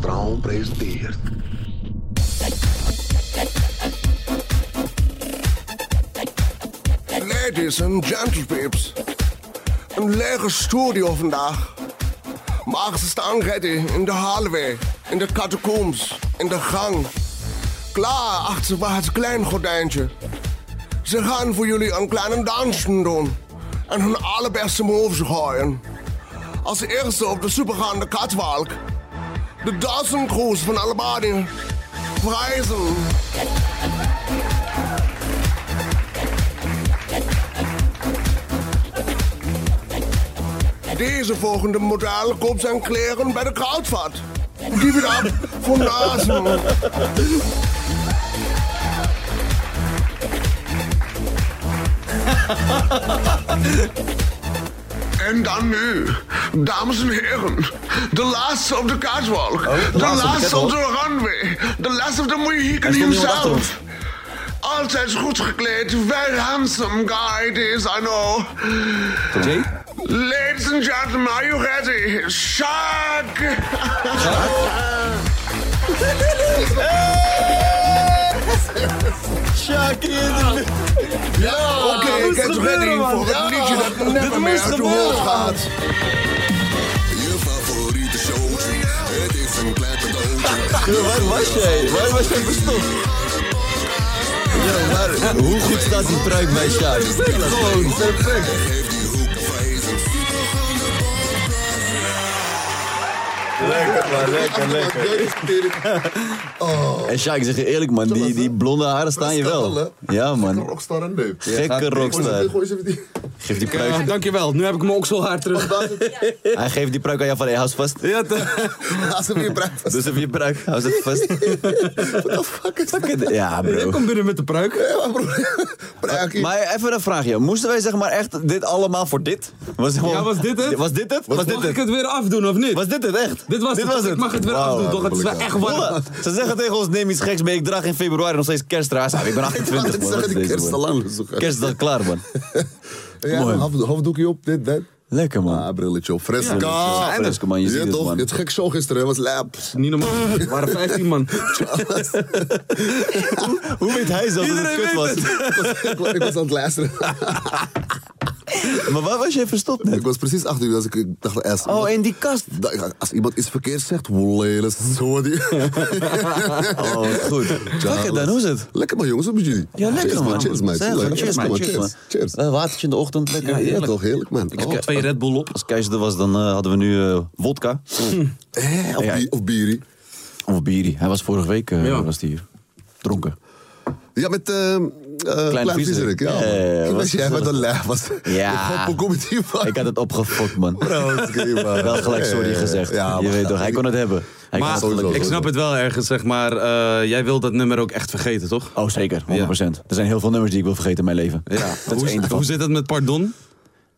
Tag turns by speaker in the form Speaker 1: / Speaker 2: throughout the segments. Speaker 1: Straum presenteert.
Speaker 2: Ladies and gentlepeeps. Een lege studio vandaag. Maar ze staan ready in de hallway, in de catacombs, in de gang. Klaar achter bij het klein gordijntje. Ze gaan voor jullie een kleine dansje doen. En hun allerbeste moves gooien. Als eerste op de supergaande katwalk. De dansencruise van Albanië. Prijzen. Deze volgende model koopt zijn kleren bij de kruidvat. Die weer af voor nazen.
Speaker 1: En dan nu, dames en heren, de laatste op de catwalk, Oh, de,
Speaker 3: laatste op de
Speaker 1: laatste op de
Speaker 3: catwalk.
Speaker 1: runway, de laatste op de Mohican
Speaker 3: Er stond iemand achter ons.
Speaker 1: himself. Altijd goed gekleed, very handsome guy it is, I know.
Speaker 3: Jay?
Speaker 1: Ladies and gentlemen, are you ready? Shark!
Speaker 3: Sjaak in
Speaker 4: Oh,
Speaker 2: Oké, ik
Speaker 3: moest
Speaker 2: heb
Speaker 3: gebeuren,
Speaker 2: ready
Speaker 3: man.
Speaker 2: voor
Speaker 3: Ja.
Speaker 2: het liedje dat
Speaker 3: Dit
Speaker 2: never meer
Speaker 3: moest
Speaker 2: uit de
Speaker 3: gebeuren,
Speaker 2: hoofd
Speaker 3: man.
Speaker 2: gaat.
Speaker 4: Je favoriete showtje, het is een klein cadeautje.
Speaker 3: Waar was jij? Waar was jij verstopt? Ja, maar hoe goed staat die pruik bij Sjaak? Gewoon perfect.
Speaker 4: Geef die hoek van je zo'n
Speaker 3: Lekker man, lekker, En Sjaak, zeg je eerlijk man, die, die blonde haren staan je Oh. wel. Ja man,
Speaker 4: rockstar en neuk.
Speaker 3: gekke rockstar.
Speaker 4: Gooi ze even die...
Speaker 3: Geef die
Speaker 5: Ja,
Speaker 3: pruik,
Speaker 5: dankjewel, nu heb ik mijn okselhaar
Speaker 3: Oh,
Speaker 5: terug.
Speaker 3: hij geeft die pruik aan jou van, hey, hou ze vast.
Speaker 5: Ja, te-
Speaker 4: Laat ze weer praten.
Speaker 3: Dus op je pruik, hou ze vast. Fuck it. Ja
Speaker 5: Jij
Speaker 3: bro.
Speaker 5: komt binnen met de pruik.
Speaker 4: Praakie.
Speaker 3: Maar even een vraagje, moesten wij zeg maar echt dit allemaal voor dit? Was,
Speaker 5: Ja, was dit het?
Speaker 3: Was dit het? Was dit
Speaker 5: Mag ik
Speaker 3: het?
Speaker 5: het weer afdoen of niet?
Speaker 3: Was dit het echt?
Speaker 5: Dit was het. Ik mag het weer
Speaker 3: Wauw,
Speaker 5: afdoen, toch? Het is wel echt warm.
Speaker 3: Ola, Ze zeggen tegen ons, neem iets geks mee. Ik draag in februari nog steeds kerstdraars. Ah, ik ben 28, man. Wat is
Speaker 4: die
Speaker 3: deze,
Speaker 4: kerst
Speaker 3: man?
Speaker 4: al lang zoeken.
Speaker 3: Kerst is al klaar, man.
Speaker 4: Ja,
Speaker 3: mooi.
Speaker 4: half- halfdoekje op, dit, dat.
Speaker 3: Lekker, man.
Speaker 4: Ah, brilletje op, fresca.
Speaker 3: Ja, fresco, man. Je ziet
Speaker 4: Ja,
Speaker 3: het,
Speaker 4: toch?
Speaker 3: man.
Speaker 4: Het gek show gisteren, hè, was lap.
Speaker 5: Niet normaal. Het waren 15 man.
Speaker 3: Hoe weet hij zelf dat het
Speaker 5: Iedereen
Speaker 3: kut was?
Speaker 5: weet
Speaker 4: ik was- ik was aan het luisteren.
Speaker 3: Maar waar was jij verstopt net?
Speaker 4: ik was precies achter u, dus ik, ik dacht, als,
Speaker 3: Oh, in die kast.
Speaker 4: dat- als iemand iets verkeerd zegt, wolle, zo die.
Speaker 3: Oh, wat goed. Fuck it, dan hoe is het?
Speaker 4: Lekker man, jongens, wat met jullie?
Speaker 3: Ja, lekker,
Speaker 4: cheers,
Speaker 3: man.
Speaker 4: Cheers, man.
Speaker 3: Zeg,
Speaker 4: Lekker,
Speaker 3: Cheers,
Speaker 4: man.
Speaker 3: man.
Speaker 4: Cheers,
Speaker 3: Cheers, man.
Speaker 4: cheers.
Speaker 3: Eh, Watertje in de ochtend, lekker.
Speaker 4: Ja,
Speaker 3: heerlijk.
Speaker 4: toch, heerlijk, man.
Speaker 3: Ik
Speaker 4: Oh.
Speaker 3: heb twee Red Bull op. Als keizer er was, dan eh, hadden we nu eh, wodka.
Speaker 4: Hè, Eh, of,
Speaker 3: Ja.
Speaker 4: bi- of bierie.
Speaker 3: Of bierie. Hij was vorige week eh,
Speaker 5: Ja.
Speaker 3: was die hier. Dronken.
Speaker 4: Ja, met ehm eh Klein
Speaker 3: Viezerik.
Speaker 4: Viezerik. Ja,
Speaker 3: Ja, ja, ja,
Speaker 4: man. Ik
Speaker 3: was
Speaker 4: wist jij wat
Speaker 3: gezellig.
Speaker 4: een lijf was.
Speaker 3: Ja.
Speaker 4: Ik kom met die van.
Speaker 3: Ik had het opgefokt, man.
Speaker 4: Bro, dat is geen man.
Speaker 3: Wel gelijk sorry
Speaker 4: Ja,
Speaker 3: gezegd.
Speaker 4: ja,
Speaker 3: je
Speaker 4: maar-
Speaker 3: weet toch, hij kon het hebben. Hij
Speaker 5: Maar
Speaker 3: kon het
Speaker 4: sowieso,
Speaker 5: ik
Speaker 3: gelukkig.
Speaker 5: snap het wel ergens, zeg maar. eh, jij wil dat nummer ook echt vergeten, toch?
Speaker 3: Oh, zeker, 100%. Er zijn heel veel nummers die ik wil vergeten in mijn leven.
Speaker 5: Ja.
Speaker 3: dat is één
Speaker 5: Hoe,
Speaker 3: ervan.
Speaker 5: hoe zit dat met Pardon?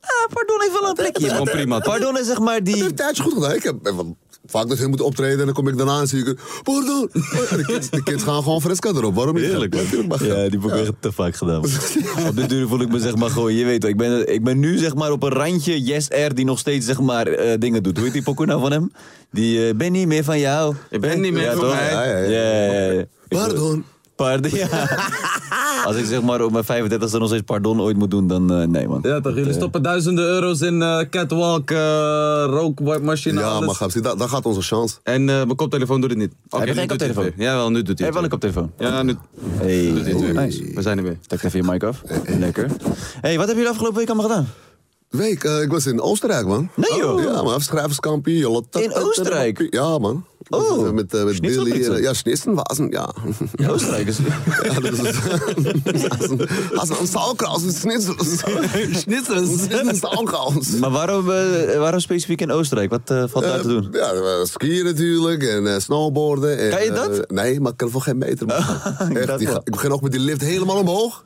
Speaker 3: Ah, pardon heeft wel een plekje.
Speaker 5: Gewoon prima.
Speaker 3: Pardon is zeg maar
Speaker 4: Ik
Speaker 3: die...
Speaker 4: heb een tijdje goed gedaan. Ik heb eh, wel vaak dat hun moeten optreden en dan kom ik daarna en zie ik... Pardon! Oh, De kids, de kids gaan gewoon fresca erop. Waarom niet?
Speaker 3: Heerlijk, man.
Speaker 4: Natuurlijk mag dat.
Speaker 3: Ja, die heb ik echt te vaak gedaan. man. Op de duur voel ik me zeg maar gewoon, je weet wel, ik ben, ik ben nu zeg maar op een randje Yes R die nog steeds zeg maar eh, dingen doet. Hoe heet die pokoe nou van hem? Die eh, ben niet meer van jou.
Speaker 5: Ik ben niet meer
Speaker 3: Ja,
Speaker 5: van
Speaker 3: toch?
Speaker 5: mij.
Speaker 3: Ja, ja, ja. ja, ja. Ik-
Speaker 4: Pardon.
Speaker 3: Pardon, ja. Als ik zeg maar op mijn 35 e nog steeds pardon ooit moet doen, dan eh, nee man.
Speaker 5: Ja, toch? Jullie stoppen duizenden euro's in eh, catwalk, eh rookmachine,
Speaker 4: Ja,
Speaker 5: alles.
Speaker 4: maar gaaf, zie, dat, dat gaat onze chance.
Speaker 5: En eh, mijn koptelefoon doet het niet. Oké,
Speaker 3: je
Speaker 5: nu
Speaker 3: geen
Speaker 5: doet hij het
Speaker 3: koptelefoon?
Speaker 5: weer. Jawel, nu doet hij
Speaker 3: Heb
Speaker 5: het
Speaker 3: wel een
Speaker 5: weer.
Speaker 3: koptelefoon.
Speaker 5: Ja, nu
Speaker 3: Hey. Oh,
Speaker 5: doet hij het weer.
Speaker 3: Nice.
Speaker 5: We zijn er weer.
Speaker 3: Tak even je mic af. Lekker. hey, wat hebben jullie afgelopen week allemaal gedaan?
Speaker 4: Week, eh, ik was in Oostenrijk, man.
Speaker 3: Nee, joh.
Speaker 4: Ja, man, schrijverskampie. joh.
Speaker 3: In Oostenrijk?
Speaker 4: Ja, man. Oh, met, eh, met
Speaker 3: Schnitzel
Speaker 4: Billy.
Speaker 3: Blitzer.
Speaker 4: eh, ja, Schnitzelwasen, ja.
Speaker 3: Ja, Österreichers.
Speaker 4: ja das ist, hast du einen Sauerkraus mit Schnitzel?
Speaker 5: Schnitzels.
Speaker 4: Schnitzel Sauerkraus.
Speaker 3: Maar waarom, eh, waarom specifiek in Oostenrijk? Wat eh, valt daar te doen?
Speaker 4: Eh, ja, eh, skiën natuurlijk en eh, snowboarden. En,
Speaker 3: Kan je dat?
Speaker 4: eh, nee, maar ik kan voor geen meter. man.
Speaker 3: Ik
Speaker 4: Echt,
Speaker 3: dacht
Speaker 4: die,
Speaker 3: wel.
Speaker 4: ga- ik begin ook met die lift helemaal omhoog.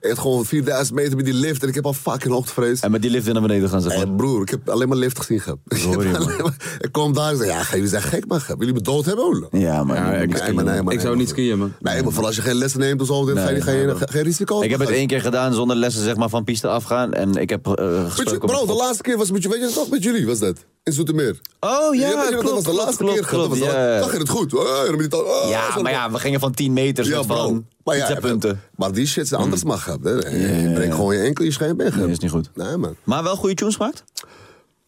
Speaker 4: Echt gewoon 4000 meter met die lift en ik heb al fucking hoogtevrees.
Speaker 3: En met die lift weer naar beneden gaan, zeg maar.
Speaker 4: En Eh, broer, ik heb alleen maar lift gezien gehad. Ik,
Speaker 3: hoor je,
Speaker 4: heb
Speaker 3: man.
Speaker 4: alleen maar- ik kwam daar en zei, ja, jullie zijn gek, man. Willen jullie me dood hebben? hoor?
Speaker 3: Ja, maar...
Speaker 5: Ja, ik-
Speaker 4: Nee, Eh, maar nee, maar
Speaker 5: Ik zou
Speaker 4: nee,
Speaker 5: niet skiën, man.
Speaker 4: Nee, maar vooral als je geen lessen neemt of zo, dan ga je
Speaker 3: Nee,
Speaker 4: geen,
Speaker 3: nee,
Speaker 4: geen, geen risico.
Speaker 3: Ik heb het
Speaker 4: gaan.
Speaker 3: één keer gedaan zonder lessen zeg maar, van piste afgaan. En ik heb eh
Speaker 4: Weet je,
Speaker 3: gesproken...
Speaker 4: bro, de
Speaker 3: met-
Speaker 4: laatste keer was met je, weet je toch, met jullie was dat? In Zoetermeer.
Speaker 3: Oh ja,
Speaker 4: weet je,
Speaker 3: klopt,
Speaker 4: dat was de
Speaker 3: klopt,
Speaker 4: laatste
Speaker 3: klopt,
Speaker 4: keer.
Speaker 3: klopt,
Speaker 4: dat was de
Speaker 3: ja.
Speaker 4: laatste- Dan ging het goed. Ah, dan moet je het- ah,
Speaker 3: Ja,
Speaker 4: zo-
Speaker 3: maar ja, we gingen van 10 meter
Speaker 4: Ja,
Speaker 3: soort
Speaker 4: bro.
Speaker 3: van
Speaker 4: Maar ja,
Speaker 3: punten. Mm.
Speaker 4: Maar die shit is anders mag hebben. hè. Je breekt gewoon je enkel, je schijnt weg.
Speaker 3: Nee, is niet goed.
Speaker 4: Nee, man.
Speaker 3: Maar wel goede tunes gemaakt?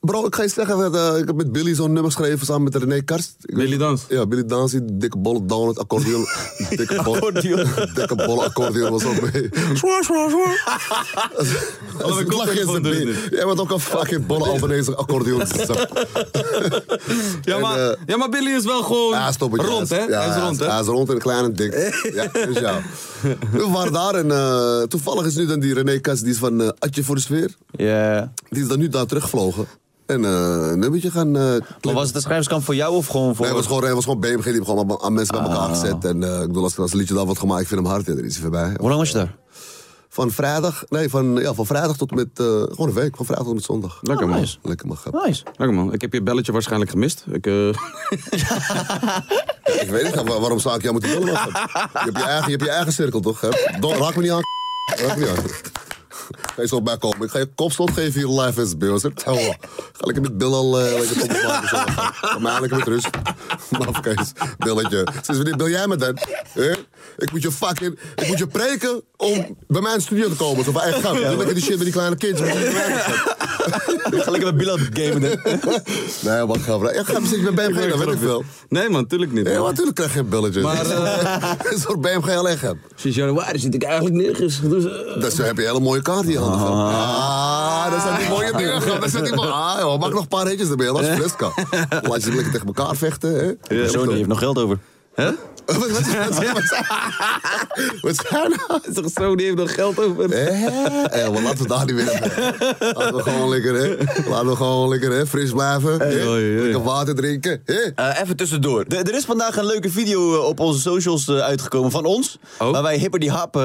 Speaker 4: Bro, ik ga je zeggen, wat, eh, ik heb met Billy zo'n nummer geschreven samen met René Karst. Ik
Speaker 5: Billy
Speaker 4: weet-
Speaker 5: Dans.
Speaker 4: Ja, Billy Dans, die dikke bolle donut, accordeon. dikke bolle
Speaker 3: Accordeon.
Speaker 4: dikke bolle accordeon was ook mee. Zwaar, zwaar, zwaar. Als
Speaker 5: mijn
Speaker 4: ik lach
Speaker 5: koptelefoon
Speaker 4: is het
Speaker 5: doet
Speaker 4: niet.
Speaker 5: het.
Speaker 4: Jij bent ook een fucking bolle Albanese accordeon.
Speaker 5: Ja,
Speaker 4: En,
Speaker 5: maar,
Speaker 4: eh,
Speaker 5: ja, maar Billy is wel gewoon
Speaker 4: Ja, stop het.
Speaker 5: rond,
Speaker 4: ja.
Speaker 5: hè?
Speaker 4: Ja,
Speaker 5: hij is rond, hè?
Speaker 4: Hij is rond en klein en dik. ja, dus ja. We waren daar en eh, toevallig is nu dan die René Kast, die is van eh, Atje voor de Sfeer.
Speaker 3: Ja.
Speaker 4: Die is dan nu daar teruggevlogen. En eh, een nummertje gaan eh
Speaker 3: Maar
Speaker 4: klikken.
Speaker 3: was het een schrijverskamp voor jou of gewoon voor...
Speaker 4: Nee, het was gewoon, het was gewoon BMG, die hebben gewoon aan- aan mensen bij elkaar
Speaker 5: Ah.
Speaker 4: gezet. En eh, ik bedoel, als, als het liedje dan wordt gemaakt, ik vind hem hard, ja, er is hij voorbij.
Speaker 3: Hoe lang was je daar?
Speaker 4: Van vrijdag, nee, van, ja, van vrijdag tot met, eh, gewoon een week, van vrijdag tot met zondag. Ah,
Speaker 5: Lekker, man.
Speaker 3: nice.
Speaker 4: Lekker man, grap.
Speaker 3: Nice.
Speaker 5: Lekker, man. Ik heb je belletje waarschijnlijk gemist. Ik, eh,
Speaker 4: Ik weet niet, grap, waar- waarom zou ik jou moeten bellen? man, grap? Je hebt je eigen, je hebt je eigen cirkel, toch? grap? Don, raak me niet aan, raak me niet aan. Ga je zo bij komen. Ik ga je kopstoot geven hier live is bij ons. hè? Tja, hoor. Ga lekker met Bill al eh, lekker op de bank. zo. Ga maar lekker met rust. Mafkees, Billetje. Sinds wanneer bel jij me dan? Hè? Ik moet je fucking... Ik moet je preken om bij mijn studio te komen. Zo van eigen gang. Doe lekker die shit met die kleine kindjes. Moet je niet bij mij zijn.
Speaker 3: Ik ga lekker met Bilal gamen. hè.
Speaker 4: Nee, wat gaan we... Ja, ga precies bij BMG, dat weet ik wel.
Speaker 5: nee, man, tuurlijk niet.
Speaker 4: Ja,
Speaker 5: man.
Speaker 4: natuurlijk krijg je geen belletje.
Speaker 5: Maar, eh,
Speaker 4: Dit is voor BMG alleen heb.
Speaker 5: Sinds januari zit ik eigenlijk nergens. Dus, eh,
Speaker 4: Dus dan heb je hele mooie kaart in je handen. gehad. Ah, dat zijn die mooie dingen. gehad. Dat zijn die mooie... Ah, joh, maak nog een paar hitjes erbij. Dat is fresca. Laat je lekker tegen elkaar vechten. Hè?
Speaker 3: Mijn zoon die heeft nog geld over.
Speaker 5: hè?
Speaker 4: Wat- wat- wat- wat- Wat zijn nou?
Speaker 5: Is toch zo, die heeft nog geld over.
Speaker 4: Eh, eh, maar laten we daar niet weer hebben. Laten we gewoon lekker, hè? Laten we gewoon lekker, hè? Fris blijven. hè?
Speaker 5: oei, oei.
Speaker 4: Lekker water drinken. Hè?
Speaker 3: Eh, even tussendoor. De- er is vandaag een leuke video eh, op onze socials eh, uitgekomen van ons.
Speaker 5: Oh.
Speaker 3: Waar wij Hipper die Hap eh,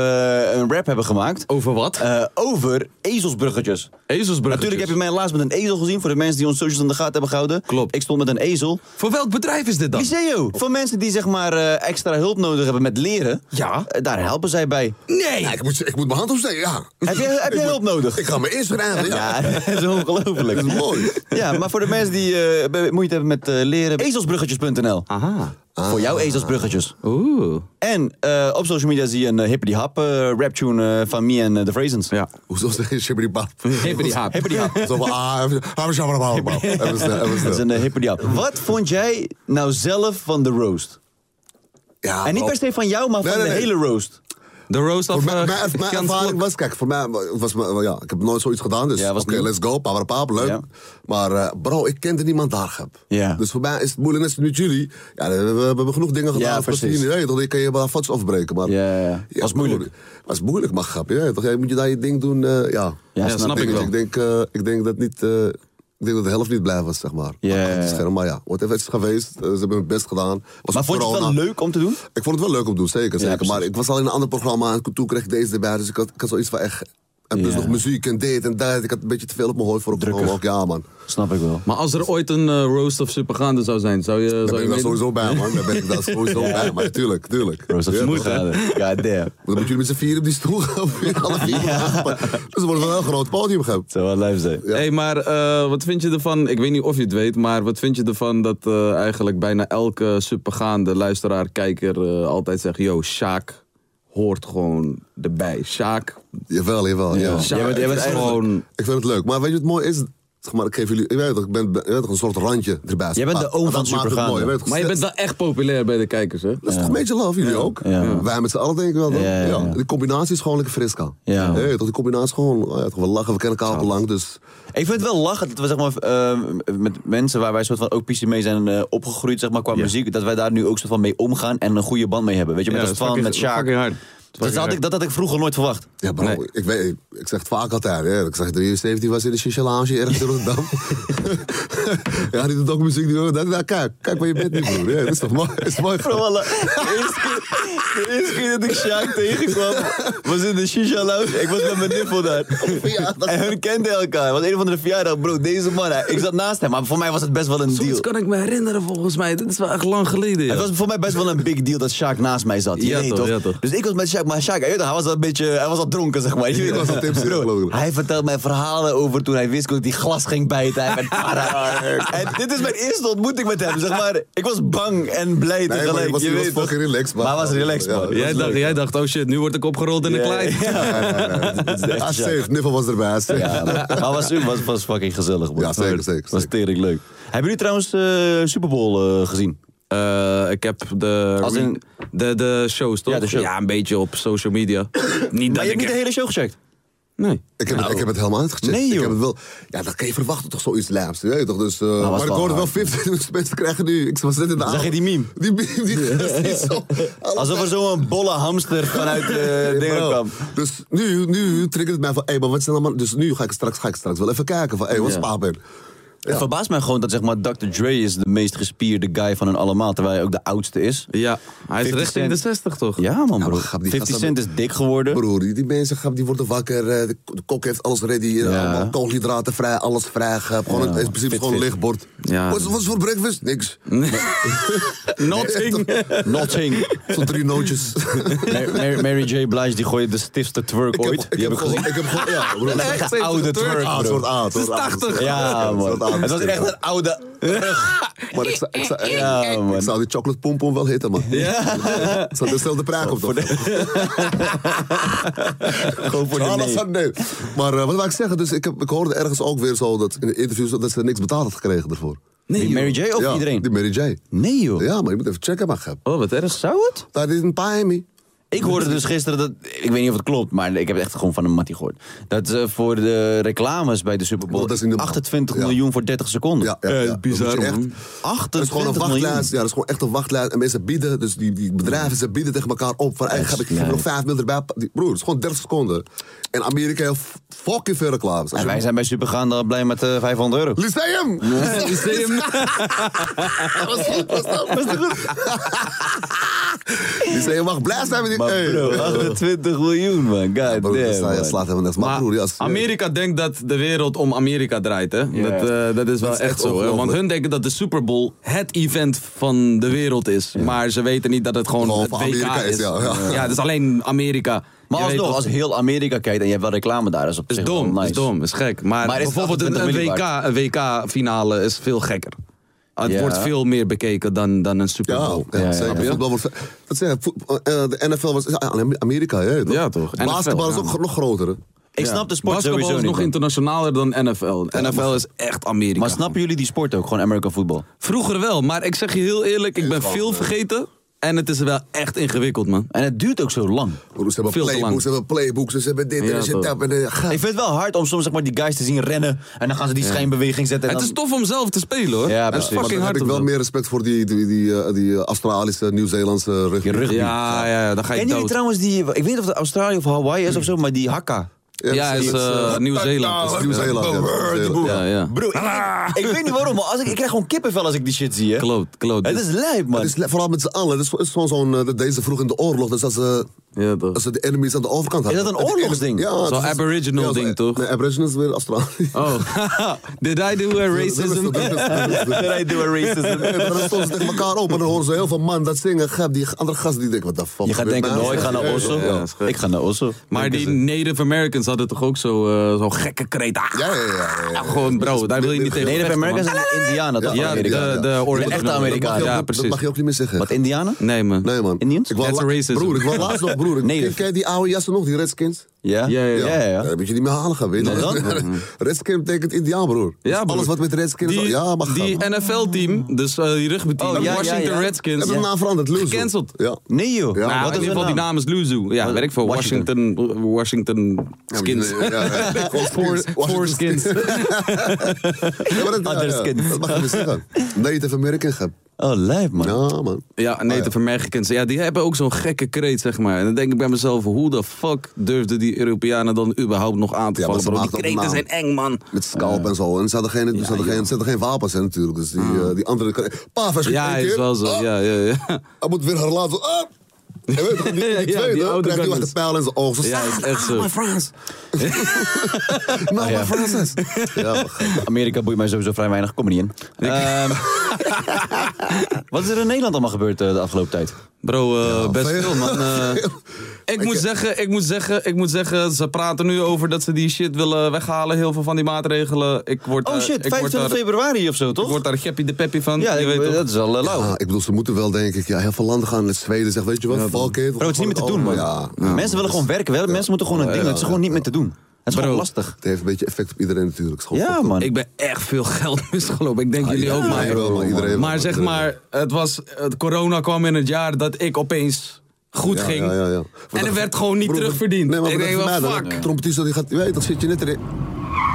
Speaker 3: een rap hebben gemaakt.
Speaker 5: Over wat?
Speaker 3: Eh, over ezelsbruggetjes.
Speaker 5: Ezelsbruggetjes.
Speaker 3: Natuurlijk heb je mij laatst met een ezel gezien. Voor de mensen die ons socials in de gaten hebben gehouden.
Speaker 5: Klopt.
Speaker 3: Ik stond met een ezel.
Speaker 5: Voor welk bedrijf is dit dan?
Speaker 3: Liceo. Voor mensen die zeg maar eh, extra hulp nodig hebben met leren.
Speaker 5: Ja.
Speaker 3: eh, daar helpen zij bij.
Speaker 5: Nee!
Speaker 4: Ja, ik, moet, ik moet mijn hand opsteken, ja.
Speaker 3: Heb jij, heb jij hulp nodig?
Speaker 4: Ik ga me inschrijven, ja.
Speaker 3: Ja, dat is ongelooflijk.
Speaker 4: Dat is mooi.
Speaker 3: Ja, maar voor de mensen die eh, be- moeite hebben met eh, leren. Ezelsbruggetjes.nl.
Speaker 5: Aha.
Speaker 3: Voor jou ezelsbruggetjes.
Speaker 5: Oeh.
Speaker 3: En eh, op social media zie je een uh, hippity hap rap tune eh, van me en eh, The Frazens.
Speaker 5: Ja.
Speaker 4: Hoezo zeg je shibbity bap?
Speaker 5: Hippity hap.
Speaker 3: Hippity hap.
Speaker 4: Zo van, ah, even, even snel, even snel, even snel. Even
Speaker 3: Dat is
Speaker 4: snel.
Speaker 3: een eh, hippity hap. Wat vond jij nou zelf van de roast?
Speaker 4: Ja,
Speaker 3: En niet
Speaker 4: bro.
Speaker 3: per se van jou, maar van
Speaker 4: Nee, nee,
Speaker 3: de
Speaker 4: nee.
Speaker 3: hele roast.
Speaker 5: De roast of...
Speaker 4: Voor mij,
Speaker 5: eh,
Speaker 4: mijn, mijn
Speaker 5: Gans
Speaker 4: ervaring
Speaker 5: Klok.
Speaker 4: was, kijk, voor mij was, mijn- ja, ik heb nooit zoiets gedaan, dus
Speaker 3: Ja, was
Speaker 4: oké,
Speaker 3: nieuw.
Speaker 4: let's go, power pap, leuk.
Speaker 3: Ja.
Speaker 4: Maar eh, bro, ik kende niemand daar, Gep.
Speaker 3: Ja.
Speaker 4: Dus voor mij is het moeilijk, net zoals met jullie, ja, we, we- we hebben genoeg dingen gedaan,
Speaker 3: Ja,
Speaker 4: voor
Speaker 3: precies.
Speaker 4: mensen die niet weten, dan kan je wel foto's afbreken, maar...
Speaker 3: Ja, ja, ja. Was
Speaker 4: bro,
Speaker 3: moeilijk.
Speaker 4: Was moeilijk, maar Gep, ja, toch, jij moet je daar je ding doen, eh, ja.
Speaker 3: Ja,
Speaker 5: snap ik wel.
Speaker 4: Ik denk, eh, ik denk dat niet... eh, ik denk dat de helft niet blij was, zeg maar.
Speaker 3: Ja,
Speaker 4: Achter
Speaker 3: ja, ja.
Speaker 4: Het scherm, maar ja, whatever het is geweest. eh, Ze hebben hun best gedaan. Was
Speaker 3: Maar vond je het wel
Speaker 4: corona.
Speaker 3: leuk om te doen?
Speaker 4: Ik vond het wel leuk om te doen, zeker. zeker.
Speaker 3: precies.
Speaker 4: maar ik was al in een ander programma en toen kreeg ik deze erbij. Dus ik had, ik had zoiets van echt... En plus
Speaker 3: Ja.
Speaker 4: nog muziek en dit en dat. Ik had een beetje te veel op mijn hoofd voor een
Speaker 3: Drukkig.
Speaker 4: programma. Ook, ja, man.
Speaker 3: Snap ik wel.
Speaker 5: Maar als er ooit een eh, roast of supergaande zou zijn, zou je...
Speaker 4: Daar
Speaker 5: zou
Speaker 4: ben
Speaker 5: je
Speaker 4: ik daar
Speaker 5: meedoen?
Speaker 4: sowieso bij, man. Daar ben ik daar sowieso bij, man. Tuurlijk, tuurlijk.
Speaker 3: Roast of
Speaker 4: Ja,
Speaker 3: moet
Speaker 4: toch?
Speaker 3: gaan. God damn.
Speaker 4: Dan moeten jullie met z'n vier op die stoel gaan. Alle vier. Dus er wordt wel een heel groot podium gehad.
Speaker 3: Zou wel live zijn.
Speaker 5: Hey, maar eh, wat vind je ervan? Ik weet niet of je het weet, maar wat vind je ervan dat eh, eigenlijk bijna elke supergaande luisteraar, kijker eh, altijd zegt: Yo, Sjaak hoort gewoon erbij. Sjaak.
Speaker 4: Jawel, jawel. Ja.
Speaker 5: Sjaak
Speaker 3: jij bent- jij bent
Speaker 5: is
Speaker 3: eigenlijk-
Speaker 5: gewoon.
Speaker 4: Ik vind het leuk. Maar weet je wat mooi is? Zeg maar, ik geef jullie, je weet toch, ik ben, je weet toch, een soort randje erbij.
Speaker 3: Jij bent de
Speaker 4: Ah,
Speaker 3: oom
Speaker 4: dat
Speaker 3: van
Speaker 4: maakt het
Speaker 3: Supergaande.
Speaker 4: mooi, je weet toch,
Speaker 5: Maar je bent wel echt populair bij de kijkers, hè?
Speaker 4: Dat is toch een beetje love, jullie ook?
Speaker 3: Ja.
Speaker 4: Wij met z'n allen denk ik wel. toch?
Speaker 3: Ja,
Speaker 4: Ja,
Speaker 3: ja, ja.
Speaker 4: Die combinatie is gewoon lekker frisca.
Speaker 3: Ja.
Speaker 4: Hey, toch, die combinatie is gewoon, oh ja, toch, we lachen, we kennen elkaar al te lang. Dus
Speaker 3: Ik vind het wel lachen dat we zeg maar, eh, met mensen waar wij soort van ook PC mee zijn eh, opgegroeid zeg maar, qua muziek, dat wij daar nu ook soort van mee omgaan en een goede band mee hebben. Weet je, met
Speaker 5: Ja,
Speaker 3: ons
Speaker 5: dat is
Speaker 3: van, met
Speaker 5: fucking-
Speaker 3: Sjaak.
Speaker 5: fucking hard.
Speaker 3: Dat,
Speaker 5: Dat is fucking
Speaker 3: had
Speaker 5: hard.
Speaker 3: ik, dat had ik vroeger nooit verwacht.
Speaker 4: Ja, bro,
Speaker 5: Nee.
Speaker 4: ik, weet, ik, ik zeg het vaak altijd. Hè. Ik zeg, de eerste 17 was in de shisha lounge ergens in Rotterdam. ja, die doet ook muziek. Die, dat, nou, kijk, kijk waar je bent nu, broer. Ja, dat is toch mooi? Dat is mooi
Speaker 3: Bro, alle- de, eerste keer, de eerste keer dat ik Sjaak tegenkwam was in de Shisha Lounge. Ik was met mijn niffel daar.
Speaker 4: Verjaardag.
Speaker 3: En hun kenden elkaar. Het was een van de verjaardag, bro. Deze man, hij- ik zat naast hem, maar voor mij was het best wel een
Speaker 5: Zoiets
Speaker 3: deal.
Speaker 5: kan ik me herinneren volgens mij. Dit is wel echt lang geleden.
Speaker 3: Het was voor mij best wel een big deal dat Sjaak naast mij zat. Je
Speaker 5: Ja,
Speaker 3: weet
Speaker 5: toch,
Speaker 3: toch?
Speaker 5: ja, toch.
Speaker 3: Dus ik was met Sjaak, maar Sjaak, je weet toch, hij was al een beetje, hij was al dronken zeg maar. Je weet
Speaker 4: Ik was
Speaker 3: toch?
Speaker 4: al tipsy,
Speaker 3: Bro,
Speaker 4: geloof ik.
Speaker 3: Hij vertelt mij verhalen over toen hij wist dat die glas ging bijten. Hij werd para. En dit is mijn eerste ontmoeting met hem, zeg maar. Ik was bang en blij
Speaker 4: maar je
Speaker 3: tegelijk.
Speaker 4: was-
Speaker 3: je
Speaker 4: je was
Speaker 3: weet toch?
Speaker 4: fucking relaxed, maar-
Speaker 3: Maar hij was relaxed,
Speaker 4: Ja,
Speaker 3: man.
Speaker 4: ja.
Speaker 5: jij,
Speaker 4: was
Speaker 5: dacht,
Speaker 4: leuk,
Speaker 5: jij dacht, oh shit, nu word ik opgerold in de klei.
Speaker 3: Ja,
Speaker 4: Ja, safe. Niffel was erbij. hij is safe.
Speaker 3: Ja, maar was, was, was fucking gezellig, man.
Speaker 4: Ja, zeker, zeker,
Speaker 3: Was
Speaker 4: zeker.
Speaker 3: tering leuk. Hebben jullie trouwens eh Super Bowl eh, gezien?
Speaker 5: Eh, ik heb de,
Speaker 3: Als in-
Speaker 5: de, de shows, toch?
Speaker 3: Ja, de show.
Speaker 5: een beetje op social media. niet
Speaker 3: Maar
Speaker 5: dat
Speaker 3: je
Speaker 5: ik
Speaker 3: hebt niet de
Speaker 5: echt-
Speaker 3: hele show gecheckt?
Speaker 5: Nee.
Speaker 4: Ik heb, het, ik heb het helemaal uitgecheckt.
Speaker 3: Nou. Nee, joh. Nou,
Speaker 4: Ik heb het wel, ja, dan kan je verwachten toch zoiets lijms. Weet je toch? Dus, eh,
Speaker 3: was
Speaker 4: maar ik
Speaker 3: wel
Speaker 4: hoorde wel
Speaker 3: hard.
Speaker 4: 50 mensen mensen krijgen nu. Ik was net in de avond.
Speaker 3: je die meme?
Speaker 4: Die meme, die die zo.
Speaker 3: Alsof er zo'n bolle hamster vanuit de dingen
Speaker 4: Bro,
Speaker 3: kwam.
Speaker 4: Dus nu, nu triggert het mij van, hé, maar wat zijn allemaal... Dus nu ga ik straks, ga ik straks wel even kijken van, hé, wat is
Speaker 5: Ja.
Speaker 4: Paapbeen?
Speaker 3: Het verbaast mij gewoon dat zeg maar, Dr. Dre is de meest gespierde guy van hen allemaal, terwijl hij ook de oudste is.
Speaker 5: Ja, hij is
Speaker 3: 50
Speaker 5: richting de
Speaker 3: cent.
Speaker 5: 60 toch?
Speaker 3: Ja man
Speaker 4: Ja,
Speaker 3: bro,
Speaker 4: maar grap, die
Speaker 3: 50
Speaker 4: gasten-
Speaker 3: Cent is dik geworden.
Speaker 4: Broer, die, die mensen gaan- die worden wakker, eh, de, de kok heeft alles ready, eh,
Speaker 3: Ja.
Speaker 4: allemaal koolhydraten vrij, alles vrij. eh, Gewoon, het is in principe
Speaker 3: fit,
Speaker 4: gewoon een
Speaker 3: fit.
Speaker 4: lichtbord.
Speaker 5: Ja.
Speaker 4: Wat, is- wat is voor breakfast? Niks.
Speaker 5: Nothing.
Speaker 3: Nothing.
Speaker 4: Zo'n drie nootjes.
Speaker 3: Mar- Mar- Mary J. Blige die gooide de stiftste twerk ooit.
Speaker 4: ik
Speaker 3: die heb ik
Speaker 4: gewoon-
Speaker 3: gezien.
Speaker 4: Ik heb gewoon, ja, broer.
Speaker 3: Echt een oude twerk,
Speaker 4: Ah, het
Speaker 3: bro.
Speaker 4: wordt A, het wordt
Speaker 5: Het is
Speaker 4: A.
Speaker 5: 80.
Speaker 3: Ja
Speaker 4: het wordt A,
Speaker 3: man, het was
Speaker 4: is
Speaker 3: echt een oude...
Speaker 4: Maar ik zou, ik zou,
Speaker 3: Ja,
Speaker 4: ik
Speaker 3: man.
Speaker 4: zou die chocolate pompom wel hitten, man.
Speaker 3: Ja.
Speaker 4: Het staat dezelfde prijs op, toch?
Speaker 3: Gewoon voor de
Speaker 4: Ah, dat
Speaker 3: nee.
Speaker 4: zou- nee. Maar eh, wat wil ik zeggen, dus ik, heb, ik hoorde ergens ook weer zo dat in de interviews dat ze niks betaald had gekregen daarvoor.
Speaker 3: Die Mary J. of
Speaker 4: ja,
Speaker 3: iedereen?
Speaker 4: Die Mary J.
Speaker 3: Nee joh.
Speaker 4: Ja, maar je moet even checken, maar gep.
Speaker 5: Oh, wat erg.
Speaker 3: Zou het?
Speaker 4: That didn't pay me.
Speaker 3: Ik hoorde dus gisteren dat, ik weet niet of het klopt, maar ik heb het echt gewoon van een mattie gehoord. Dat eh, voor de reclames bij de Super Bowl
Speaker 4: Dat is niet normaal.
Speaker 3: 28
Speaker 4: Ja.
Speaker 3: miljoen voor 30 seconden.
Speaker 4: Ja, ja, ja.
Speaker 5: Eh,
Speaker 4: Dat
Speaker 5: bizar,
Speaker 4: moet je echt-
Speaker 5: man.
Speaker 4: Dat is
Speaker 3: 28
Speaker 4: gewoon een
Speaker 3: miljoen.
Speaker 4: wachtlijst. Ja, dat is gewoon echt een wachtlijst. En mensen bieden, dus die, die bedrijven, ze bieden tegen elkaar op. Van, hey,
Speaker 3: Dat is
Speaker 4: heb ik geef me
Speaker 3: lijp.
Speaker 4: nog vijf mil erbij? Die- Broer, het is gewoon 30 seconden. En Amerika heeft fucking veel reclames. Als
Speaker 3: En
Speaker 4: je-
Speaker 3: wij zijn bij Supergaande blij met eh, 500 euro.
Speaker 4: Lyceum!
Speaker 5: Lyceum.
Speaker 4: Was goed, was dat? Lyceum mag blij zijn met die...
Speaker 3: Maar
Speaker 4: Hey.
Speaker 3: bro, 28 miljoen man, god
Speaker 4: Broer, dat
Speaker 3: damn
Speaker 4: slaat- ja,
Speaker 3: man.
Speaker 4: slaat helemaal niks. Maar,
Speaker 5: Maar
Speaker 4: broer, ja, als-
Speaker 5: Amerika denkt dat de wereld om Amerika draait, hè? Dat, eh, dat is wel
Speaker 4: is
Speaker 5: echt
Speaker 4: echt
Speaker 5: zo, hè? Want
Speaker 4: ongelooflijk.
Speaker 5: hun denken dat de Super Bowl het event van de wereld is. Maar ze weten niet dat het gewoon
Speaker 4: Gewoon
Speaker 5: het
Speaker 4: voor
Speaker 5: WK
Speaker 4: Amerika
Speaker 5: is.
Speaker 4: is, ja, ja.
Speaker 5: het is alleen Amerika.
Speaker 3: Maar
Speaker 5: Je weet
Speaker 3: alsnog,
Speaker 5: toch-
Speaker 3: als heel Amerika kijkt en je hebt wel reclame daar, dat is op
Speaker 5: is
Speaker 3: zich
Speaker 5: dom,
Speaker 3: wel nice.
Speaker 5: is dom, is gek. Maar,
Speaker 3: Maar is het
Speaker 5: bijvoorbeeld een,
Speaker 3: 28 miljoen
Speaker 5: WK, een WK finale is veel gekker. Het
Speaker 3: Ja.
Speaker 5: wordt veel meer bekeken dan, dan een Super
Speaker 4: Ja,
Speaker 5: Bowl.
Speaker 4: ja,
Speaker 3: ja,
Speaker 4: zeker.
Speaker 3: ja.
Speaker 4: Voetbal wordt... Dat zeg, voetbal- eh, de NFL was ja, alleen Amerika, hè?
Speaker 5: Ja, toch?
Speaker 4: Basketbal is
Speaker 5: NFL,
Speaker 4: ook
Speaker 5: ja.
Speaker 4: nog groter, hè?
Speaker 3: Ik
Speaker 5: Ja.
Speaker 3: snap de sport
Speaker 5: Basketbal
Speaker 3: sowieso
Speaker 5: is nog
Speaker 3: niet. man.
Speaker 5: internationaler dan NFL. NFL is echt Amerika.
Speaker 3: Maar snappen jullie die sport ook, gewoon American football?
Speaker 5: Vroeger wel, maar ik zeg je heel eerlijk, ik ben veel vergeten. En het is wel echt ingewikkeld, man.
Speaker 3: En het duurt ook zo lang.
Speaker 4: Broer, ze hebben
Speaker 5: Veel te
Speaker 4: playbooks,
Speaker 5: lang.
Speaker 4: ze hebben playbooks, ze hebben dit
Speaker 5: Ja,
Speaker 4: en ze
Speaker 5: toch.
Speaker 4: dat. En, eh, ga-
Speaker 3: Ik vind het wel hard om soms zeg maar, die guys te zien rennen en dan gaan ze die schijnbeweging zetten. En
Speaker 5: Het is
Speaker 3: dan...
Speaker 5: tof om zelf te spelen, hoor.
Speaker 3: Ja,
Speaker 5: Het
Speaker 3: precies.
Speaker 5: is
Speaker 4: maar
Speaker 5: fucking
Speaker 4: dan heb
Speaker 5: hard.
Speaker 4: ik wel
Speaker 5: om
Speaker 4: meer respect voor die, die, die, eh, die Australische, Nieuw-Zeelandse rugby.
Speaker 3: Je
Speaker 5: te-
Speaker 3: rug- meer-
Speaker 5: Ja, ja, ja, dan ga je
Speaker 3: Kennen jullie
Speaker 5: dood.
Speaker 3: trouwens die, ik weet niet of het Australië of Hawaii is of zo, maar die hakka.
Speaker 5: Ja,
Speaker 4: dat
Speaker 5: is
Speaker 4: dat
Speaker 5: eh,
Speaker 4: eh,
Speaker 5: Nieuw-Zeeland.
Speaker 4: dat
Speaker 5: is-
Speaker 4: is Nieuw-Zeeland. ja, dat is Nieuw-Zeeland.
Speaker 5: Ja, ja.
Speaker 3: Bro, ik, ik- ik weet niet waarom, maar als ik, ik krijg gewoon kippenvel als ik die shit zie. Hè.
Speaker 5: Klopt, klopt.
Speaker 3: Het is lijp, man.
Speaker 4: Het is le- vooral met z'n allen. Het is, het is gewoon zo'n. eh, dat Deze vroeg in de oorlog. Dus als ze,
Speaker 5: Ja, toch.
Speaker 4: als ze de enemies aan de overkant hadden.
Speaker 3: dat een
Speaker 4: En die
Speaker 3: oorlogsding?
Speaker 4: enemies- Ja,
Speaker 5: Zo'n
Speaker 4: dat is-
Speaker 5: aboriginal
Speaker 4: ja,
Speaker 5: ding,
Speaker 4: zo'n-
Speaker 5: toch?
Speaker 4: Nee, aboriginal is weer Australië.
Speaker 5: Oh, did I do a racism?
Speaker 4: Dat is- dat is- dat is- dat is-
Speaker 3: Did I do a racism?
Speaker 4: Ja, maar dan stonden ze tegen elkaar op en dan horen ze heel veel man dat zingen. Gap, die andere gast die denkt, wat de fuck.
Speaker 3: Je gaat
Speaker 4: gebeurt
Speaker 3: denken,
Speaker 4: mij?
Speaker 3: no, ik ga naar Oslo.
Speaker 5: Ja, is goed.
Speaker 3: Ik ga naar Oslo.
Speaker 5: Maar die Native Americans hadden toch ook zo'n eh, zo'n gekke kreet? Ah,
Speaker 4: Ja, ja, ja, ja, ja.
Speaker 5: Gewoon, bro, daar wil je niet tegen
Speaker 3: Native
Speaker 5: vechten, man.
Speaker 3: Americans zijn de Indianen, toch?
Speaker 5: Ja,
Speaker 3: Amerika?
Speaker 5: de- de original.
Speaker 4: Dat
Speaker 3: echte
Speaker 4: mag je
Speaker 3: Amerikanen.
Speaker 4: ook-
Speaker 5: Ja,
Speaker 4: Dat
Speaker 5: precies.
Speaker 4: mag je ook niet meer zeggen.
Speaker 3: Wat, Indianen?
Speaker 5: Nee, man.
Speaker 4: Nee, man.
Speaker 3: Indians?
Speaker 4: Ik wou
Speaker 5: That's
Speaker 4: la-
Speaker 5: racism.
Speaker 4: Broer, ik wou laatst nog, broer, broer, ik-
Speaker 3: Nee,
Speaker 4: ken,
Speaker 3: dat-
Speaker 4: ken je die oude jassen nog, die Redskins?
Speaker 3: Ja?
Speaker 5: Ja, ja, ja.
Speaker 4: Dan moet je niet meer halen gaan, weet je.
Speaker 3: Nee, dat-
Speaker 4: Redskin betekent Indiaan, broer. Dus
Speaker 5: broer.
Speaker 4: Alles wat met Redskin is...
Speaker 5: Die,
Speaker 4: Ja, maar
Speaker 5: die NFL-team, dus eh, die rugbyteam,
Speaker 3: Oh, ja, ja,
Speaker 5: Washington
Speaker 3: ja.
Speaker 5: Redskins.
Speaker 4: Hebben we de naam veranderd? Loser.
Speaker 5: Gecanceld.
Speaker 4: Ja.
Speaker 3: Nee joh.
Speaker 4: Ja.
Speaker 5: Nou,
Speaker 4: Wat
Speaker 5: in ieder geval die naam is Luzu. Ja, werk voor
Speaker 3: Washington.
Speaker 5: Washington, Washington Skins.
Speaker 4: Ja, ja, ja.
Speaker 5: Voor voor
Speaker 4: Washington
Speaker 5: Skins.
Speaker 4: Ja, maar dat,
Speaker 3: Other skins.
Speaker 4: dat mag je niet zeggen. Native American gehad.
Speaker 3: Oh, lijp man.
Speaker 4: Oh, Ja, man.
Speaker 5: Ja, Native Americans. Ja, die hebben ook zo'n gekke kreet, zeg maar. En dan denk ik bij mezelf, hoe de fuck durfden die Europeanen dan überhaupt nog aan te
Speaker 4: Ja, maar
Speaker 5: vallen?
Speaker 4: ze
Speaker 5: bro? Die
Speaker 4: maakten ook
Speaker 5: kreten zijn
Speaker 4: naam.
Speaker 5: eng, man.
Speaker 4: Met scalp en zo. En ze hadden geen, ze hadden geen, ze hadden geen wapens hè, natuurlijk. Dus die, eh, die andere... Paf, hij schiet
Speaker 5: Ah. Ja,
Speaker 4: één keer.
Speaker 5: is wel zo.
Speaker 4: Ah,
Speaker 5: Ja, ja, ja.
Speaker 4: Hij moet weer herlaten. zo, Ah! Je weet toch, die, die
Speaker 5: Ja, ja,
Speaker 4: tweede
Speaker 5: die
Speaker 4: hè, krijgt
Speaker 5: oude
Speaker 4: nu echt
Speaker 5: gunners.
Speaker 4: een pijl in zijn oog. Zo,
Speaker 5: Ja, is echt
Speaker 4: "Ah,
Speaker 5: zo."
Speaker 4: my friends. no,
Speaker 3: Ah,
Speaker 4: my friends. Ja, maar gek.
Speaker 3: Amerika boeit mij sowieso vrij weinig. Kom er niet in. Ehm, wat is er in Nederland allemaal gebeurd eh, de afgelopen tijd?
Speaker 5: Bro, eh, best
Speaker 4: veel.
Speaker 5: veel, man. Eh, ik, moet zeggen, ik moet zeggen, ik moet zeggen, ze praten nu over dat ze die shit willen weghalen. Heel veel van die maatregelen. Ik word,
Speaker 3: Oh
Speaker 5: daar-
Speaker 3: shit,
Speaker 5: ik word
Speaker 3: 25
Speaker 5: daar,
Speaker 3: februari of zo,
Speaker 5: Ik
Speaker 3: toch?
Speaker 5: word daar geppie de peppie van.
Speaker 3: Ja,
Speaker 5: je
Speaker 3: ik-
Speaker 5: weet toch?
Speaker 3: dat is al eh, lauw.
Speaker 4: Ah, ik bedoel, ze moeten wel, denk ik, ja, heel veel landen gaan naar Zweden. Zeg, weet je wat, fuck it.
Speaker 3: Bro, het is niet meer te doen, man.
Speaker 4: Ja,
Speaker 3: mensen willen gewoon werken. Wel, Mensen moeten gewoon een ding. doen. het is gewoon niet meer te doen. Het is gewoon
Speaker 5: Bro.
Speaker 3: lastig.
Speaker 4: Het heeft een beetje effect op iedereen natuurlijk. Het is gewoon
Speaker 3: Ja,
Speaker 4: fucked up.
Speaker 3: man.
Speaker 5: Ik ben echt veel geld misgelopen. Ik denk jullie
Speaker 4: ja,
Speaker 5: ook, maar.
Speaker 4: iedereen wel, man. Iedereen wel,
Speaker 5: maar
Speaker 4: man.
Speaker 5: zeg
Speaker 4: Iedereen
Speaker 5: maar, het was, het corona kwam in het jaar dat ik opeens goed
Speaker 4: Ja,
Speaker 5: ging.
Speaker 4: ja, ja, ja.
Speaker 5: En er werd gewoon niet
Speaker 4: Broer,
Speaker 5: terugverdiend.
Speaker 4: Nee, maar
Speaker 5: ik
Speaker 4: dat
Speaker 5: denk
Speaker 4: is
Speaker 5: wel,
Speaker 4: mij dan,
Speaker 5: fuck.
Speaker 4: hè. Trompetist, die gaat, je weet, dat zit je net erin.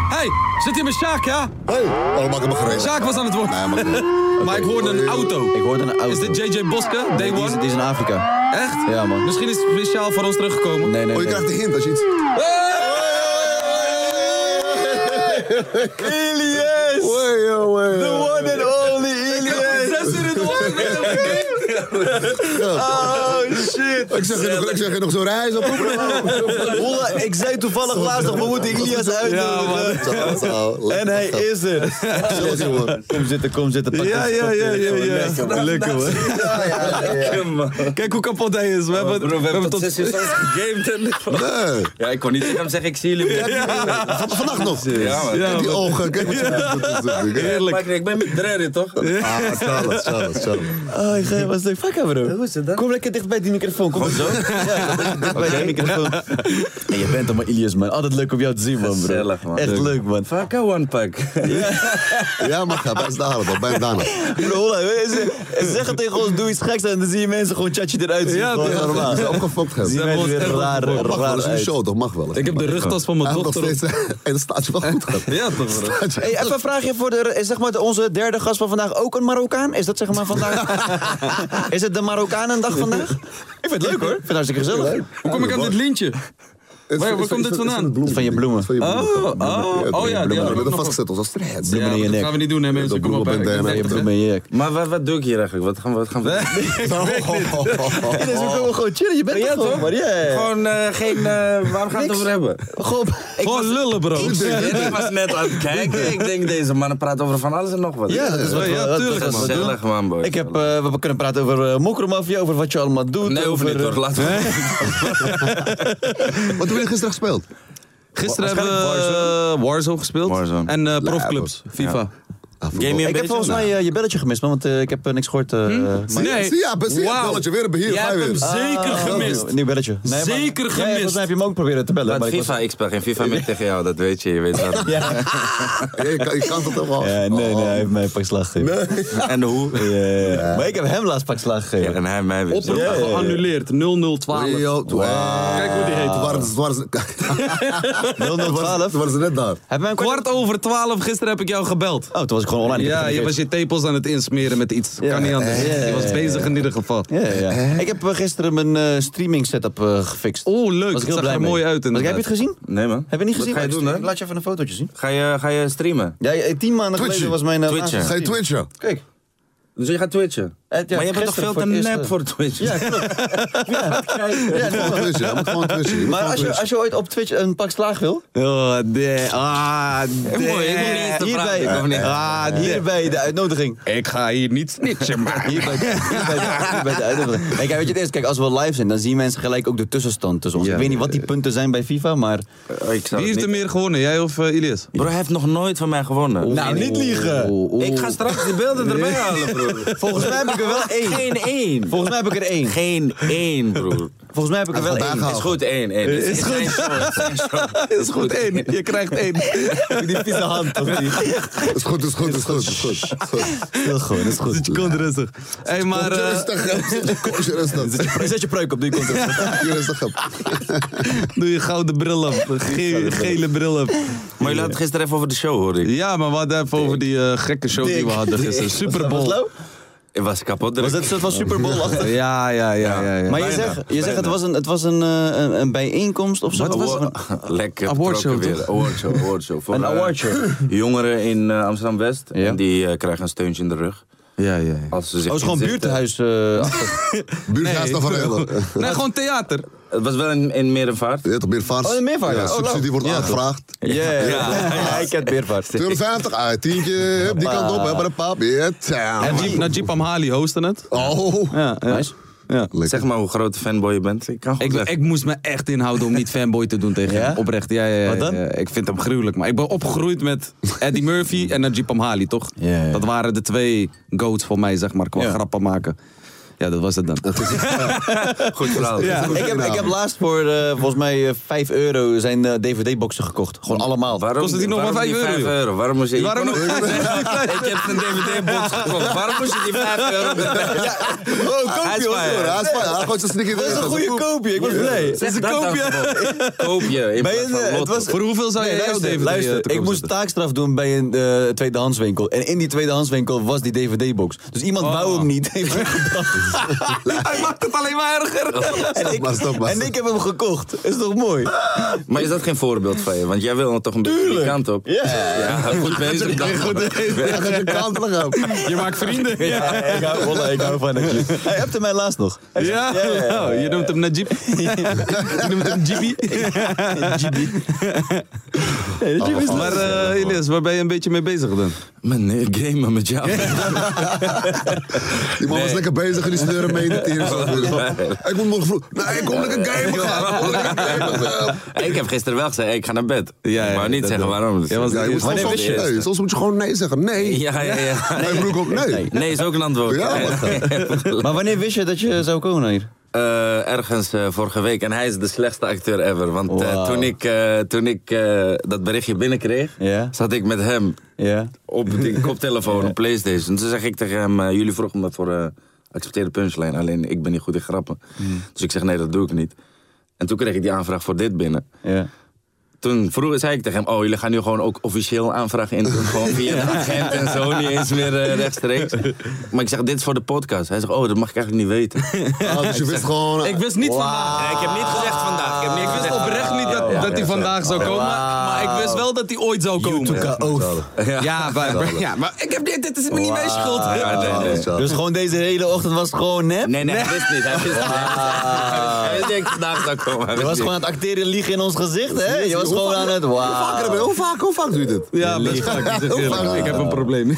Speaker 5: Hey, zit hier mijn Sjaak, ja?
Speaker 4: Hey, oh, maak hem gereden.
Speaker 5: Sjaak was aan het woord.
Speaker 4: Nee, maar goed.
Speaker 5: Maar ik hoorde een auto.
Speaker 3: Ik hoorde een auto.
Speaker 5: Is dit JJ Boske, day
Speaker 3: Nee, die, is,
Speaker 5: one?
Speaker 3: die is in Afrika.
Speaker 5: Echt?
Speaker 3: Ja, man.
Speaker 5: Misschien is het speciaal voor ons teruggekomen.
Speaker 3: Nee, nee,
Speaker 4: Oh, je
Speaker 3: nee.
Speaker 4: krijgt de hint als je iets...
Speaker 3: Ilias!
Speaker 4: Hey, oh, hey,
Speaker 3: The
Speaker 4: oh.
Speaker 3: one and only Ilias!
Speaker 5: Zes uur in de ochtend, weet je wat ik denk?
Speaker 3: Oh shit!
Speaker 4: Ik zeg je nog, ik zeg je nog zo'n reis op.
Speaker 3: Holla, ik zei toevallig laatst nog, we moeten Ilias uitnodigen.
Speaker 4: Zo, zo.
Speaker 3: en hij
Speaker 4: Lekker.
Speaker 3: is er.
Speaker 4: Zelfs, jongen.
Speaker 3: Kom zitten, kom zitten. pak
Speaker 5: Ja,
Speaker 3: dit.
Speaker 5: ja, ja, ja, ja.
Speaker 3: Lekker, man.
Speaker 5: Lekker, hoor. Kijk hoe kapot hij
Speaker 3: Oh,
Speaker 5: is. We hebben,
Speaker 6: Bro, we hebben tot zes uur s'nachts gegamed. en-
Speaker 4: Nee.
Speaker 6: Ja, ik kon niet tegen hem zeggen, ik zie jullie.
Speaker 4: Van- Vannacht nog.
Speaker 6: Ja, man.
Speaker 4: Kijk die
Speaker 5: Ja, man.
Speaker 4: ogen. Kijk wat ze
Speaker 6: Maar ik- ik ben met Drerry, toch?
Speaker 4: Ah, Charlotte, Charlotte, Charlotte.
Speaker 3: Oh, ik ga wat de fuck aan, bro.
Speaker 6: Hoe is het dan?
Speaker 3: Kom lekker dicht bij die microfoon, kom maar zo. Ja, dicht bij die microfoon. En je bent allemaal Ilias, man. Altijd leuk om jou te zien, man, bro.
Speaker 6: Gezellig, man.
Speaker 3: Echt
Speaker 6: Leuk.
Speaker 3: leuk, man.
Speaker 6: Fuck a one pack.
Speaker 4: Ja, maar ga best daar, man. Blijf daar nog.
Speaker 3: Bro, holla, ze- zeggen tegen ons, doe iets geks en dan zie je mensen gewoon chatje eruit zien.
Speaker 5: Ja,
Speaker 3: Gewoon
Speaker 5: toch?
Speaker 3: normaal.
Speaker 4: Normaal. Ze opgefokt
Speaker 3: Zie
Speaker 4: hebben.
Speaker 3: je mensen weer raar,
Speaker 4: Mag wel,
Speaker 3: raar
Speaker 4: dat is een
Speaker 3: uit.
Speaker 4: show toch? Mag wel.
Speaker 5: Ik heb de rugtas van mijn
Speaker 4: Hij heeft nog
Speaker 5: dochter op.
Speaker 4: steeds... En dat staat je wel goed. gehad.
Speaker 5: Ja, toch, bro.
Speaker 4: Staat je-
Speaker 3: Hey, even een vraagje voor de, is zeg maar de- onze derde gast van vandaag ook een Marokkaan? Is dat zeg maar vandaag? is het de Marokkanendag vandaag? Ik vind het leuk hoor. Ik vind het hartstikke gezellig.
Speaker 5: Hoe kom ik aan dit lintje?
Speaker 4: Het is-
Speaker 5: Waar- waar
Speaker 4: het is-
Speaker 5: komt
Speaker 4: het is-
Speaker 5: dit
Speaker 4: het is
Speaker 5: vandaan?
Speaker 4: een bloem.
Speaker 3: Het is van je bloemen.
Speaker 4: Het is van je
Speaker 5: Oh, oh, oh ja,
Speaker 4: bloemen. We
Speaker 5: die hadden we ook
Speaker 4: hebben
Speaker 5: nog op.
Speaker 4: vastgezet als straat.
Speaker 3: Ja,
Speaker 5: Ja,
Speaker 3: in je
Speaker 5: dat
Speaker 3: nek.
Speaker 5: gaan we niet doen, hè, mensen.
Speaker 4: Dat
Speaker 5: Kom op,
Speaker 4: bloemen
Speaker 5: hè.
Speaker 4: bij
Speaker 5: Ik
Speaker 4: DNA.
Speaker 3: Je
Speaker 5: denk-
Speaker 3: bloemen in je jek.
Speaker 6: Maar wat, wat doe ik hier eigenlijk? Wat gaan we, wat gaan we
Speaker 3: Ja, dus we komen gewoon chillen. Je bent
Speaker 6: Ja,
Speaker 3: er gewoon,
Speaker 6: toch?
Speaker 3: maar ja, ja, ja.
Speaker 6: Gewoon eh, geen... eh, waar gaan we het over hebben?
Speaker 3: Gewoon- Ik
Speaker 5: Gewoon
Speaker 3: was-
Speaker 5: lullen, bro.
Speaker 6: En ik was net aan het kijken. Ik denk, deze mannen praten over van alles en nog wat.
Speaker 3: Ja, dat is wat,
Speaker 5: Ja,
Speaker 3: we- dat-
Speaker 5: tuurlijk.
Speaker 3: dat is wat we
Speaker 6: Gezellig,
Speaker 3: doen.
Speaker 6: man, boy.
Speaker 3: Ik heb, eh, we kunnen praten over uh, mokromafia, over wat je allemaal doet.
Speaker 6: Nee, over niet,
Speaker 3: eh,
Speaker 6: hoor. Laten we...
Speaker 4: Wat hebben jullie gisteren gespeeld?
Speaker 5: Gisteren hebben we eh, Warzone gespeeld.
Speaker 6: Warzone.
Speaker 5: En eh, profclubs, FIFA.
Speaker 4: Ah,
Speaker 6: Game je een
Speaker 3: Ik heb
Speaker 6: beetje?
Speaker 3: volgens mij eh, je belletje gemist, man, want eh, ik heb eh, niks gehoord. eh, maar-
Speaker 5: Nee.
Speaker 4: Zie je, ja, precies.
Speaker 5: Wauw.
Speaker 4: Belletje, weer een beheer,
Speaker 5: Jij
Speaker 4: ga je
Speaker 5: hebt hem
Speaker 4: weer.
Speaker 5: zeker
Speaker 3: Ah,
Speaker 5: gemist.
Speaker 3: Nieuw belletje. Nee, maar-
Speaker 5: Zeker
Speaker 3: Ja, ja,
Speaker 5: gemist.
Speaker 3: Volgens mij heb je hem ook proberen te bellen.
Speaker 6: Laat
Speaker 3: maar ik was-
Speaker 6: FIFA, ik speel geen FIFA meer tegen jou, dat weet je. Je weet dat.
Speaker 4: Ja, je kan- je kan het toch wel. Oh.
Speaker 3: Ja, nee, nee, hij heeft mij een pak slaag gegeven.
Speaker 6: En hoe?
Speaker 3: Ja, ja, ja. Maar ik heb hem laatst pak slaag gegeven.
Speaker 6: En hij mij weer.
Speaker 5: Oproep geannuleerd, 0012.
Speaker 4: Yo, toen-
Speaker 5: Kijk hoe die heet.
Speaker 4: Toen waren ze- toen waren ze- toen waren ze-
Speaker 3: 0012.
Speaker 4: toen waren ze net daar.
Speaker 3: Hebben wij een kwart?
Speaker 5: Kwart over twaalf, gisteren heb ik jou gebeld.
Speaker 3: Oh, toen was ik gewoon online. Ik heb
Speaker 5: Ja,
Speaker 3: het
Speaker 5: je was
Speaker 3: vergeten.
Speaker 5: je tepels aan het insmeren met iets. Kan niet anders.
Speaker 3: Ja, ja,
Speaker 5: Je was
Speaker 3: ja,
Speaker 5: bezig in ieder geval.
Speaker 3: Ja, ja. Ik heb eh, gisteren mijn eh, streaming setup eh, gefixt.
Speaker 5: Oh, leuk.
Speaker 3: Was ik
Speaker 5: Het
Speaker 3: heel
Speaker 5: zag
Speaker 3: blij
Speaker 5: er
Speaker 3: mee.
Speaker 5: mooi uit
Speaker 3: Was- Heb je het
Speaker 5: inderdaad.
Speaker 3: gezien?
Speaker 6: Nee, man.
Speaker 3: Heb je niet gezien?
Speaker 6: ga je
Speaker 3: Laat
Speaker 6: doen, hè?
Speaker 3: je- Laat je even een fotootje zien.
Speaker 6: Ga je, ga je streamen?
Speaker 3: Ja, eh, tien maanden
Speaker 4: Twitchen.
Speaker 3: geleden was mijn... eh,
Speaker 6: Twitchen.
Speaker 3: laatste
Speaker 4: Ga je
Speaker 3: stream.
Speaker 4: twitchen?
Speaker 3: Kijk.
Speaker 6: Dus je gaat twitchen?
Speaker 3: Eh, ja,
Speaker 6: maar je bent
Speaker 3: gisteren
Speaker 6: toch veel
Speaker 3: voor
Speaker 6: te
Speaker 3: het eerst,
Speaker 6: nep
Speaker 3: eh,
Speaker 6: voor Twitch?
Speaker 3: Ja, klopt.
Speaker 4: Je moet gewoon twitchen, je moet gewoon twitchen. je moet
Speaker 3: Maar
Speaker 4: gewoon
Speaker 3: als je,
Speaker 4: twitchen.
Speaker 3: als je ooit op Twitch een pak slaag wil...
Speaker 5: Oh, nee. Ah, nee.
Speaker 6: mooi, ik hoef niet eens te
Speaker 3: Hierbij,
Speaker 6: vragen, ik hoef niet-
Speaker 3: ah, hierbij de uitnodiging.
Speaker 5: Ik ga hier niet snitchen, maar.
Speaker 3: Hierbij de, hierbij de, hierbij de uitnodiging. Kijk, weet je het eerst? Kijk, als we live zijn, dan zien mensen gelijk ook de tussenstand tussen ons.
Speaker 6: Ja,
Speaker 3: ik weet niet
Speaker 6: ja,
Speaker 3: wat die punten zijn bij FIFA, maar...
Speaker 6: Eh, ik zou
Speaker 5: Wie
Speaker 6: het
Speaker 5: heeft er
Speaker 6: niet-
Speaker 5: meer gewonnen, jij of eh, Ilias?
Speaker 6: Bro, hij heeft nog nooit van mij gewonnen.
Speaker 3: Nou, niet liegen.
Speaker 6: Ik ga straks die beelden erbij halen, broer.
Speaker 3: Volgens mij heb ik er wel één.
Speaker 6: Geen één.
Speaker 3: Volgens mij heb ik er één.
Speaker 6: Geen één, broer.
Speaker 3: Volgens mij heb ik er wel
Speaker 4: vandaag
Speaker 3: één.
Speaker 4: al.
Speaker 6: Is goed, één, één.
Speaker 3: Is
Speaker 6: Is
Speaker 3: goed.
Speaker 6: één show, is één show.
Speaker 3: Dat is goed, één. Je krijgt één. Met die vieze hand, of niet?
Speaker 4: Is goed, is goed, is goed, is goed. Is goed.
Speaker 3: Heel gewoon, dat is goed.
Speaker 4: Zit je
Speaker 3: kont rustig.
Speaker 5: Hey, maar...
Speaker 4: Kom,
Speaker 5: eh,
Speaker 4: rustig, hè. Kom, rustig.
Speaker 3: Zet je pruik op, doe je kont rustig.
Speaker 4: Je rustig, hè.
Speaker 3: Doe je gouden bril op. Ge- gele bril op.
Speaker 6: Maar jullie hadden het gisteren even over de show, hoorde ik.
Speaker 5: ja, maar we hadden even over die eh, gekke show die we hadden gisteren. Super Bowl.
Speaker 6: Ik was kapot druk.
Speaker 3: Was dat een soort van Super Bowl achter?
Speaker 5: Ja, ja, ja, ja. ja.
Speaker 3: Maar je
Speaker 6: Bijna,
Speaker 3: zegt, je
Speaker 6: bijna.
Speaker 3: zegt het was een, het was een, eh, een, een bijeenkomst of zo?
Speaker 6: Wat was
Speaker 3: het?
Speaker 6: Lekker
Speaker 5: Awardshow,
Speaker 6: betrokken
Speaker 5: toch?
Speaker 6: weer. Awardshow, awardshow. Voor,
Speaker 3: Een
Speaker 6: eh,
Speaker 3: awardshow.
Speaker 6: jongeren in eh, Amsterdam-West.
Speaker 5: Ja.
Speaker 6: En die eh, krijgen een steuntje in de rug.
Speaker 5: Ja, ja, ja.
Speaker 6: Als ze zich
Speaker 3: Oh, het is gewoon
Speaker 6: inzetten.
Speaker 3: buurthuis. eh, achter.
Speaker 4: Buurthuis nog van Engelen.
Speaker 5: Nee, gewoon theater.
Speaker 6: Het was wel in, in Merenvaart.
Speaker 4: Je hebt meer vaart.
Speaker 3: Oh, in Meervaart,
Speaker 4: Ja,
Speaker 3: ja. Oh,
Speaker 4: subsidie
Speaker 3: leuk.
Speaker 4: wordt
Speaker 3: Ja,
Speaker 4: aangevraagd.
Speaker 3: Yeah. Ja, ik ken Beervaart.
Speaker 4: 250, ah, tientje, hup, die kant op, hè, maar een paar meer. Tja,
Speaker 5: En
Speaker 4: man.
Speaker 5: Jeep, Najib Amhali hostte het.
Speaker 4: Oh,
Speaker 5: Ja, ja.
Speaker 3: Nice.
Speaker 5: Ja.
Speaker 6: Zeg maar hoe grote fanboy je bent. Ik kan
Speaker 5: Ik,
Speaker 6: goed
Speaker 5: ik
Speaker 6: zeggen.
Speaker 5: moest me echt inhouden om niet fanboy te doen tegen
Speaker 3: Ja?
Speaker 5: hem. Oprecht, ja, ja, ja,
Speaker 3: Wat dan?
Speaker 5: ja. Ik vind hem gruwelijk. Maar ik ben opgegroeid met Eddie Murphy en Najib Amhali, toch?
Speaker 3: Ja, ja.
Speaker 5: Dat waren de twee goats voor mij, zeg maar, qua
Speaker 3: Ja.
Speaker 5: grappen maken. Ja, dat was het dan.
Speaker 6: Goed verhaal.
Speaker 3: Ja, ik heb, ik heb laatst voor eh, volgens mij eh, 5 euro zijn eh, DVD-boxen gekocht. Gewoon allemaal.
Speaker 6: Waarom,
Speaker 5: Kostte die nog
Speaker 6: waarom
Speaker 5: maar
Speaker 6: die
Speaker 5: 5 euro,
Speaker 6: €5
Speaker 5: joh?
Speaker 6: Waarom moest je... je
Speaker 5: Waarom
Speaker 6: kon
Speaker 5: nog-
Speaker 6: ook zeggen, Ik heb een DVD-box gekocht. Waarom moest je die 5 euro betalen?
Speaker 4: oh,
Speaker 6: Hij is
Speaker 4: koopje, hoor.
Speaker 6: fijn, hè?
Speaker 4: Hij is fijn, hij gooit zijn sneaker
Speaker 3: Dat is een
Speaker 4: erin.
Speaker 3: goede koopje, ik ben blij. Dat is een
Speaker 6: Dat dan
Speaker 3: koopje.
Speaker 6: gewoon. Koop je. in
Speaker 3: Bij
Speaker 6: plaats
Speaker 3: een,
Speaker 6: van
Speaker 3: eh, het
Speaker 6: Lotto.
Speaker 3: was-
Speaker 5: Voor hoeveel zou je
Speaker 3: Nee,
Speaker 5: jouw
Speaker 3: luister,
Speaker 5: DVD
Speaker 3: luister.
Speaker 5: te koop
Speaker 3: ik moest
Speaker 5: zetten?
Speaker 3: taakstraf doen bij een eh, tweedehandswinkel. En in die tweedehandswinkel was die DVD-box. Dus iemand wou hem niet. Heeft hem gebracht.
Speaker 5: Hij maakt het alleen maar erger.
Speaker 3: en, ik,
Speaker 4: maar, stop maar.
Speaker 3: en ik heb hem gekocht. Is toch mooi?
Speaker 6: Maar is dat geen voorbeeld van je? Want jij wil dan toch een beetje die kant op.
Speaker 3: Ja.
Speaker 6: Ja, goed bezig dan.
Speaker 4: Hij gaat je kant nog op.
Speaker 5: Je maakt vrienden.
Speaker 3: Ja, ik hou, wallah, ik hou van het. Hij hebt mij laatst nog. Hij zegt,
Speaker 5: Ja, nou, je noemt hem Najib. je noemt hem Jibi. Jibi. Maar eh Elias, waar ben je een beetje mee bezig dan?
Speaker 6: Mijn eh, gamen met jou.
Speaker 4: Die man was
Speaker 6: Nee.
Speaker 4: lekker bezig en die sneuren mee in de tering. zo. Ik moet morgen vroeg. Nee, ik kom lekker gamen gaan. Ik kom lekker gamen gaan.
Speaker 6: ik heb gisteren wel gezegd, hey, ik ga naar bed.
Speaker 5: Ja, ja,
Speaker 6: maar niet
Speaker 5: dat
Speaker 6: zeggen
Speaker 5: wel.
Speaker 6: waarom.
Speaker 5: Jij was de
Speaker 4: Ja, je moet
Speaker 5: eerste.
Speaker 4: gewoon
Speaker 6: Wanneer
Speaker 4: soms,
Speaker 6: wist je
Speaker 4: nee,
Speaker 6: het?
Speaker 4: soms moet je gewoon nee zeggen. Nee.
Speaker 6: Ja, ja, ja.
Speaker 4: Mijn broek ook nee.
Speaker 6: Nee, is ook een antwoord.
Speaker 4: Ja,
Speaker 6: Nee.
Speaker 3: Maar wanneer wist je dat je zou komen hier?
Speaker 6: Eh, ergens eh, vorige week. En hij is de slechtste acteur ever. Want eh,
Speaker 3: Wauw.
Speaker 6: toen ik, eh, toen ik eh, dat berichtje binnenkreeg,
Speaker 3: Ja.
Speaker 6: zat ik met hem
Speaker 3: Ja.
Speaker 6: op die koptelefoon, op Playstation. Toen zeg ik tegen hem, eh, jullie vroegen me voor eh accepteerde punchline. Alleen ik ben niet goed in grappen.
Speaker 3: Hmm.
Speaker 6: Dus ik zeg, nee, dat doe ik niet. En toen kreeg ik die aanvraag voor dit binnen.
Speaker 3: Ja.
Speaker 6: Toen vroeg, zei ik tegen hem, oh, jullie gaan nu gewoon ook officieel aanvragen in. doen, Gewoon via de agent en zo, niet eens meer eh, rechtstreeks. Maar ik zeg, dit is voor de podcast. Hij zegt, oh, dat mag ik eigenlijk niet weten.
Speaker 4: Ah, Dus je wist gewoon.
Speaker 5: Ik wist niet vandaag.
Speaker 6: Nee, ik heb niet gezegd vandaag. Ik heb
Speaker 5: Ik
Speaker 6: niet
Speaker 5: wist
Speaker 6: gezegd
Speaker 5: oprecht niet dat, dat hij vandaag zou komen. Maar ik wist wel dat hij ooit zou komen. Ja, maar, ja, maar ik heb dit, dit is me niet mijn schuld.
Speaker 6: Ja, nee,
Speaker 5: oh,
Speaker 6: nee.
Speaker 3: Dus gewoon deze hele ochtend was gewoon nep?
Speaker 6: Nee, nee, hij wist niet. Hij wist niet. Hij wist niet dat ik vandaag zou komen. Hij
Speaker 3: Je
Speaker 6: wist
Speaker 3: was
Speaker 6: niet.
Speaker 3: gewoon aan het acteren liegen in ons gezicht, hè? Je was gewoon aan het...
Speaker 4: Vaker,
Speaker 3: Wauw.
Speaker 4: hoe vaak, hoe vaak doe je dit?
Speaker 5: Ja, best
Speaker 3: Liegen.
Speaker 5: vaak. Zeg eerlijk, Ik heb een probleem.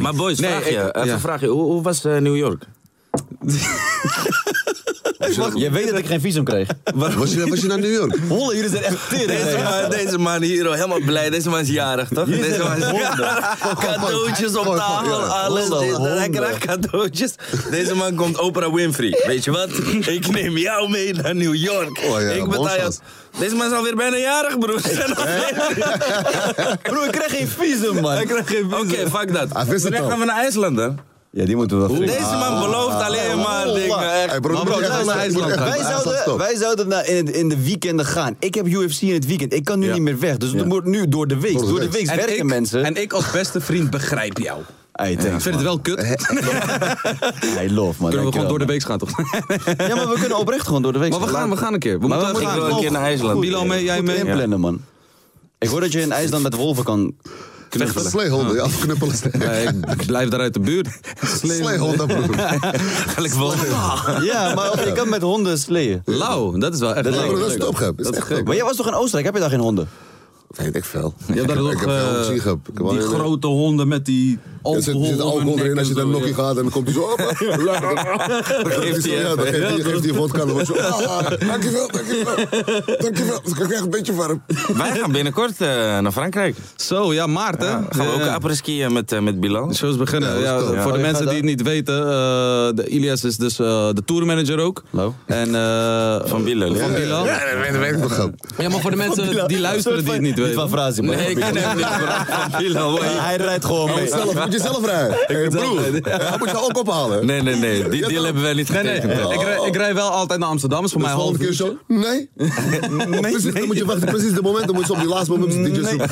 Speaker 6: Maar boys,
Speaker 5: Nee,
Speaker 6: vraag
Speaker 5: ik-
Speaker 6: je. even
Speaker 5: ja.
Speaker 6: vraag je. Hoe, hoe was eh, New York?
Speaker 3: Je weet dat ik geen visum kreeg.
Speaker 4: Was je, was je naar New York?
Speaker 3: Holle, jullie zijn echt tering.
Speaker 6: Deze man, deze man hier, oh, helemaal blij. Deze man is jarig, toch? Deze man is Cadeautjes op
Speaker 4: Gooi, gooi,
Speaker 6: tafel,
Speaker 4: ja.
Speaker 6: alles.
Speaker 4: Honden.
Speaker 6: Hij krijgt cadeautjes. Deze man komt Oprah Winfrey. Weet je wat? Ik neem jou mee naar New York.
Speaker 4: Oh, ja,
Speaker 6: ik betaal jou.
Speaker 4: bonsoir.
Speaker 6: Deze man is alweer bijna jarig, broer. Ze zijn nog geen-
Speaker 3: Bro, ik kreeg geen visum, man.
Speaker 6: Oké, fuck dat.
Speaker 4: Hij wist het
Speaker 6: Wanneer
Speaker 4: al.
Speaker 6: gaan we naar IJsland, hè?
Speaker 3: Ja, die moeten we wel fixen.
Speaker 6: Deze
Speaker 5: Ah.
Speaker 6: man belooft alleen maar dingen. echt.
Speaker 4: Hey, bro,
Speaker 5: Maar
Speaker 4: moet
Speaker 5: bro,
Speaker 4: je
Speaker 5: dat
Speaker 4: echt-
Speaker 5: is naar
Speaker 4: moet je
Speaker 5: IJsland
Speaker 4: echt-
Speaker 5: gaan.
Speaker 3: Wij
Speaker 4: IJsland,
Speaker 3: zouden,
Speaker 4: stop.
Speaker 3: wij zouden naar in, het- in de weekenden gaan. Ik heb UFC in het weekend. Ik kan nu
Speaker 5: Ja.
Speaker 3: niet meer weg. Dus het moet nu door de week. Door de, week
Speaker 5: En
Speaker 3: werken
Speaker 5: ik-
Speaker 3: mensen.
Speaker 5: En ik als beste vriend begrijp jou.
Speaker 3: Hey,
Speaker 5: Ik
Speaker 3: thanks,
Speaker 5: vind
Speaker 3: man.
Speaker 5: het wel kut. Kunnen
Speaker 3: I love, man.
Speaker 5: we
Speaker 3: Dankjewel,
Speaker 5: gewoon door de
Speaker 3: man.
Speaker 5: week gaan, toch?
Speaker 3: Ja, maar we kunnen oprecht gewoon door de week
Speaker 5: Maar we gaan, we gaan een keer. We
Speaker 3: Maar
Speaker 5: moeten
Speaker 3: we
Speaker 5: even
Speaker 3: gaan
Speaker 6: Ik wil
Speaker 5: gaan.
Speaker 6: een keer naar IJsland.
Speaker 5: Bilal, mee, jij
Speaker 3: Goed
Speaker 5: mee? Ja.
Speaker 3: inplannen, man. Ik hoor dat je in IJsland met wolven kan...
Speaker 4: Knuffelen. Sleehonden, ja, knuppelen.
Speaker 5: Nee, ik blijf daar uit de buurt.
Speaker 4: Sleehonden, broer.
Speaker 6: Eigenlijk wel.
Speaker 3: Ja, maar je kan met honden sleeën.
Speaker 5: Lauw, dat is wel echt
Speaker 4: Ja,
Speaker 5: leuk.
Speaker 4: broer, dat is top, gek. Dat is echt top.
Speaker 3: Maar jij was toch in Oostenrijk? Heb je daar geen honden?
Speaker 4: Dat weet ik veel.
Speaker 5: Je hebt daar
Speaker 4: Ik heb
Speaker 5: toch,
Speaker 4: veel
Speaker 5: eh,
Speaker 4: gezien, gek. Ik heb
Speaker 5: die
Speaker 4: alleen-
Speaker 5: grote honden met die
Speaker 4: Er zit, er zit alcohol erin als je dan nokkie gaat en dan komt hij zo. op.
Speaker 6: Geeft hij
Speaker 4: Ja,
Speaker 6: even.
Speaker 4: dan geeft hij- geeft hij vodka. Dan wordt zo. ah, Dankjewel, dankjewel. Dankjewel. Dus ik krijg een beetje warm.
Speaker 6: Wij gaan binnenkort eh, naar Frankrijk.
Speaker 5: Zo, ja, Maarten.
Speaker 6: Ja, gaan we ook
Speaker 5: Ja.
Speaker 6: apres-skiën met, eh, met Bilal.
Speaker 5: De shows beginnen. Ja,
Speaker 4: dat is cool.
Speaker 5: Voor de
Speaker 4: Ja.
Speaker 5: mensen die het niet weten, eh, de Ilias is dus eh, de tourmanager ook. En, eh,
Speaker 6: Van Bilal.
Speaker 5: Van Bilal.
Speaker 4: Ja, dat weet- dat weet ik nog wel.
Speaker 5: Ja, maar voor de mensen die luisteren die het niet
Speaker 3: Niet van
Speaker 5: weten.
Speaker 3: Frazi, maar.
Speaker 6: Nee, ik ken hem niet. maar Van Bilal. hoor.
Speaker 3: Hij rijdt
Speaker 5: Oh,
Speaker 3: gewoon mee.
Speaker 4: Zelf, moet je zelf rijden. Hey, broer, ja, moet je ook ophalen.
Speaker 6: Nee, nee, nee. Die
Speaker 4: Ja,
Speaker 6: deal
Speaker 4: toch?
Speaker 6: hebben wij niet
Speaker 5: Nee,
Speaker 6: getekend.
Speaker 5: nee, ik, rij, ik rij wel altijd naar Amsterdam, is voor mij
Speaker 4: Dus
Speaker 5: half
Speaker 4: volgende keer
Speaker 5: uurtje.
Speaker 4: zo. Nee. precies, dan moet je wachten. Precies de moment. Dan moet je op die laatste moment die DJ zoeken.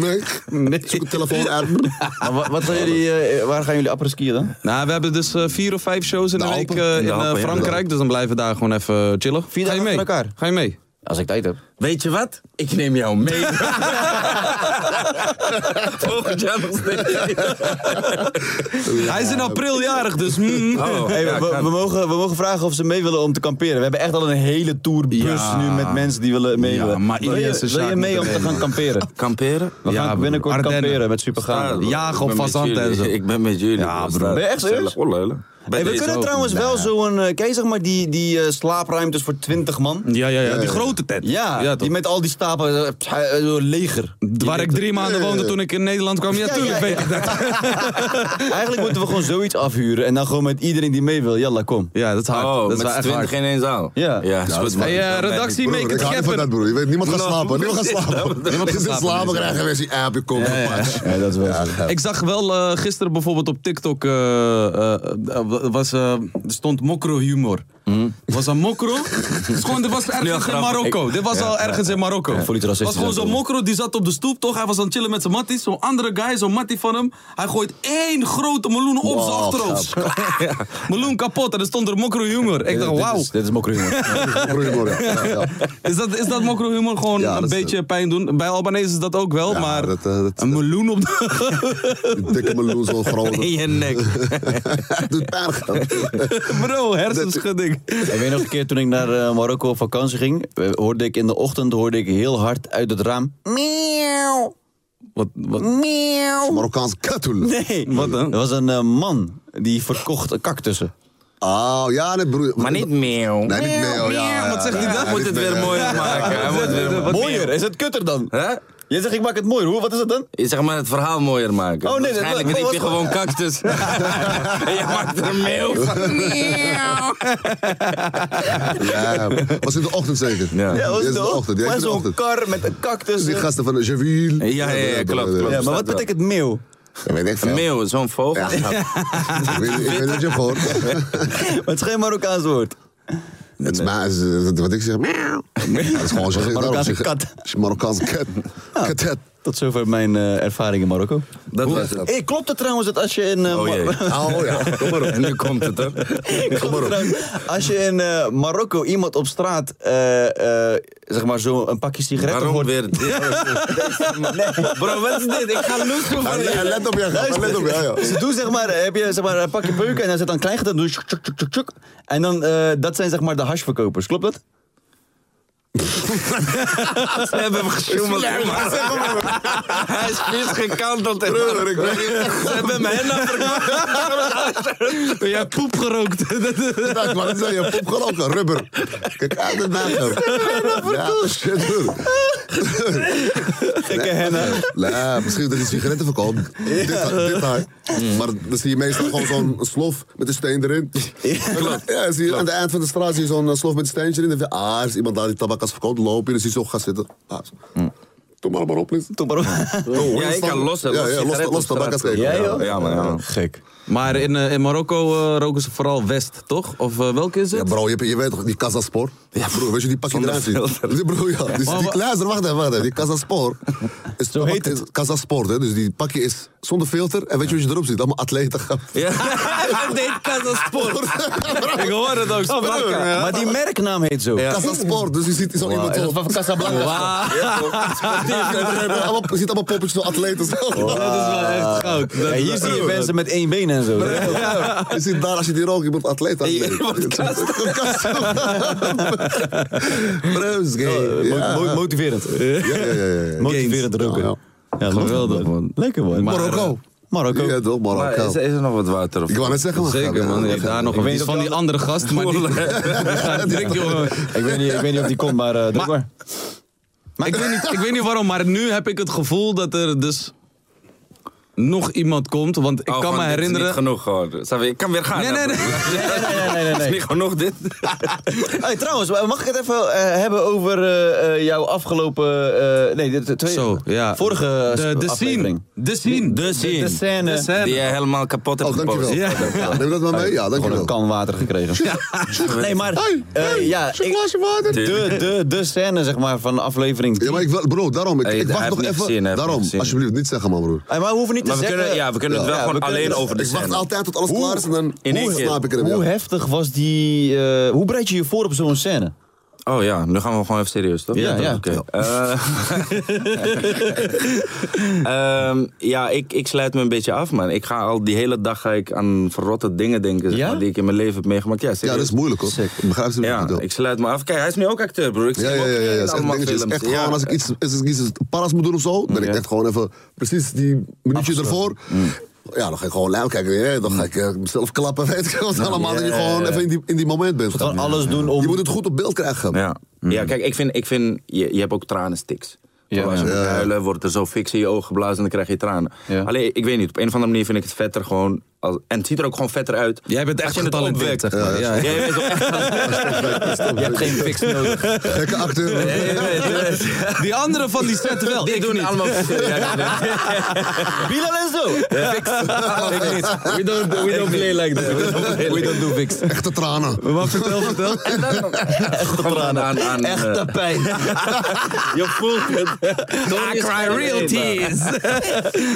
Speaker 4: Nee.
Speaker 5: Nee.
Speaker 4: Zoek een telefoon uit.
Speaker 3: Maar wa- wat gaan jullie, eh, waar gaan jullie apres skiën dan?
Speaker 5: Nou, we hebben dus eh, vier of vijf shows in de,
Speaker 4: De
Speaker 5: week
Speaker 4: Alpen.
Speaker 5: eh,
Speaker 6: De
Speaker 5: in eh,
Speaker 6: Alpen, ja.
Speaker 5: Frankrijk, dus dan blijven we daar gewoon even chillen.
Speaker 3: Vier
Speaker 5: Ga je
Speaker 3: dagen
Speaker 5: mee?
Speaker 3: achter elkaar.
Speaker 5: Ga je mee?
Speaker 3: Als ik tijd heb.
Speaker 6: Weet je wat? Ik neem jou mee. Volgend jaar nog steeds.
Speaker 5: Hij is in april jarig, dus mm.
Speaker 3: Oh, Hey, we, we- we mogen, we mogen vragen of ze mee willen om te kamperen. We hebben echt al een hele tourbus
Speaker 5: Ja.
Speaker 3: nu met mensen die willen mee
Speaker 5: Ja,
Speaker 3: willen.
Speaker 5: maar
Speaker 3: wil
Speaker 5: iedereen
Speaker 3: je,
Speaker 5: is een
Speaker 3: wil je
Speaker 5: zaak
Speaker 3: mee
Speaker 5: met
Speaker 3: om te
Speaker 5: een
Speaker 3: gaan kamperen?
Speaker 6: Kamperen?
Speaker 3: We
Speaker 5: Ja,
Speaker 3: gaan
Speaker 5: broer.
Speaker 3: binnenkort
Speaker 5: Ardennen.
Speaker 3: kamperen met Supergaan.
Speaker 5: Ja, jagen op
Speaker 6: Ik ben met
Speaker 5: fazanten en
Speaker 6: jullie.
Speaker 5: zo.
Speaker 6: Ik ben met jullie.
Speaker 5: Ja,
Speaker 6: We
Speaker 5: broer.
Speaker 6: staan
Speaker 3: Ben je echt
Speaker 6: gezellig.
Speaker 3: serieus?
Speaker 6: Oh, leulen. Bij
Speaker 3: Hey, we
Speaker 6: deze
Speaker 3: kunnen
Speaker 6: ook.
Speaker 3: trouwens wel zo'n, eh, ken je zeg maar die, die eh, slaapruimtes voor 20 man?
Speaker 5: Ja, ja, ja, die grote tent.
Speaker 3: Ja,
Speaker 5: toch.
Speaker 3: die met al die stapelen, eh, psh, eh, zo'n leger.
Speaker 5: Waar ik drie maanden woonde toen ik in Nederland kwam. Ja,
Speaker 3: Ja,
Speaker 5: tuurlijk
Speaker 3: ja, ja.
Speaker 5: weet ik dat.
Speaker 3: Eigenlijk moeten we gewoon zoiets afhuren en dan gewoon met iedereen die mee wil. Jalla, kom.
Speaker 5: Ja, dat is hard.
Speaker 6: Oh,
Speaker 5: dat is
Speaker 6: met
Speaker 5: wel
Speaker 6: z'n
Speaker 5: echt hard.
Speaker 6: twintig in één zaal.
Speaker 3: Ja.
Speaker 6: ja is goed, man.
Speaker 5: Hey, eh, redactie,
Speaker 6: Nee,
Speaker 5: make
Speaker 4: Ik
Speaker 5: it
Speaker 4: hou niet van dat,
Speaker 5: happen.
Speaker 4: broer. Je weet, niemand gaat
Speaker 6: Nou,
Speaker 4: slapen. Niemand gaat
Speaker 6: precies,
Speaker 4: slapen.
Speaker 6: dat-
Speaker 4: Niemand gaat
Speaker 5: slapen,
Speaker 4: slapen.
Speaker 5: mensen.
Speaker 4: Krijgen weer die app. Ik kom op match.
Speaker 3: Ja, dat is wel zo.
Speaker 5: Ik zag wel eh, gisteren bijvoorbeeld op TikTok, eh, eh, eh, was, eh, er stond mokro humor.
Speaker 4: Hmm.
Speaker 5: Was een mokro? Het is gewoon, dit was ergens in
Speaker 6: grappig.
Speaker 5: Marokko. Dit was al ergens in Marokko.
Speaker 3: voel iets racistisch
Speaker 5: was gewoon zo'n
Speaker 3: aan, hoor.
Speaker 5: mokro die zat op de stoep, toch? Hij was aan het chillen met zijn matties. Zo'n andere guy, zo'n mattie van hem. Hij gooit één grote meloen op zijn achterhoofd. meloen kapot en er stond er mokro humor. Ik dacht, wauw.
Speaker 3: Dit is, dit is mokkerie, jongen.
Speaker 4: Broer, ja, ja, ja.
Speaker 5: Is dat, is dat mokro humor gewoon
Speaker 4: Ja,
Speaker 5: een
Speaker 4: dat is-
Speaker 5: beetje pijn doen? Bij Albanese is dat ook wel,
Speaker 4: Ja,
Speaker 5: maar
Speaker 4: dat, eh, dat-
Speaker 5: een meloen op de...
Speaker 4: Die dikke meloen zo groot.
Speaker 6: In je nek.
Speaker 4: Doet pijn.
Speaker 5: Bro, hersenschudding.
Speaker 3: Ik weet nog een keer toen ik naar eh, Marokko op vakantie ging, eh, hoorde ik in de ochtend hoorde ik heel hard uit het raam. Miauw,
Speaker 5: Wat, wat?
Speaker 4: Marokkaans katoel.
Speaker 3: Nee, wat dan? Er was een eh, man die verkocht cactussen.
Speaker 4: Oh, ja, nee, broer.
Speaker 6: Maar niet meeuw.
Speaker 4: Nee, niet meeuw, ja, ja.
Speaker 6: Wat zegt hij
Speaker 4: Ja,
Speaker 6: dat? Moet
Speaker 4: niet
Speaker 6: het weer
Speaker 4: meeuw.
Speaker 6: mooier maken. Hij moet weer mooi-
Speaker 3: Mooier, is het kutter dan?
Speaker 6: Hè?
Speaker 3: Jij zegt ik maak het mooier, hoe? Wat is het dan?
Speaker 6: Je Zeg maar het verhaal mooier maken.
Speaker 3: Oh, nee, dat-
Speaker 6: Waarschijnlijk
Speaker 3: dat
Speaker 6: riep
Speaker 3: was
Speaker 6: je
Speaker 3: gewoon-
Speaker 6: gewoon cactus. En je maakt er een meeuw van.
Speaker 4: Ja, was in de ochtend zeker.
Speaker 6: Ja.
Speaker 4: Die
Speaker 3: Ja, was
Speaker 4: is in
Speaker 3: het
Speaker 4: de ochtend. Die heeft
Speaker 3: Maar
Speaker 4: in de
Speaker 3: zo'n
Speaker 4: ochtend. Dus
Speaker 3: kar met een cactus. eh.
Speaker 4: Die gasten van de Javille.
Speaker 6: Ja, ja, ja, klopt, klopt.
Speaker 3: Ja, maar wat
Speaker 6: wel.
Speaker 3: betekent meeuw?
Speaker 4: Ja, weet ik veel.
Speaker 6: Een meeuw, zo'n vogel.
Speaker 4: Ja, ik weet ik weet niet wat je hebt gehoord.
Speaker 3: Maar het is geen Marokkaans woord.
Speaker 4: Het is maar, het is- wat ik zeg, meeuw. Ja, Dat is gewoon zo.
Speaker 3: Marokkaanse
Speaker 4: Daarom zeg ik-
Speaker 3: kat.
Speaker 4: is een Marokkaanse kat. Katet.
Speaker 3: Tot zover mijn eh, ervaring in Marokko.
Speaker 6: Dat was het.
Speaker 3: Hey, klopt het trouwens dat als je in... eh,
Speaker 6: Oh
Speaker 3: Mar-
Speaker 6: jee.
Speaker 4: Oh ja, kom maar op.
Speaker 6: En nu komt het, hè?
Speaker 3: Klopt trouwens. Als je in eh, Marokko iemand op straat, eh, eh, zeg maar zo een pakje sigaretten
Speaker 6: Waarom
Speaker 3: hoort...
Speaker 6: weer dit? Bro, wat is dit? Ik ga loes doen van
Speaker 4: En
Speaker 6: je.
Speaker 4: let op je gat, let op je. ja, ja.
Speaker 3: Ze doen zeg maar, eh, heb je zeg maar een pakje peuken en dan zit dan klein gedaan, doe je tjoek, tjoek, tjoek, tjoek, tjoek. En dan, eh, dat zijn zeg maar de hashverkopers, klopt dat?
Speaker 6: Ze hebben hem gesjoemeld. Hij is vies gekanteld. en-
Speaker 4: Broer, ik weet niet.
Speaker 6: Ze hebben hem henna
Speaker 5: Jij hebt poep gerookt.
Speaker 4: Dat Nou, mag niet zijn, je hebt opgelopen, rubber. Kijk uit de nager. Ja, shit, broer.
Speaker 3: Gekke henna.
Speaker 4: Nou, ja, misschien dat hij sigaretten verkoopt. Dit, dit haar. Maar dan zie je meestal gewoon zo'n slof met een steen erin. Ja, dan zie je aan het eind van de straat zie je zo'n eh, slof met een steentje erin. Dan denk je, ah, er is iemand daar die tabak als verkoopt. Loop je, dan zie je zo gaan zitten. Ah, zo. Doe maar maar op, please.
Speaker 3: Toch maar
Speaker 4: Oh,
Speaker 6: Ja, ik kan lossen.
Speaker 4: Ja, ja, los,
Speaker 6: sigaretten
Speaker 4: los
Speaker 6: op
Speaker 4: tabak als
Speaker 6: straat.
Speaker 4: kijken.
Speaker 3: Ja, joh.
Speaker 6: Ja, man. Ja, man.
Speaker 3: Oh, Gek.
Speaker 5: Maar in, eh, in Marokko eh, roken ze vooral West, toch? Of eh, welke is het?
Speaker 4: Ja, bro, je, hebt- je weet toch, die Casaspor? Ja, broer, weet je, die pak je eruit ziet. Die broer, ja. Dus die, luister, wacht even, wacht even. Die Casaspor. Is Zo
Speaker 3: heet het.
Speaker 4: Casaspor, hè. Dus die pakje is zonder filter. En weet je wat je erop ziet? Allemaal atleten.
Speaker 6: Ja, hij deed kazasport. Ik hoor het ook. Sparka.
Speaker 3: Maar die merknaam heet zo.
Speaker 4: Casaspor, dus je ziet zo iemand zo...
Speaker 3: van Casablanca.
Speaker 4: Ja, maar allemaal- Je ziet allemaal poppetjes van atleten. zo.
Speaker 5: Dat is wel echt goud. Dat-
Speaker 3: Ja, hier zie je mensen met één been en zo.
Speaker 4: Je ziet daar, als je die rookt, je wordt atleet. atleet. Breus, gay.
Speaker 3: Oh, eh, Mo-
Speaker 4: Ja,
Speaker 3: mo- motiverend.
Speaker 4: ja, ja, ja, ja.
Speaker 3: Motiverend roken.
Speaker 4: Eh, Ja,
Speaker 3: Ja, geweldig man. Lekker man.
Speaker 4: Marokko.
Speaker 3: Marokko.
Speaker 4: Ja, toch,
Speaker 6: Maar eh,
Speaker 4: Marokko.
Speaker 6: is, is er nog wat water? Of
Speaker 4: Ik wou net zeggen, man.
Speaker 5: Zeker, man. Je
Speaker 4: Ja,
Speaker 5: hebt daar nog
Speaker 3: Ik
Speaker 5: een
Speaker 3: weet
Speaker 5: die
Speaker 3: dat
Speaker 5: is van
Speaker 3: wel-
Speaker 5: die andere gast, maar die, die gaat direct, jongen.
Speaker 3: Ik weet, niet, ik weet niet of die komt, maar eh druk maar.
Speaker 5: Maar ik weet, niet, ik weet niet waarom, maar nu heb ik het gevoel dat er dus nog iemand komt. Want ik
Speaker 6: Oh,
Speaker 5: kan
Speaker 6: gewoon,
Speaker 5: me
Speaker 6: dit is
Speaker 5: herinneren...
Speaker 6: niet genoeg gewoon. Snap je? Ik kan weer gaan.
Speaker 5: Nee, nee, nee.
Speaker 3: nee, nee, nee,
Speaker 6: Is
Speaker 3: nee.
Speaker 6: niet genoeg dit?
Speaker 3: Hey, trouwens, mag ik het even eh, hebben over eh, eh, jouw afgelopen... eh, nee, de, de twee,
Speaker 5: Zo, ja.
Speaker 3: vorige
Speaker 5: De, de
Speaker 3: aflevering.
Speaker 5: scene. De scene.
Speaker 6: De
Speaker 3: De,
Speaker 6: scene.
Speaker 3: scène.
Speaker 5: De scène.
Speaker 6: Die jij helemaal kapot hebt
Speaker 4: Oh, dankjewel.
Speaker 6: gepost.
Speaker 4: Ja. Neem dat maar mee? Ja,
Speaker 3: Gewoon een
Speaker 4: dankjewel.
Speaker 3: kan water gekregen. Nee, maar... eh, ja, ik- de, de, de scène, zeg maar, van aflevering
Speaker 4: Ja, maar ik, wil- bro, daarom. Ik,
Speaker 6: Hey,
Speaker 4: ik
Speaker 6: hij
Speaker 4: wacht
Speaker 6: heeft
Speaker 4: nog
Speaker 6: niet
Speaker 4: even.
Speaker 6: gezien, hij heeft
Speaker 4: daarom,
Speaker 6: niet gezien.
Speaker 4: alsjeblieft, niet zeggen, man, broer.
Speaker 3: Hey, maar we hoeven niet
Speaker 6: Maar
Speaker 3: te
Speaker 6: we
Speaker 3: zeggen...
Speaker 6: kunnen, ja, we kunnen het wel
Speaker 3: Ja,
Speaker 6: gewoon
Speaker 3: we kunnen
Speaker 6: alleen
Speaker 3: het-
Speaker 6: over de
Speaker 4: dus- Ik wacht
Speaker 6: scène.
Speaker 4: altijd tot alles klaar is en dan
Speaker 6: In één
Speaker 4: hoe
Speaker 6: keer.
Speaker 4: slaap ik erin.
Speaker 3: Hoe
Speaker 4: ja.
Speaker 3: heftig was die... eh, hoe bereid je je voor op zo'n scène?
Speaker 6: Oh ja, nu gaan we gewoon even serieus, toch?
Speaker 3: Ja, ja.
Speaker 6: Oké. Eh, ehm, ja, ik, ik sluit me een beetje af, man. Ik ga al die hele dag ga ik aan verrotte dingen denken, zeg
Speaker 3: Ja?
Speaker 6: maar, die ik in mijn leven heb meegemaakt. Ja,
Speaker 4: Ja,
Speaker 6: serieus.
Speaker 4: dat is moeilijk, hoor.
Speaker 3: Sick.
Speaker 4: Ik begrijp ze
Speaker 6: Ja,
Speaker 4: niet.
Speaker 6: ik sluit me af. Kijk, hij is nu ook acteur, broer. Ik zie
Speaker 4: Ja, ja,
Speaker 6: hem ook
Speaker 4: ja, ja.
Speaker 6: in
Speaker 4: ja. Is echt
Speaker 6: allemaal
Speaker 4: dingetjes.
Speaker 6: films.
Speaker 4: Echt
Speaker 6: Ja.
Speaker 4: gewoon, als ik iets, als ik iets paras moet doen of zo, ben ik
Speaker 6: Ja. Mm.
Speaker 4: echt gewoon even precies die minuutje ervoor. Ja, dan ga ik gewoon luim kijken weer. hè. Dan ga ik eh, mezelf klappen, weet ik wat allemaal. Dat je gewoon even in die, in die moment bent.
Speaker 3: Gewoon alles doen om...
Speaker 4: Je moet het goed op beeld krijgen.
Speaker 6: Ja.
Speaker 4: Mm.
Speaker 6: ja, kijk, ik vind, ik vind je, je hebt ook tranenstiks.
Speaker 3: Ja,
Speaker 6: Ja, als je
Speaker 3: ja.
Speaker 6: moet huilen, wordt er zo fix in je ogen geblazen en dan krijg je tranen.
Speaker 3: Ja.
Speaker 6: Alleen, ik weet niet, op een of andere manier vind ik het vetter gewoon... Als, en het ziet er ook gewoon vetter uit.
Speaker 5: Jij bent
Speaker 6: als
Speaker 5: echt
Speaker 6: je het
Speaker 5: getalenteerd,
Speaker 6: opwekt.
Speaker 5: zeg maar. Ja,
Speaker 6: Jij bent ook echt
Speaker 3: Je hebt geen fix nodig.
Speaker 4: Gekke acteur.
Speaker 5: Die andere van die set wel.
Speaker 6: Die
Speaker 5: Ik
Speaker 6: doen
Speaker 5: niet.
Speaker 6: niet allemaal... Ja, nee, nee.
Speaker 3: Bilal en zo.
Speaker 6: Ik niet.
Speaker 5: We don't, we don't play like that. We don't do fix.
Speaker 4: Echte tranen.
Speaker 5: Maar vertel, vertel.
Speaker 6: Echte tranen. Aan, aan, eh,
Speaker 3: Echte pijn. Je voelt het.
Speaker 5: I cry real tears.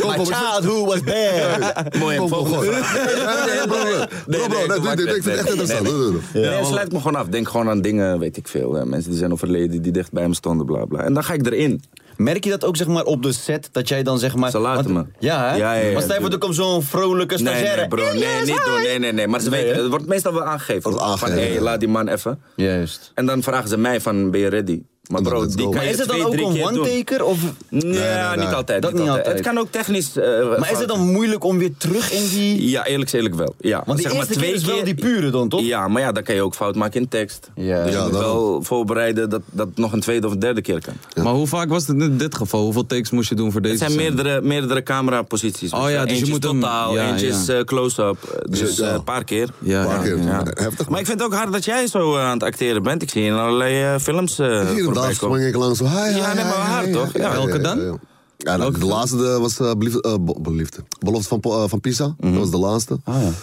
Speaker 4: Kom,
Speaker 3: My
Speaker 4: kom,
Speaker 3: child who was bad.
Speaker 6: mooi en
Speaker 4: kom, kom,
Speaker 6: volgende
Speaker 4: gewoon.
Speaker 6: vraag.
Speaker 4: Nee, bro, bro. Bro, bro, nee, dit- dit- Ik vind het echt interessant. Doe, doe, doe.
Speaker 6: nee, sluit me gewoon af. Denk gewoon aan dingen, weet ik veel. eh, mensen die zijn overleden, die dicht bij me stonden, bla bla. En dan ga ik erin.
Speaker 3: Merk je dat ook zeg maar, op de set? Dat jij dan zeg maar.
Speaker 6: Ze laten
Speaker 3: want-
Speaker 6: me.
Speaker 3: Ja, hè?
Speaker 6: Ja, ja, ja,
Speaker 3: maar stel je voor, er komt zo'n vrolijke
Speaker 6: Nee,
Speaker 3: stagiaire.
Speaker 6: nee, bro. Nee, niet doen. Nee, nee, nee. Maar ze weten, het wordt meestal wel aangegeven.
Speaker 4: Wordt
Speaker 6: Van,
Speaker 4: aangegeven,
Speaker 6: hé,
Speaker 4: ja.
Speaker 6: laat die man even.
Speaker 3: Juist.
Speaker 6: En dan vragen ze mij van, ben je ready? Maar
Speaker 4: En dan
Speaker 6: bro,
Speaker 4: let's
Speaker 6: die
Speaker 4: go.
Speaker 6: kan
Speaker 3: Maar
Speaker 6: je
Speaker 3: is het dan
Speaker 6: twee,
Speaker 3: ook
Speaker 6: drie
Speaker 3: een
Speaker 6: keer doen.
Speaker 3: one-taker? Of...
Speaker 6: Ja,
Speaker 4: nee.
Speaker 6: niet altijd.
Speaker 3: Dat niet altijd.
Speaker 6: Het kan ook technisch... eh,
Speaker 3: Maar is
Speaker 6: fout.
Speaker 3: het dan moeilijk om weer terug in die.
Speaker 6: Ja, eerlijk eerlijk wel. Ja.
Speaker 3: Want die
Speaker 6: zeg maar
Speaker 3: eerste keer
Speaker 6: twee
Speaker 3: is wel die pure dan, toch?
Speaker 6: Ja, maar ja, dan kan je ook fout maken in tekst.
Speaker 3: Ja.
Speaker 6: dus je
Speaker 3: Ja,
Speaker 6: moet
Speaker 4: daarom.
Speaker 6: wel voorbereiden dat dat het nog een tweede of een derde keer kan.
Speaker 5: Maar hoe vaak was het in dit geval? Hoeveel takes moest je doen voor deze
Speaker 6: Het zijn
Speaker 5: scène?
Speaker 6: meerdere, meerdere cameraposities. eh,
Speaker 5: Oh ja, dus je
Speaker 6: eentje is
Speaker 5: moet hem-
Speaker 6: totaal,
Speaker 5: ja,
Speaker 6: eentje
Speaker 5: ja.
Speaker 6: is eh, close-up. Dus
Speaker 4: Ja.
Speaker 6: eh, een paar keer.
Speaker 5: Ja,
Speaker 4: Een paar
Speaker 5: ja.
Speaker 4: keer. Heftig.
Speaker 6: Maar ik vind het ook hard dat jij zo eh, aan het acteren bent. Ik zie je in allerlei eh, films eh
Speaker 4: Hier en
Speaker 6: voorbij
Speaker 4: daar
Speaker 6: komen.
Speaker 4: spring ik langs. Hi, hi,
Speaker 6: Ja, nee,
Speaker 4: hi,
Speaker 6: maar
Speaker 4: hi,
Speaker 6: hard,
Speaker 4: hi,
Speaker 6: toch?
Speaker 4: hi,
Speaker 6: Ja,
Speaker 4: hi,
Speaker 5: welke
Speaker 4: hi,
Speaker 5: dan?
Speaker 4: hi, hi. Ja, nou, de laatste eh, was eh, belief- eh, be- Beliefde. Belofte van, Po- eh, van Pisa.
Speaker 6: Mhm.
Speaker 4: Dat was de laatste.
Speaker 6: Ah,
Speaker 4: En,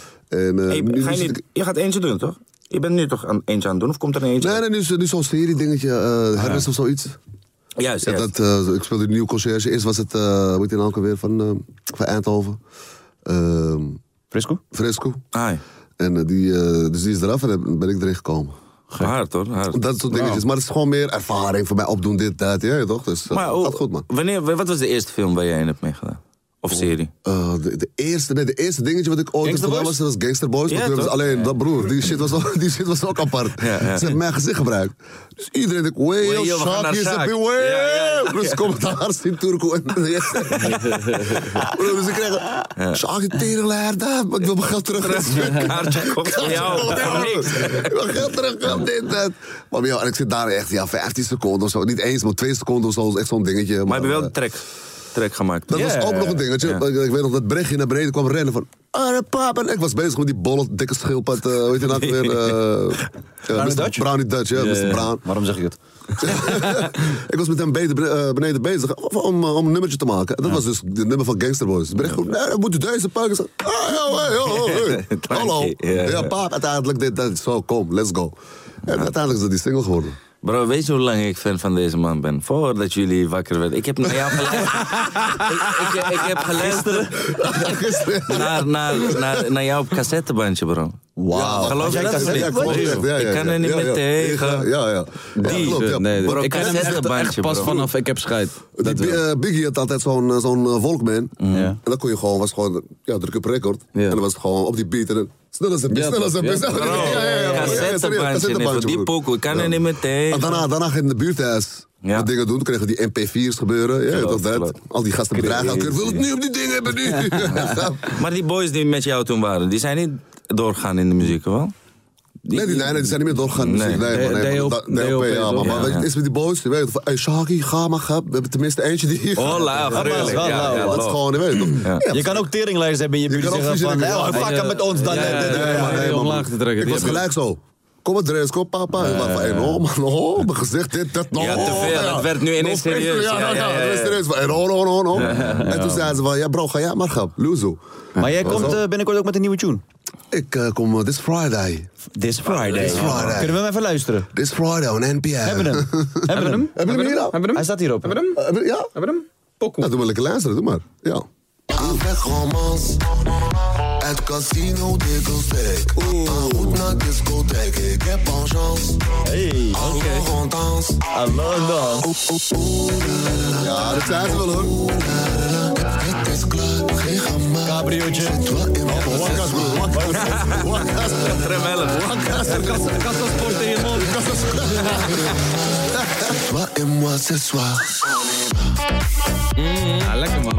Speaker 4: eh,
Speaker 6: Hey,
Speaker 4: nu
Speaker 6: ga je,
Speaker 4: zit
Speaker 6: niet,
Speaker 4: ik-
Speaker 6: je gaat eentje doen, toch? Je bent nu toch aan, eentje aan het doen? Of komt er een eentje?
Speaker 4: Nee, nee, nu, is- nu is zo'n serie dingetje.
Speaker 6: Ah,
Speaker 4: eh Hermes of zoiets.
Speaker 6: Juist,
Speaker 4: Ja,
Speaker 6: juist.
Speaker 4: dat, eh, ik speelde een nieuw conciërge. Eerst was het, eh hoe heet die nou ook alweer, van, eh, van Eindhoven. Ehm,
Speaker 3: Frisco?
Speaker 4: Fresco.
Speaker 6: Ai,
Speaker 4: En eh, die, eh, dus die is eraf en dan ben ik erin gekomen.
Speaker 6: hard hoor, hard.
Speaker 4: Dat soort dingetjes. Maar het is gewoon meer ervaring voor mij. Opdoen, dit, dat, ja, toch? Dus eh,
Speaker 6: Maar hoe-
Speaker 4: gaat goed, man.
Speaker 6: Wanneer, wat was de eerste film waar jij in hebt meegedaan? Of serie?
Speaker 4: Eh, de, de eerste, nee, de eerste dingetje wat ik ooit heb
Speaker 6: Gangster
Speaker 4: gedaan was,
Speaker 6: Boys?
Speaker 4: was Gangster Boys.
Speaker 6: Ja,
Speaker 4: maar toen hebben ze
Speaker 6: toch?
Speaker 4: alleen, dat broer, die shit was, ook- die shit was ook apart.
Speaker 6: ja.
Speaker 4: Ze hebben mijn gezicht gebruikt. Dus iedereen denkt, way
Speaker 6: Wayo,
Speaker 4: yo,
Speaker 6: we gaan naar
Speaker 4: Shaq, is
Speaker 6: Shaq.
Speaker 4: a
Speaker 6: Ja, ja,
Speaker 4: beware.
Speaker 6: ja.
Speaker 4: Dus commentaars in Turku en Broer, dus ik kreeg, Shaq, je teringleier, daar, maar ik wil mijn geld terug.
Speaker 6: Kaartje komt voor jou. voor niks.
Speaker 4: Ik wil geld terug, geld dit, dat. Maar joh, en ik zit daar echt, ja, 15 seconden of zo. Niet eens, maar 2 seconden of zo, is echt zo'n dingetje.
Speaker 6: Maar heb je wel
Speaker 4: eh,
Speaker 6: een track, track gemaakt?
Speaker 4: dat was ook nog een dingetje. Ik, ik weet nog dat Brechtje naar beneden kwam rennen van... Arre pap, en ik was bezig met die bolle, dikke schildpad. eh hoe heet je nou ook weer? eh, eh, Mr.
Speaker 3: Dutch?
Speaker 4: Brownie Dutch, ja, Mr. Brown.
Speaker 3: Waarom zeg ik het?
Speaker 4: ik was met hem beneden, eh, beneden bezig om, eh, om een nummertje te maken. En dat was dus het nummer van Gangster Boys. Dus Brecht gewoon, nee, we moeten deze pakken. Ik zei, ah, yo, hey, yo, hey. Hallo.
Speaker 6: Ja, ja.
Speaker 4: Ja, pap, uiteindelijk dit, dat. Zo, kom, let's go. En uiteindelijk is dat die single geworden.
Speaker 6: Bro, weet je hoe lang ik fan van deze man ben? Voordat jullie wakker werden. Ik heb naar jou geluisterd. ik, ik, ik heb geluisterd naar, naar, naar, naar jouw cassettebandje, bro.
Speaker 4: Wauw.
Speaker 6: Geloof
Speaker 4: Ja,
Speaker 6: je dat?
Speaker 4: klopt,
Speaker 6: niet?
Speaker 4: ja, klopt, ja, ja,
Speaker 6: Ik kan er niet
Speaker 4: ja,
Speaker 6: meer
Speaker 4: ja.
Speaker 6: tegen.
Speaker 4: Ja, ja.
Speaker 6: Die.
Speaker 4: ja, klopt, ja.
Speaker 5: Nee,
Speaker 6: Bro,
Speaker 5: ik heb hem echt,
Speaker 6: cassettebandje,
Speaker 5: echt pas
Speaker 6: bro.
Speaker 5: vanaf, ik heb scheid.
Speaker 4: Die,
Speaker 5: Dat wel.
Speaker 4: Bi- eh, Biggie had altijd zo'n eh, zo'n eh, Walkman.
Speaker 3: Ja.
Speaker 4: En dan kon je gewoon, was gewoon, ja, druk op record.
Speaker 5: Ja.
Speaker 4: En dan was het gewoon op die beat. En dan, Snelle zippie,
Speaker 5: Ja,
Speaker 4: snelle
Speaker 5: toch?
Speaker 4: zippie,
Speaker 5: Ja,
Speaker 4: snelle
Speaker 6: Bro,
Speaker 4: zippie. Ja, ja, ja.
Speaker 6: cassettebandje, nee, voor die pokoe kan er niet meer tegen.
Speaker 4: En daarna, daarna ging de buurthuis
Speaker 6: Ja.
Speaker 4: wat dingen doen. Toen kregen die MP4's gebeuren. Ja,
Speaker 6: Klopt,
Speaker 4: toch dat.
Speaker 6: klopt.
Speaker 4: Al die gasten bedragen elke keer.
Speaker 6: Crazy.
Speaker 4: Wil het nu op die dingen hebben nu? Ja.
Speaker 6: Maar die boys die met jou toen waren, die zijn niet doorgegaan in de muziek, wel?
Speaker 4: Nee, die, nee, nee, die zijn niet meer doorgegaan.
Speaker 6: Nee.
Speaker 4: Nee, nee, man, nee,
Speaker 5: DOP,
Speaker 4: man, da- DOP, ja.
Speaker 5: toch?
Speaker 4: Maar, maar
Speaker 6: Ja,
Speaker 4: weet je,
Speaker 6: ja.
Speaker 4: het is met die boys, je weet van, hey, Shaki, ga maar, ga. We hebben tenminste eentje die hier
Speaker 6: Oh,
Speaker 4: Ja,
Speaker 6: lauw,
Speaker 4: maar het is
Speaker 6: gruwelijk.
Speaker 4: wel
Speaker 6: Ja,
Speaker 4: lauw,
Speaker 6: ja,
Speaker 4: Het is
Speaker 6: lauw.
Speaker 4: gewoon, je weet toch. Ja.
Speaker 3: Je kan ook teringlijst hebben in je buurt
Speaker 4: kan
Speaker 3: zeggen
Speaker 4: ook
Speaker 3: van,
Speaker 4: verzinnen,
Speaker 3: "Nou,
Speaker 4: ja.
Speaker 3: fuck hem met ons dan.
Speaker 5: Ja, ja,
Speaker 3: eh,
Speaker 5: ja,
Speaker 3: dit,
Speaker 5: ja,
Speaker 3: eh,
Speaker 5: ja.
Speaker 3: maar."
Speaker 5: nee,
Speaker 4: man.
Speaker 5: omlaag te trekken.
Speaker 4: Ik was
Speaker 5: Ja,
Speaker 4: gelijk zo. Kom maar, Dres, kom, papa. Ik was van, hey, no, man, no. Mijn gezicht, dit, dat, no.
Speaker 6: Eh. Ja, te veel. Het werd nu ineens
Speaker 4: No,
Speaker 6: serieus.
Speaker 4: Ja,
Speaker 6: Ja,
Speaker 4: ja, ja.
Speaker 6: ja, ja,
Speaker 4: Het werd
Speaker 6: ja.
Speaker 4: serieus. Van, hey, no, no, no, no. En toen zeiden ze van, ja, bro, ga jij maar, gaan. Loezo.
Speaker 3: Maar jij komt eh, binnenkort ook met een nieuwe tune.
Speaker 4: Ik eh, kom eh, this Friday.
Speaker 3: This Friday.
Speaker 4: This Friday.
Speaker 3: Kunnen we hem even luisteren?
Speaker 4: This Friday on NPR.
Speaker 3: Hebben we hem? Hebben we hem?
Speaker 4: Hebben jullie hem hier al?
Speaker 5: Hebben we
Speaker 3: Hij
Speaker 5: hem?
Speaker 3: staat hierop.
Speaker 5: Hebben we hem?
Speaker 4: Hebben- Ja?
Speaker 5: Hebben we hem? Pokoe.
Speaker 4: Nou, doe maar lekker luisteren, doe maar. Ja.
Speaker 7: Avec romance Het casino discotheek Een goed naar discotheek Ik heb een chance
Speaker 3: Hey,
Speaker 7: Oké dans
Speaker 3: hallo dan.
Speaker 4: Ja, dat zijn ze wel hoor.
Speaker 7: Het is klaar Geen gemaakt
Speaker 3: Cabriootje.
Speaker 7: Wat in mijn
Speaker 4: Wakkers, broer, wakkers. Wakkers.
Speaker 7: Toi et moi ce soir
Speaker 5: Ja, Ah, lekker man.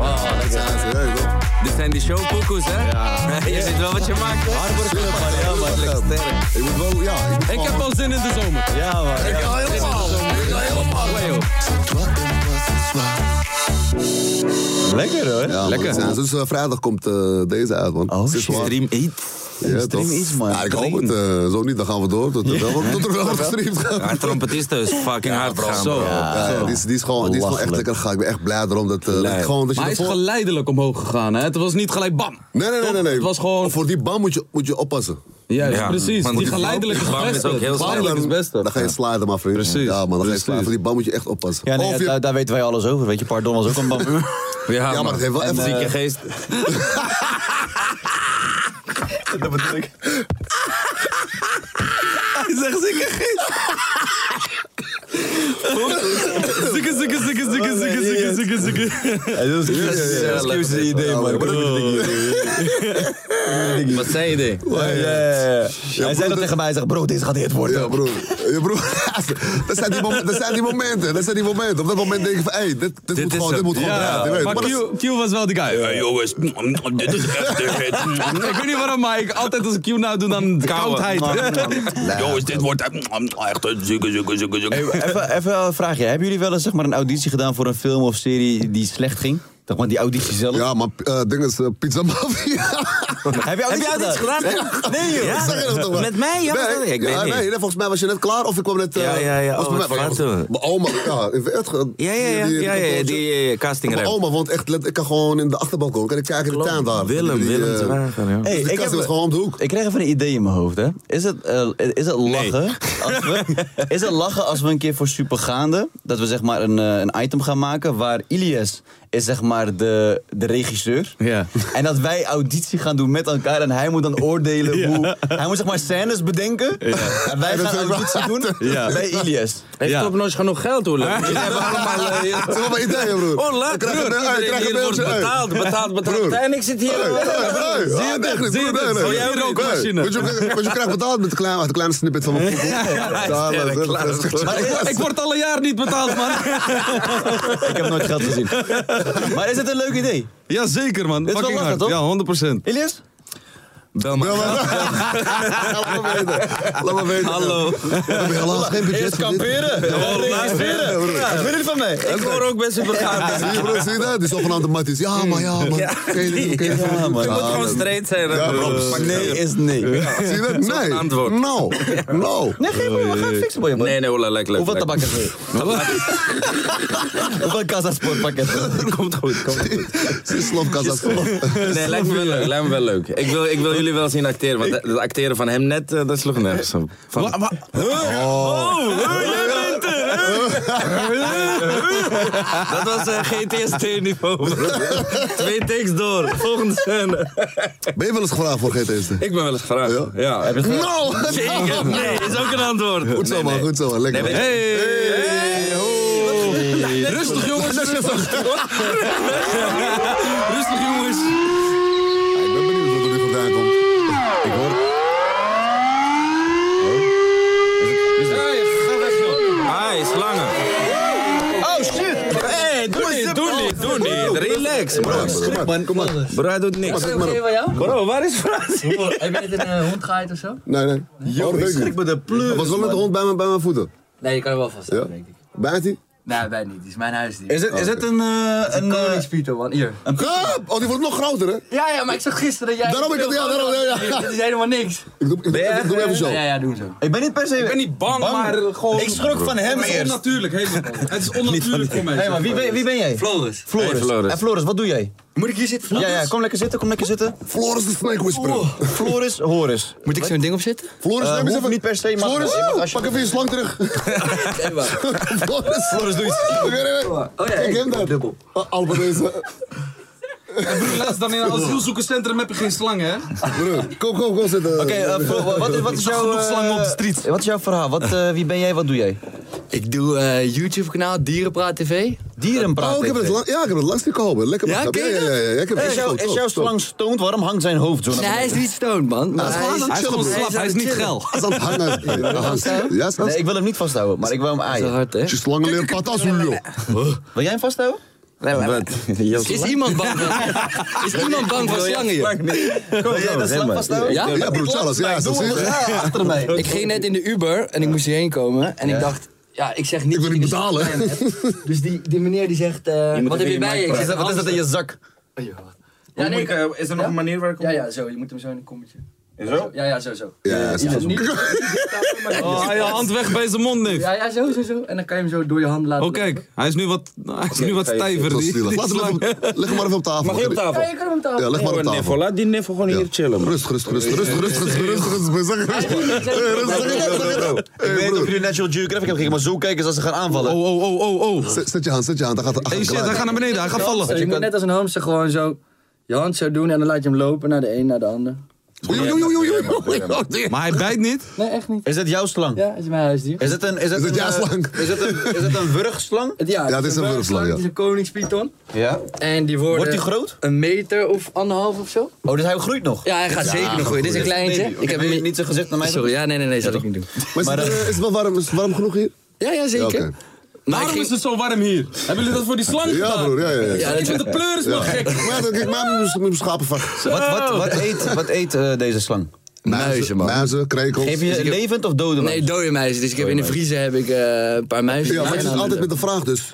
Speaker 6: Dit zijn die showpokoes, hè? je ziet wel wat je maakt. Harbor Club, man. Ja, man. Lekker sterk.
Speaker 4: Ik moet wel, ja. ik moet
Speaker 5: Ik
Speaker 4: gewoon-
Speaker 5: heb al zin in de zomer.
Speaker 3: Ja, man.
Speaker 4: Ik ga helemaal. Ik ga helemaal.
Speaker 7: Toi et moi ce soir
Speaker 3: Lekker hoor.
Speaker 4: Ja, man,
Speaker 5: Lekker.
Speaker 4: dat zijn ze. Dus eh, vrijdag komt eh, deze uit, man.
Speaker 3: Oh,
Speaker 4: Het is
Speaker 3: shit.
Speaker 4: waar.
Speaker 6: Dream Eat.
Speaker 4: Ja,
Speaker 3: Stream
Speaker 4: toch?
Speaker 3: iets, man.
Speaker 4: Ja, ik hoop het. eh, zo niet, dan gaan we door. Tot, er wel wordt- tot er wel wordt gestreamd.
Speaker 6: Haar trompetist is fucking hard, bro.
Speaker 5: Zo.
Speaker 4: Ja, ja, die, is, die, is gewoon, die is gewoon echt
Speaker 3: Belachelijk.
Speaker 4: lekker gaaf. Ik ben echt blij erom dat, eh, dat,
Speaker 6: Leuk.
Speaker 4: gewoon, dat je
Speaker 5: Maar hij is
Speaker 4: ervoor-
Speaker 5: geleidelijk omhoog gegaan, hè? Het was niet gelijk bam.
Speaker 4: Nee, nee, nee, nee. nee.
Speaker 5: Het was gewoon...
Speaker 4: Voor die bam moet je, moet je oppassen.
Speaker 5: Juist,
Speaker 6: Ja,
Speaker 5: precies.
Speaker 6: want
Speaker 5: Die
Speaker 6: die
Speaker 5: geleidelijk is
Speaker 6: bam
Speaker 5: het
Speaker 6: is
Speaker 5: beste.
Speaker 6: ook heel snel.
Speaker 5: Geleidelijk is het beste.
Speaker 4: Dan ga je sliden, maar vriend.
Speaker 5: Precies.
Speaker 4: Ja, man, dan ga je
Speaker 5: Precies.
Speaker 4: sliden. Voor die bam moet je echt oppassen.
Speaker 3: Ja, nee,
Speaker 4: Of
Speaker 3: ja,
Speaker 4: je-
Speaker 3: daar, daar weten wij alles over. Weet je, Pardon was ook een bam.
Speaker 4: Ja, maar
Speaker 6: man.
Speaker 4: het heeft wel
Speaker 6: En eh,
Speaker 4: even-
Speaker 6: zieke geest.
Speaker 3: dat bedoel ik.
Speaker 5: Hij zegt zieke geest. Zikke, zikke, zikke, zikke, zikke, zikke, zikke, zikke.
Speaker 3: Dat is
Speaker 6: ja,
Speaker 3: een
Speaker 6: lekker.
Speaker 3: idee, man.
Speaker 4: maar dat moet je
Speaker 6: Wat zijn idee?
Speaker 3: Ja, ja, ja. Hij zei
Speaker 4: broer,
Speaker 3: dat tegen mij. Hij zegt, bro, deze gaat hit worden.
Speaker 4: Ja, broer. Ja, broer. dat, zijn die mom- dat zijn die momenten. Dat zijn die momenten. Op dat moment denk je van, hé, dit, dit,
Speaker 6: Dit
Speaker 4: moet
Speaker 6: is
Speaker 4: gewoon,
Speaker 6: hem.
Speaker 4: dit moet gewoon draaien.
Speaker 5: Ja,
Speaker 4: je weet.
Speaker 5: maar
Speaker 4: Maar dat-
Speaker 5: Q, Q was wel die guy. Ja, jongens, dit is echt de hit. Ik weet niet waarom, maar ik altijd als ik Q nou doe, dan koudheid.
Speaker 8: Jongens, dit wordt echt een zieke, zieke, zieke, zieke.
Speaker 3: Hey, even, even een vraagje. Hebben jullie wel eens zeg maar, een auditie gedaan voor een film of serie die slecht ging? Zeg maar die auditie zelf.
Speaker 4: Ja, maar eh ding is eh, Pizza Mafia.
Speaker 3: Heb je auditie, gedaan? Nee, joh.
Speaker 6: Ja.
Speaker 4: Ik zeg je dat toch wel?
Speaker 6: Met mij? Ja, dat- ik weet
Speaker 4: ja,
Speaker 6: niet.
Speaker 4: nee, nee, volgens mij was je net klaar of ik kwam net... eh,
Speaker 6: Ja, ja, ja,
Speaker 4: Was
Speaker 6: oh,
Speaker 4: bij
Speaker 6: wat
Speaker 4: mij,
Speaker 6: gaaf,
Speaker 4: van, ja,
Speaker 6: hoor.
Speaker 4: Mijn oma... Ja, in het-
Speaker 6: Ja, ja, ja.
Speaker 4: die- die-
Speaker 6: Ja, ja, die eh,
Speaker 4: Mijn
Speaker 6: castingrap.
Speaker 4: oma woont echt... let- Ik kan gewoon in de achterbalkon, kan ik kijken in de tuin daar.
Speaker 6: Willem,
Speaker 4: Die, eh,
Speaker 6: Willem te wagen, ja.
Speaker 3: Hey,
Speaker 4: Dus de
Speaker 3: ik,
Speaker 4: kast
Speaker 3: heb,
Speaker 4: was gewoon om de hoek.
Speaker 3: ik kreeg even een idee in mijn hoofd. Hè. Is, het, eh, is het lachen? Als we, is het lachen als we een keer voor Supergaande... dat we zeg maar een, eh, een item gaan maken waar Ilias is zeg maar de, de regisseur...
Speaker 5: Ja.
Speaker 3: en dat wij auditie gaan doen met elkaar... en hij moet dan oordelen hoe... Hij moet zeg maar scènes bedenken... en wij
Speaker 4: dat
Speaker 3: gaan
Speaker 4: is wel-
Speaker 3: auditie doen
Speaker 5: Ja.
Speaker 3: bij Ilias.
Speaker 6: Ik
Speaker 5: Ja.
Speaker 6: heb nog genoeg geld, hoor. Jullie hebben allemaal... eh, hier-
Speaker 4: Dat is wel mijn idee, broer.
Speaker 6: Oh,
Speaker 4: Ik krijg
Speaker 6: lekker.
Speaker 4: een- eh, ik
Speaker 6: Iedereen
Speaker 4: krijg een
Speaker 6: hier wordt
Speaker 4: mailtje, eh.
Speaker 6: betaald, betaald, betaald.
Speaker 4: Broer.
Speaker 6: En ik zit hier...
Speaker 4: Nee, nee, nee.
Speaker 5: Zie
Speaker 4: Ah,
Speaker 5: je het?
Speaker 4: echt niet,
Speaker 5: Zie je
Speaker 4: broer,
Speaker 5: het?
Speaker 4: nee, nee.
Speaker 5: Wil jij een
Speaker 4: Nee.
Speaker 5: rookmachine?
Speaker 4: Want je- Want je krijgt betaald met een klein- met een kleine snippet van mijn
Speaker 6: Ja, ja, klaar, dat is klaar.
Speaker 3: Maar is-
Speaker 5: Ik word alle jaar niet betaald, man.
Speaker 3: Ik heb nooit geld gezien. maar is het een leuk idee?
Speaker 5: Ja, zeker, man.
Speaker 3: is wel
Speaker 5: Fucking
Speaker 3: lachen, toch?
Speaker 5: hard. Ja, 100
Speaker 3: Ilias?
Speaker 6: Bel maar.
Speaker 4: Laat me weten. Laat me weten.
Speaker 6: Hallo.
Speaker 4: We hebben helaas geen budget voor dit.
Speaker 3: Ja, registreren. Ja, wil jullie van mij?
Speaker 6: Ik hoor ook best super gaaf.
Speaker 4: Zie je, broer, zie je dat? Die zogenaamde matties. Ja, maar ja, man. Ken je dit? Ken je dit?
Speaker 3: Ja, man.
Speaker 6: Je moet gewoon straight zijn. hè, broer.
Speaker 3: Nee is nee.
Speaker 4: Zie je dat? Nee.
Speaker 6: antwoord.
Speaker 4: No. No.
Speaker 3: Nee, geef me, we gaan het fixen voor je, man.
Speaker 6: Nee, nee, hola, lekker, lekker.
Speaker 3: Hoeveel tabak is er? Hoeveel kassasportpakket?
Speaker 6: Komt goed, komt goed.
Speaker 4: Zie je, Slofkas, dat is
Speaker 6: Nee, lijkt me wel leuk. Lijkt me wel leuk. Ik wil, ik wil jullie wel zien acteren, want het acteren van hem net, eh, dat sloeg nergens op. Van,
Speaker 3: Oh.
Speaker 6: Oh, Dat was eh, GTST-niveau. Twee takes door, volgende scène.
Speaker 4: Ben je wel eens gevraagd voor GTS?
Speaker 6: Ik ben wel eens gevraagd. Ja?
Speaker 4: No.
Speaker 7: Oh,
Speaker 6: Zeker, nee, is ook een antwoord.
Speaker 4: Goed zo,
Speaker 6: Nee,
Speaker 4: man.
Speaker 6: nee.
Speaker 4: Goed zo, man. Lekker.
Speaker 6: Nee,
Speaker 4: man.
Speaker 6: weet je-
Speaker 5: Rustig, jongens. Rustig, jongens.
Speaker 4: Ik ben benieuwd wat er nu vandaan komt. Ik hoor...
Speaker 6: Oh, niks, bro.
Speaker 7: Oh. Kom maar, kom maar.
Speaker 6: Bro, hij doet niks.
Speaker 7: Zeg maar op.
Speaker 6: Bro, waar is Frans?
Speaker 9: Heb je net een eh, hond gehaaid of zo?
Speaker 7: Nee, nee. Oh, dat weet ik niet.
Speaker 6: de
Speaker 7: Hij was wel met de hond bij mijn, bij mijn voeten.
Speaker 9: Nee, je kan hem wel vasthouden,
Speaker 7: Ja?
Speaker 9: denk ik.
Speaker 7: Bijt hij?
Speaker 9: Nee, wij niet. Die is mijn huisdier.
Speaker 3: Is het, is het een... eh, een eh,
Speaker 9: Koningspieter, man. Hier.
Speaker 7: Krap! Oh, die wordt nog groter, hè?
Speaker 9: Ja, ja, maar ik zag gisteren dat jij...
Speaker 7: Daarom, ik had- ja, daarom, ja, ja.
Speaker 9: Dit is helemaal niks.
Speaker 7: Ik doe, ik, doe- ik doe even zo.
Speaker 9: Ja, ja, doen zo.
Speaker 3: ik ben niet per se... Ik
Speaker 5: ben niet bang, maar gewoon...
Speaker 3: Ik schrok van hem
Speaker 5: Het is
Speaker 3: eerst.
Speaker 5: onnatuurlijk, helemaal. Het is onnatuurlijk voor mij.
Speaker 3: Hey, maar wie, ben- wie ben jij?
Speaker 9: Floris.
Speaker 3: Floris.
Speaker 6: Hey, Floris.
Speaker 3: En Floris, wat doe jij?
Speaker 9: Moet ik hier zitten?
Speaker 3: Ja, ja, kom lekker zitten, kom lekker zitten.
Speaker 7: Floris de Snake Whisperer.
Speaker 3: Floris, Horus.
Speaker 9: Moet ik zo'n ding opzetten?
Speaker 7: Floris,
Speaker 3: Eh,
Speaker 7: neem nou eens
Speaker 3: hoeft
Speaker 7: even...
Speaker 3: niet per se, maar-
Speaker 7: Floris,
Speaker 3: je mag als je-
Speaker 7: pak even je slang terug. Floris.
Speaker 3: Floris, doe iets.
Speaker 7: Nee, nee, nee.
Speaker 9: Oh ja,
Speaker 7: Kijk
Speaker 9: ik
Speaker 7: hem daar.
Speaker 9: dubbel.
Speaker 7: Ah, Albert deze.
Speaker 5: Laatst dan in een asielzoekerscentrum heb je geen slangen, hè?
Speaker 7: Broer, kom, kom, kom zitten.
Speaker 3: Oké, eh, Flo- wa- wat, is- wat is jouw...
Speaker 5: genoeg
Speaker 3: eh,
Speaker 5: slangen op de street.
Speaker 3: Wat is jouw verhaal? Wat, eh, wie ben jij, wat doe jij?
Speaker 9: Ik doe eh YouTube-kanaal Dierenpraat TV.
Speaker 3: Dierenpraat. Eh,
Speaker 7: Oh, ik heb het lang, ja, ik heb het langs gekomen. Lekker
Speaker 9: Ja,
Speaker 7: man.
Speaker 9: ken
Speaker 7: ja,
Speaker 9: je
Speaker 7: ja,
Speaker 9: dat?
Speaker 7: ja, ja, Ik heb
Speaker 3: Is, jouw- is jouw slang stoned? Waarom hangt zijn hoofd zo naar
Speaker 9: Nee, hij is niet stoned, man. Maar hij, is,
Speaker 5: Hij is gewoon slap, hij is niet geil.
Speaker 7: Hij is aan het hangen. Hij is aan het hangen. Ja,
Speaker 3: beneden?
Speaker 7: schat.
Speaker 3: Nee, ik wil hem niet vasthouden, maar ik wil hem
Speaker 9: Zo
Speaker 3: aaien.
Speaker 9: hard, hè?
Speaker 7: Je slangen leren patas, joh.
Speaker 3: Wil jij hem vasthouden?
Speaker 9: Is iemand bang voor, is iemand bang voor slangen, joh?
Speaker 3: Wil jij dat slang vasthouden?
Speaker 9: Ja?
Speaker 7: Ja, broer Charles. Ja, zo zie je.
Speaker 3: Ja, achter mij.
Speaker 9: Ik ging net in de Uber en ik moest hierheen komen. En ik dacht, ja, ik zeg niet...
Speaker 7: Ik wil
Speaker 9: dat
Speaker 7: niet
Speaker 9: ik een
Speaker 7: betalen.
Speaker 9: slangen heb. Dus die, die meneer die zegt, eh, wat heb je bij je? Ik zeg,
Speaker 3: Wat is dat in je zak?
Speaker 9: Oh, joh. Ja, nee,
Speaker 6: Is er nog een manier waar ik
Speaker 9: ja, ja, zo. Je moet hem zo in een kommetje.
Speaker 6: Zo?
Speaker 9: Ja, ja, zo, zo.
Speaker 7: Ja, zo.
Speaker 9: Niet- niet- niet stapelen, maar-
Speaker 5: Oh, je hand weg bij zijn mond, niks.
Speaker 9: Ja, ja, zo, zo, zo. En dan kan je hem zo door je hand laten.
Speaker 5: Oh, kijk, hij is nu wat, hij is nu wat
Speaker 6: ga je-
Speaker 5: stijver.
Speaker 7: Zo
Speaker 5: Die,
Speaker 7: zielig.
Speaker 5: die
Speaker 7: Laat hem
Speaker 5: slang.
Speaker 7: even- Leg hem maar even op tafel.
Speaker 6: Mag je op tafel?
Speaker 9: Ja, je kan hem
Speaker 7: Ja,
Speaker 9: tafel.
Speaker 7: leg maar op
Speaker 6: Oh,
Speaker 7: tafel.
Speaker 6: Niffel, laat die Niffel gewoon hier chillen, man.
Speaker 7: Rust, rust, rust, rust, rust, rust, rust, rust, rustig, rustig. Hey, rustig.
Speaker 3: Ik weet niet of jullie National Geographic hebben gekeken, maar zo kijken ze als ze gaan aanvallen.
Speaker 5: Oh, oh, oh, oh, oh.
Speaker 7: Zet- Zet je hand, zet je hand. Hij gaat
Speaker 5: Hey, shit, hij gaat naar beneden, hij gaat
Speaker 9: Zo, je
Speaker 5: vallen.
Speaker 9: moet net als een hamster gewoon zo je hand zo doen en dan laat je hem lopen naar de een, naar de ander.
Speaker 7: beneden.
Speaker 5: Maar hij bijt niet.
Speaker 9: Nee, echt niet.
Speaker 3: Is dat jouw slang?
Speaker 9: Ja, is mijn huisdier.
Speaker 3: Is het een... Is het
Speaker 7: Is
Speaker 3: een,
Speaker 7: het jouw
Speaker 3: eh,
Speaker 7: slang?
Speaker 3: Is het een, is het een wurgslang?
Speaker 9: Het- Ja,
Speaker 7: Ja, het is een wurfslang,
Speaker 9: wurfslang,
Speaker 7: ja.
Speaker 9: Het is een koningspython.
Speaker 3: Ja.
Speaker 9: En die worden
Speaker 3: Wordt die groot?
Speaker 9: een meter of anderhalf of zo.
Speaker 3: Oh, dus hij groeit nog?
Speaker 9: Ja, hij gaat zeker nog groeien. Dit is een kleintje.
Speaker 3: Nee,
Speaker 9: Ik heb hem niet...
Speaker 3: niet zo gezegd naar mij.
Speaker 9: Sorry, ja, nee, nee, nee, zal ik niet doen.
Speaker 7: Maar is het, eh, is het wel warm? Is het warm genoeg hier?
Speaker 9: Ja, ja,
Speaker 7: Ja,
Speaker 9: zeker.
Speaker 7: oké.
Speaker 9: Maar ik
Speaker 5: Waarom
Speaker 9: ging-
Speaker 5: is het zo warm hier? Hebben jullie dat voor die slang
Speaker 7: Ja,
Speaker 5: gedaan?
Speaker 7: broer, ja, ja, ja.
Speaker 9: Ja, dat
Speaker 5: Ik vind de pleur is wel
Speaker 7: Ja.
Speaker 5: gek.
Speaker 7: Maar dan kijk, maar eh, met mijn schapen vast.
Speaker 3: Wat, wat, wat eet, wat eet eh, deze slang?
Speaker 7: Muizen, muizen, krekels.
Speaker 3: Geef je levend of dode
Speaker 9: Nee,
Speaker 3: muis?
Speaker 9: dode muizen. Dus ik heb in de vriezer heb ik, eh, een paar muizen.
Speaker 7: Ja, maar het is altijd met de vraag dus.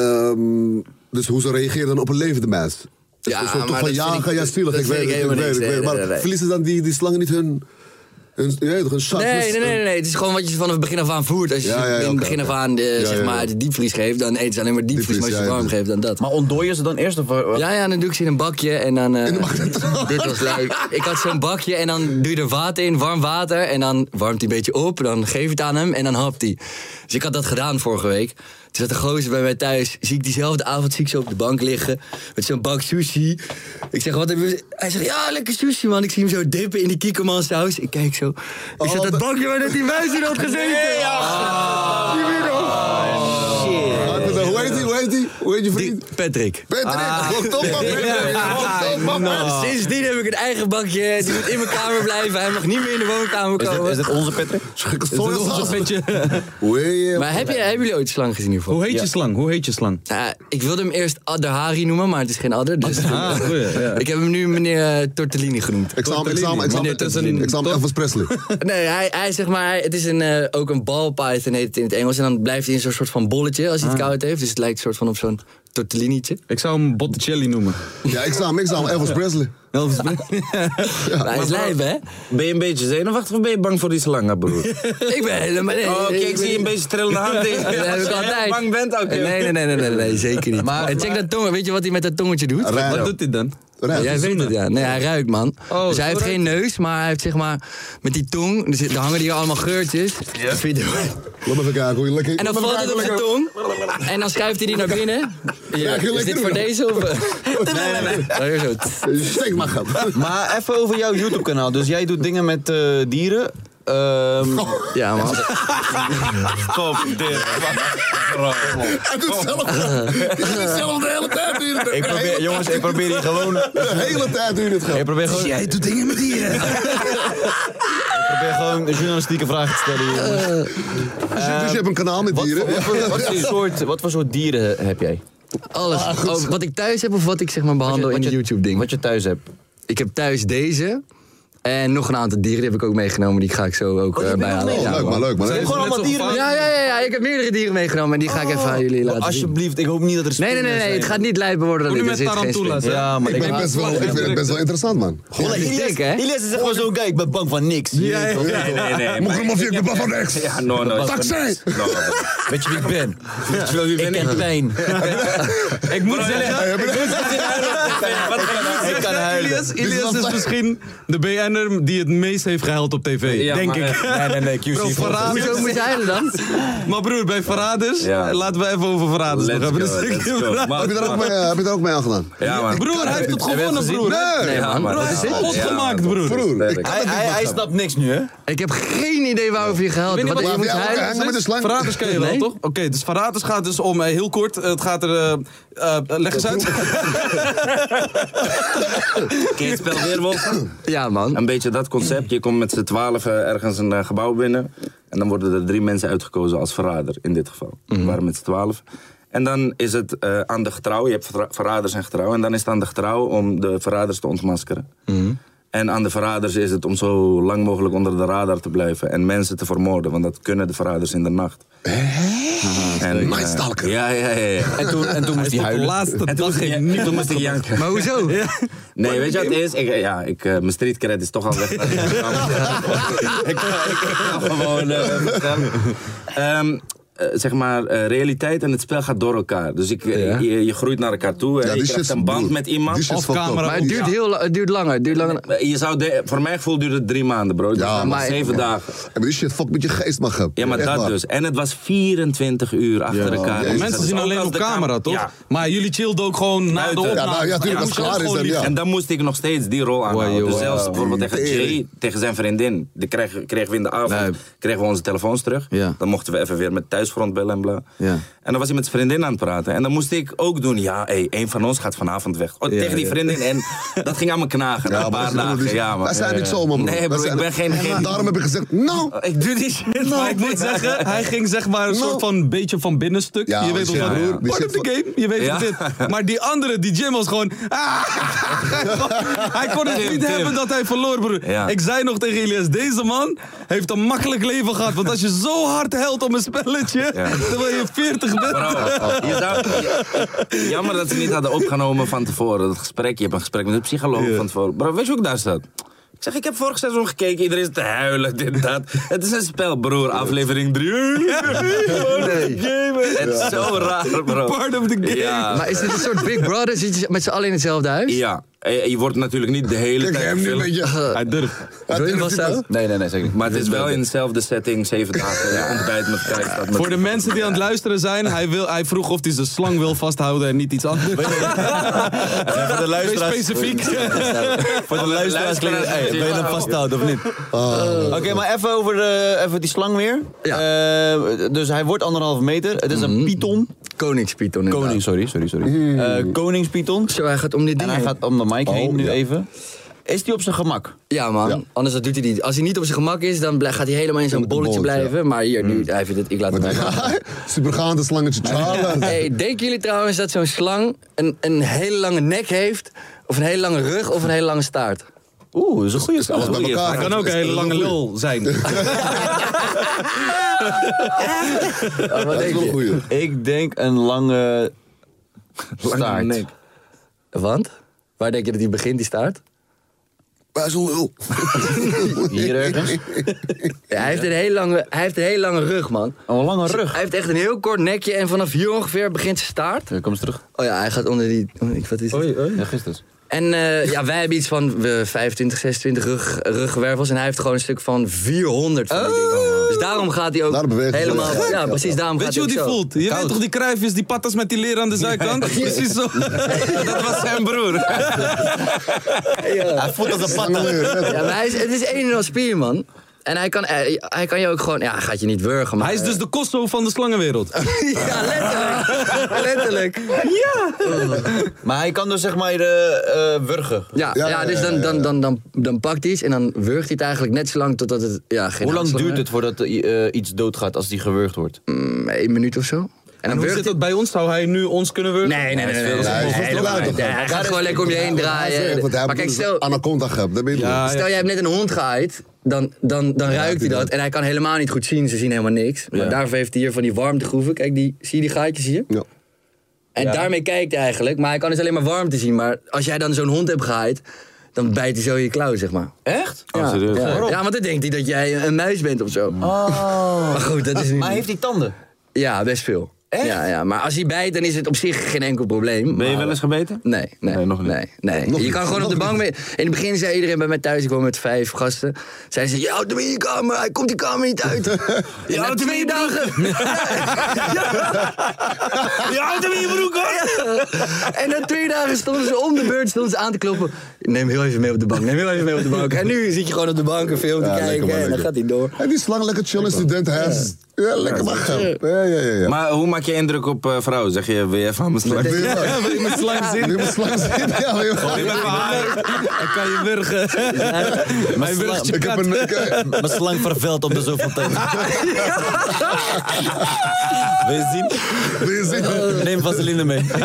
Speaker 7: ehm, dus hoe ze reageren dan op een levende mens. Dus
Speaker 9: Ja,
Speaker 7: een soort toch
Speaker 9: maar
Speaker 7: van
Speaker 9: dat vind
Speaker 7: ja,
Speaker 9: ik-
Speaker 7: ga ja, zielig.
Speaker 9: dat
Speaker 7: Ik
Speaker 9: vind
Speaker 7: weet
Speaker 9: ik
Speaker 7: het, ik
Speaker 9: helemaal
Speaker 7: weet het, ik
Speaker 9: niks.
Speaker 7: weet het.
Speaker 9: Nee, nee,
Speaker 7: Maar
Speaker 9: nee.
Speaker 7: verliezen dan die, die slangen niet hun... hun je weet toch, hun chakras?
Speaker 9: Nee, nee, nee, nee, nee. Het is gewoon wat je ze vanaf het begin af aan voert. Als je
Speaker 7: Ja, ja,
Speaker 9: ze
Speaker 7: ja,
Speaker 9: in het
Speaker 7: oké,
Speaker 9: begin
Speaker 7: oké.
Speaker 9: af aan de,
Speaker 7: Ja, ja,
Speaker 9: zeg maar,
Speaker 7: ja.
Speaker 9: de diepvries geeft, dan eten ze alleen maar diepvries.
Speaker 7: Diepvries,
Speaker 9: maar als
Speaker 7: ja,
Speaker 9: je ze warm
Speaker 7: ja.
Speaker 9: geeft, dan dat.
Speaker 3: Maar ontdooien ze dan eerst? Of, eh,
Speaker 9: Ja, ja, dan doe ik ze in een bakje en dan... eh, dit was leuk. Ik had zo'n bakje en dan doe je er water in, warm water. En dan warmt hij een beetje op, dan geef je het aan hem en dan hapt hij. Dus ik had dat gedaan vorige week. Toen zat een gozer bij mij thuis. Zie ik diezelfde avond zie ik ze op de bank liggen. Met zo'n bak sushi. Ik zeg, wat heb je... Hij zegt, ja, lekker sushi, man. Ik zie hem zo dippen in die kikkerman saus. Ik kijk zo.
Speaker 4: Oh,
Speaker 9: Is dat het bakje waar net die muis in had gezeten? Die weer
Speaker 7: Ah, ik bedoel, Hoe heet die, hoe heet die? Hoe heet je
Speaker 9: Die-
Speaker 7: vriend?
Speaker 9: Patrick.
Speaker 7: Patrick, wat top man, Patrick. Wat top man, man.
Speaker 9: Nou, Sindsdien heb ik een eigen bakje. Die moet in mijn kamer blijven. Hij mag niet meer in de woonkamer
Speaker 3: Is dit,
Speaker 9: komen.
Speaker 3: is dit onze Patrick?
Speaker 7: Gekke
Speaker 5: Dat is
Speaker 7: sojasaus.
Speaker 5: een beetje...
Speaker 7: Hoe heet je?
Speaker 9: Maar heb je, hebben jullie ooit slang gezien hiervoor?
Speaker 5: Hoe heet je slang? Hoe heet je slang?
Speaker 9: Nou, ik wilde hem eerst Adarhari noemen, maar het is geen adder. Dus
Speaker 5: Ah, goeie, ja.
Speaker 9: Ik heb hem nu meneer eh, Tortellini genoemd.
Speaker 7: Examen, examen, examen.
Speaker 5: Dit is een-
Speaker 7: Examen
Speaker 5: toch?
Speaker 7: Elvis Presley.
Speaker 9: Nee, hij, hij zeg maar, hij- het is een, eh, ook een balpython heet het in het Engels. En dan blijft hij in zo'n soort van bolletje als hij het koud heeft. Dus het lijkt soort van op zo'n tortellinietje.
Speaker 5: Ik zou hem Botticelli noemen.
Speaker 7: Ja, examen, examen Elvis Presley.
Speaker 5: Elvis
Speaker 9: Maar hij is lijf, hè?
Speaker 6: Ben je een beetje zenuwachtig of ben je bang voor die slangen, broer?
Speaker 9: Ik ben helemaal... nee,
Speaker 6: Oh, oké,
Speaker 9: nee,
Speaker 6: ik zie een beetje trillende hand.
Speaker 9: Dat heb ik altijd.
Speaker 6: bang bent, oké.
Speaker 9: Nee, nee, nee, nee, nee, nee, zeker niet. Maar, en check dat tong, weet je wat hij met dat tongetje doet?
Speaker 5: Wat
Speaker 7: Rijden.
Speaker 5: doet hij dan?
Speaker 7: Rijden.
Speaker 9: Jij weet het, ja. Nee, hij ruikt, man.
Speaker 5: Oh,
Speaker 9: dus
Speaker 5: zo
Speaker 9: hij heeft
Speaker 5: ruikt
Speaker 9: geen neus, maar hij heeft zeg maar... Met die tong, er, zit- er hangen hier allemaal geurtjes. Dus vind je-
Speaker 7: Laat me even kijken hoe je lekker...
Speaker 9: En dan
Speaker 7: Laat me
Speaker 9: valt het
Speaker 7: kijken hoe
Speaker 9: op zijn
Speaker 7: lekker-
Speaker 9: tong. En dan schuift hij die naar binnen.
Speaker 7: Ja,
Speaker 9: Hier,
Speaker 7: heel lekker
Speaker 9: is dit
Speaker 7: doen.
Speaker 9: voor deze of... eh? Nee, nee, nee. Oh, hier zo.
Speaker 7: Steek maar, gat.
Speaker 3: Maar even over jouw YouTube-kanaal. Dus jij doet dingen met eh, dieren. Ehm
Speaker 9: Ja, man.
Speaker 3: Stop dit.
Speaker 7: Hij doet hetzelfde. Hij doet hetzelfde de hele tijd nu. De
Speaker 3: Ik probeer,
Speaker 7: hele-
Speaker 3: jongens, ik probeer hier gewoon...
Speaker 7: De hele tijd nu dit
Speaker 3: Ik
Speaker 7: gaat.
Speaker 9: Dus
Speaker 3: probeer gewoon, ik
Speaker 6: Jij doet dingen met dieren.
Speaker 3: probeer gewoon een journalistieke vraag te stellen.
Speaker 9: Eh,
Speaker 3: hier, jongens.
Speaker 7: Dus je- dus je hebt een kanaal met
Speaker 3: Wat,
Speaker 7: dieren.
Speaker 3: voor- wat, voor- wat voor soort, wat voor soort dieren heb jij?
Speaker 9: Alles. Oh, wat ik thuis heb of wat ik zeg maar behandel
Speaker 3: wat
Speaker 9: in de
Speaker 3: je-
Speaker 9: YouTube-ding?
Speaker 3: Wat je thuis hebt.
Speaker 9: Ik heb thuis deze. En nog een aantal dieren die heb ik ook meegenomen. Die ga ik zo ook eh, bijhalen.
Speaker 4: Oh,
Speaker 9: Ja,
Speaker 4: leuk,
Speaker 9: man.
Speaker 4: maar leuk, maar
Speaker 3: Zijn
Speaker 4: leuk.
Speaker 3: gewoon
Speaker 5: net
Speaker 3: allemaal
Speaker 5: zo
Speaker 3: dieren.
Speaker 9: Ja, ja, ja, ja, ik heb meerdere dieren meegenomen en die ga ik even aan jullie laten zien.
Speaker 3: Alsjeblieft, ik hoop niet dat er
Speaker 9: Nee, nee, nee, nee, het gaat niet lijpen worden dan
Speaker 5: Kom
Speaker 9: dit.
Speaker 5: nu
Speaker 9: Er
Speaker 5: met
Speaker 9: zit geen
Speaker 5: tarantulas,
Speaker 9: spin.
Speaker 5: hè?
Speaker 3: Ja, maar
Speaker 4: Ik, ben
Speaker 3: ik...
Speaker 4: best wel, ik vind het best wel interessant, man.
Speaker 3: Gewoon,
Speaker 9: Ja, die is
Speaker 3: Ilias,
Speaker 9: dik, hè?
Speaker 3: Ilias is echt gewoon zo, kijk, ik ben bang van niks.
Speaker 6: Nee, nee, nee.
Speaker 1: Moet ik hem of ik de blad van rechts?
Speaker 6: Ja, no, no.
Speaker 1: Taxi!
Speaker 6: No, no.
Speaker 3: Weet je wie ik ben? Ik ken pijn.
Speaker 5: Ik moet zeggen,
Speaker 3: Ik kan huilen.
Speaker 5: Ilias, Ilias is misschien de BN'er die het meest heeft gehuild op tv,
Speaker 6: Ja,
Speaker 5: denk
Speaker 6: maar, eh,
Speaker 5: ik.
Speaker 3: Nee, nee, nee, QC.
Speaker 5: Bro, verraders.
Speaker 9: Hoezo moet je huilen dan?
Speaker 5: Maar broer, bij verraders, eh,
Speaker 6: Ja.
Speaker 5: laten we even over verraders
Speaker 6: Let's
Speaker 5: nog hebben.
Speaker 6: go,
Speaker 5: Dus ik-
Speaker 6: let's go.
Speaker 5: Bro,
Speaker 6: Maar-
Speaker 4: Heb je daar ook mee, eh, heb je daar ook mee aangedaan?
Speaker 6: Ja, man.
Speaker 5: Broer, hij heeft het gewonnen, broer.
Speaker 4: Nee!
Speaker 9: Nee,
Speaker 6: Ja,
Speaker 9: man.
Speaker 6: man.
Speaker 9: Wat is dit?
Speaker 6: Ja,
Speaker 5: Pot
Speaker 6: man.
Speaker 5: gemaakt, broer.
Speaker 4: Broer, ik
Speaker 6: Hij-
Speaker 4: kan het
Speaker 3: Hij,
Speaker 4: niet
Speaker 3: hij, hij
Speaker 4: begrijpen.
Speaker 3: snapt niks nu, hè?
Speaker 9: Ik heb geen idee waarover je gehuild hebt.
Speaker 5: Ik weet
Speaker 9: Wat
Speaker 5: niet
Speaker 9: je
Speaker 4: wat-
Speaker 9: moet
Speaker 4: ja,
Speaker 9: huilen.
Speaker 4: hangen met de slang.
Speaker 5: Verraders ken je wel,
Speaker 9: Nee.
Speaker 5: toch? Oké, dus verraders gaat dus om, eh, heel kort, eh, het gaat er... eh, eh, leg eens uit.
Speaker 6: Ken je het spel Weerwolf?
Speaker 9: Ja, man.
Speaker 6: Een beetje dat concept. Je komt met z'n twaalf ergens een eh, gebouw binnen. En dan worden er drie mensen uitgekozen als verrader, in dit geval.
Speaker 9: Mhm.
Speaker 6: We waren met z'n twaalf. En dan is het eh, aan de getrouw. Je hebt verra- verraders en getrouw. En dan is het aan de getrouw om de verraders te ontmaskeren.
Speaker 9: Mhm.
Speaker 6: En aan de verraders is het om zo lang mogelijk onder de radar te blijven. En mensen te vermoorden. Want dat kunnen de verraders in de nacht. En, eh,
Speaker 4: Nightstalker.
Speaker 6: ja, ja, ja. ja.
Speaker 3: En toen, en toen moest hij
Speaker 5: Op de
Speaker 3: huilen.
Speaker 5: laatste
Speaker 6: En toen
Speaker 5: dag
Speaker 6: moest
Speaker 5: ging
Speaker 6: ik,
Speaker 5: niet
Speaker 6: ja, toen moest ik janken.
Speaker 9: Maar hoezo?
Speaker 6: Nee, weet je wat het is? Ik, eh, ja, ik, eh, mijn streetcred is toch al weg. ik ik kan gewoon... eh, vertellen. Ehm, eh, zeg maar, eh, realiteit en het spel gaat door elkaar. Dus ik, eh, je, je groeit naar elkaar toe. hè.
Speaker 4: Ja,
Speaker 6: je
Speaker 4: die
Speaker 6: krijgt
Speaker 4: shit-
Speaker 6: een band
Speaker 4: broer,
Speaker 6: met iemand.
Speaker 4: die shit
Speaker 6: Of-
Speaker 4: fucked up.
Speaker 5: camera
Speaker 9: Maar het duurt, heel, la- het duurt langer. Het duurt langer.
Speaker 6: eh, je zou de- voor mijn gevoel duurde het drie maanden, bro.
Speaker 4: Ja,
Speaker 6: Ja, maar
Speaker 9: maar-
Speaker 6: zeven dagen.
Speaker 4: Ja, maar die shit fuck met je geest, mag hebben.
Speaker 6: Ja, maar
Speaker 4: Echt
Speaker 6: dat
Speaker 4: waar.
Speaker 6: dus. En het was 24 uur achter elkaar. Dus dat
Speaker 5: Mensen
Speaker 6: is
Speaker 5: zien
Speaker 6: ook
Speaker 5: alleen
Speaker 6: als
Speaker 5: op
Speaker 6: de
Speaker 5: camera,
Speaker 6: cam-
Speaker 5: toch?
Speaker 6: Ja.
Speaker 5: Maar jullie chillden ook gewoon na de
Speaker 6: Buiten.
Speaker 5: opname.
Speaker 4: Ja, nou, ja, tuurlijk, als
Speaker 5: moest
Speaker 4: het
Speaker 5: je
Speaker 4: klaar is
Speaker 5: gewoon
Speaker 4: dan,
Speaker 5: lief
Speaker 4: ja.
Speaker 6: En dan moest ik nog steeds die rol aanhouden.
Speaker 5: Wow,
Speaker 6: dus
Speaker 5: wow.
Speaker 6: zelfs bijvoorbeeld tegen Jay,
Speaker 4: Tering.
Speaker 6: tegen zijn vriendin. Die kregen, kregen we in de avond
Speaker 5: Nee.
Speaker 6: kregen we onze telefoons terug.
Speaker 5: Ja.
Speaker 6: Dan mochten we even weer met thuisfront bellen en bla.
Speaker 5: Ja.
Speaker 6: En dan was hij met zijn vriendin aan het praten. En dan moest ik ook doen, ja, hé, één van ons gaat vanavond weg. Oh, tegen die
Speaker 5: ja.
Speaker 6: vriendin. En dat ging aan me knagen. na
Speaker 4: Ja,
Speaker 6: een
Speaker 4: maar
Speaker 6: paar
Speaker 4: dat is-
Speaker 6: dagen. Ja, man.
Speaker 4: Wij zijn niet zomaar, man.
Speaker 6: Nee, broer, ik ben geen- geen- Oh,
Speaker 4: Daarom heb ik gezegd, nou...
Speaker 6: Ik doe die shit.
Speaker 5: Maar ik
Speaker 6: man.
Speaker 5: moet Nou, zeggen, hij ging zeg maar een
Speaker 4: Nou.
Speaker 5: soort van beetje van binnenstuk.
Speaker 4: Ja,
Speaker 5: je weet
Speaker 4: die
Speaker 5: wel
Speaker 4: shit,
Speaker 5: wat,
Speaker 4: broer.
Speaker 5: broer.
Speaker 4: Die
Speaker 5: Part
Speaker 4: shit
Speaker 5: of the
Speaker 4: van-
Speaker 5: game, je weet
Speaker 6: Ja.
Speaker 5: wat dit. Maar die andere, die Jim was gewoon... ah, hij kon het
Speaker 6: Tim,
Speaker 5: niet
Speaker 6: Tim.
Speaker 5: hebben dat hij verloor, broer.
Speaker 6: Ja.
Speaker 5: Ik zei nog tegen Ilias, deze man heeft een makkelijk leven gehad. Want als je zo hard helpt om een spelletje,
Speaker 6: Ja.
Speaker 5: terwijl je 40 bent...
Speaker 6: Bro, je zou- je- jammer dat ze niet hadden opgenomen van tevoren. Dat gesprek, je hebt een gesprek met een psycholoog van tevoren. Bro, weet je hoe ik daar zat? Ik zeg, ik heb vorig seizoen gekeken, iedereen is te huilen, dit, dat. Het is een spel, broer, aflevering 3. Het is zo raar, bro.
Speaker 5: Part of the game.
Speaker 6: Ja,
Speaker 9: Maar is dit een soort Big Brother? Zit je met z'n allen in hetzelfde huis?
Speaker 6: ja. Eh, je wordt natuurlijk niet de hele
Speaker 4: Ik
Speaker 6: tijd
Speaker 4: heb nu een
Speaker 6: gefilmd,
Speaker 4: beetje...
Speaker 5: Hij durft.
Speaker 9: Wil je wat zeggen?
Speaker 3: Nee, nee, nee, zeker niet.
Speaker 6: Maar het is wel in dezelfde setting, zeven dagen, ja. ontbijt met elkaar. staat met-
Speaker 5: Voor de mensen die aan het luisteren zijn, hij, wil, hij vroeg of hij zijn slang wil vasthouden en niet iets anders.
Speaker 3: Voor de luisteraars.
Speaker 5: Wees specifiek.
Speaker 3: Voor de luisteraars klinkt het, hey, ben je dat vasthouden of niet? Oké, maar even over eh, even die slang weer. Eh, dus hij wordt anderhalve meter. Het is
Speaker 9: Mhm.
Speaker 3: een python.
Speaker 9: Koningspython inderdaad.
Speaker 3: Koning, sorry, sorry, sorry. Eh koningspython.
Speaker 9: Zo, hij gaat om dit
Speaker 3: En
Speaker 9: ding
Speaker 3: hij
Speaker 9: heen.
Speaker 3: gaat om de mic heen nu
Speaker 4: ja.
Speaker 3: even. Is die op zijn gemak?
Speaker 9: Ja, man. Anders dan doet hij niet. Als hij niet op zijn gemak is, dan blij- gaat hij helemaal in zo'n bolletje
Speaker 4: bolletje,
Speaker 9: blijven. Maar hier, nu, hij vindt het, ik laat het mij.
Speaker 4: Supergaande slangetje Charles.
Speaker 9: Hey, denken jullie trouwens dat zo'n slang een, een hele lange nek heeft? Of een hele lange rug of een hele lange staart?
Speaker 3: Oeh, dat is een goede slang.
Speaker 4: Alles bij elkaar.
Speaker 5: Kan ook een hele lange lul zijn.
Speaker 9: Oh, wat
Speaker 4: Dat is
Speaker 9: denk
Speaker 4: wel een
Speaker 9: je?
Speaker 4: goeie.
Speaker 3: Ik denk een lange
Speaker 6: Lange
Speaker 3: staart.
Speaker 6: nek.
Speaker 9: Want? Waar denk je dat hij begint, die staart?
Speaker 4: Wij zijn lul.
Speaker 3: Hier ergens.
Speaker 9: Ja, hij, heeft een hele lange, hij heeft een hele lange rug, man.
Speaker 3: Een lange rug.
Speaker 9: Hij heeft echt een heel kort nekje en vanaf hier ongeveer begint zijn staart.
Speaker 3: Ja, Kom eens terug.
Speaker 9: Oh ja, hij gaat onder die... oh, ik- Wat is het?
Speaker 3: Ja, gisteren.
Speaker 9: En eh, ja, wij hebben iets van eh, 25, 26 rug, ruggenwervels. En hij heeft gewoon een stuk van 400 van die
Speaker 7: Oh.
Speaker 9: dingen. Dus daarom gaat hij ook
Speaker 4: Daarom beweegt hij
Speaker 9: helemaal...
Speaker 4: zo.
Speaker 9: Ja, precies, daarom
Speaker 5: Weet
Speaker 9: gaat
Speaker 5: je hoe
Speaker 9: hij
Speaker 5: die
Speaker 9: ook zo.
Speaker 5: voelt? Je weet toch die kruifjes, die patas met die leren aan de zijkant? Precies zo.
Speaker 6: Dat was zijn broer.
Speaker 3: Hij voelt als een
Speaker 4: Slangeleer.
Speaker 9: Ja, maar hij is, het is een en al spier, man. En hij kan, hij, hij kan je ook gewoon... Ja, hij gaat je niet wurgen, maar...
Speaker 5: Hij is dus de Kosovo van de slangenwereld.
Speaker 9: ja, letterlijk. letterlijk.
Speaker 3: Maar hij kan dus zeg maar eh, eh, wurgen.
Speaker 5: nou,
Speaker 9: Ja, ja,
Speaker 4: Ja, ja,
Speaker 9: dus
Speaker 4: ja,
Speaker 9: dan,
Speaker 4: ja,
Speaker 9: dan, dan, dan, dan pakt hij iets en dan wurgt hij het eigenlijk net zo lang totdat het... Ja, geen
Speaker 3: Hoe lang
Speaker 9: aanslag
Speaker 3: duurt
Speaker 9: meer-
Speaker 3: het voordat eh, eh, iets doodgaat als die gewurgd wordt?
Speaker 9: Mm, één minuut of zo.
Speaker 5: En hoe zit dat bij ons? Zou hij nu ons kunnen wurgen? Ah,
Speaker 9: Nee, nee, nee. nee, nee,
Speaker 7: Nee,
Speaker 9: nee,
Speaker 7: dat is
Speaker 9: nee,
Speaker 7: wel
Speaker 9: helemaal
Speaker 7: leuk,
Speaker 9: niet.
Speaker 7: toch?
Speaker 9: Nee, Hij gaat gewoon lekker om je heen
Speaker 7: Want
Speaker 9: draaien.
Speaker 7: hij
Speaker 9: Maar
Speaker 7: moet
Speaker 9: kijk,
Speaker 7: dus
Speaker 9: stel,
Speaker 7: een anaconda gehad, dat weet je
Speaker 5: Ja,
Speaker 7: niet.
Speaker 9: Stel, jij hebt net een hond gehaaid. Dan, dan, dan ruikt hij
Speaker 7: die
Speaker 9: dat. En hij kan helemaal niet goed zien. Ze zien helemaal niks. Maar daarvoor heeft hij hier van die warmtegroeven. Kijk, die, zie je die gaatjes hier?
Speaker 7: Ja.
Speaker 9: En daarmee kijkt hij eigenlijk. Maar hij kan dus alleen maar warmte zien. Maar als jij dan zo'n hond hebt gehaaid... dan bijt hij zo in je klauw, zeg maar.
Speaker 3: Echt?
Speaker 9: Ja, ja. ja, want dan denkt hij dat jij een muis bent of zo.
Speaker 3: Oh.
Speaker 9: Maar goed, dat is niet...
Speaker 3: Maar heeft hij tanden?
Speaker 9: Ja, best veel.
Speaker 3: Echt?
Speaker 9: Ja, ja, maar als hij bijt, dan is het op zich geen enkel probleem.
Speaker 6: Ben je
Speaker 9: maar-
Speaker 6: wel eens gebeten?
Speaker 9: Nee, nee,
Speaker 6: Nee, nog niet.
Speaker 9: nee, nee.
Speaker 7: Nog
Speaker 9: je
Speaker 7: niet,
Speaker 9: kan gewoon op de
Speaker 7: nog
Speaker 9: bank mee. In het begin zei iedereen bij mij thuis, ik woon met vijf gasten. Zeiden ze, je houdt hem in je kamer, hij komt die kamer niet uit. Je houdt hem in je dagen.
Speaker 6: Je houdt hem in je broek, hoor!
Speaker 9: En na twee dagen stonden ze om de beurt stonden ze aan te kloppen. Neem heel even mee op de bank, neem heel even mee op de bank. En nu zit je gewoon op de bank een film te
Speaker 7: Ja,
Speaker 9: kijken
Speaker 7: lekker man,
Speaker 9: en dan
Speaker 7: lekker.
Speaker 9: gaat hij door.
Speaker 7: En die slang lekker chillen, student huis. Ja, lekker maar gaan. Ja, ja, ja. ja.
Speaker 6: Maar hoe maak je indruk op eh, vrouwen? Zeg je, weer even aan mijn slag?
Speaker 7: Wil je wat?
Speaker 5: wil je mijn slang zien?
Speaker 7: Wil je mijn slang zien? Ja, wil je wat?
Speaker 5: Hij kan je wurgen. Mijn wurgtje
Speaker 7: Ik heb
Speaker 5: kat.
Speaker 7: een... ik heb-
Speaker 3: eh, Mijn slang vervelt op de zoveel tijd. Wil je
Speaker 7: Wil je zien?
Speaker 3: zien? Neem vaseline mee. Voor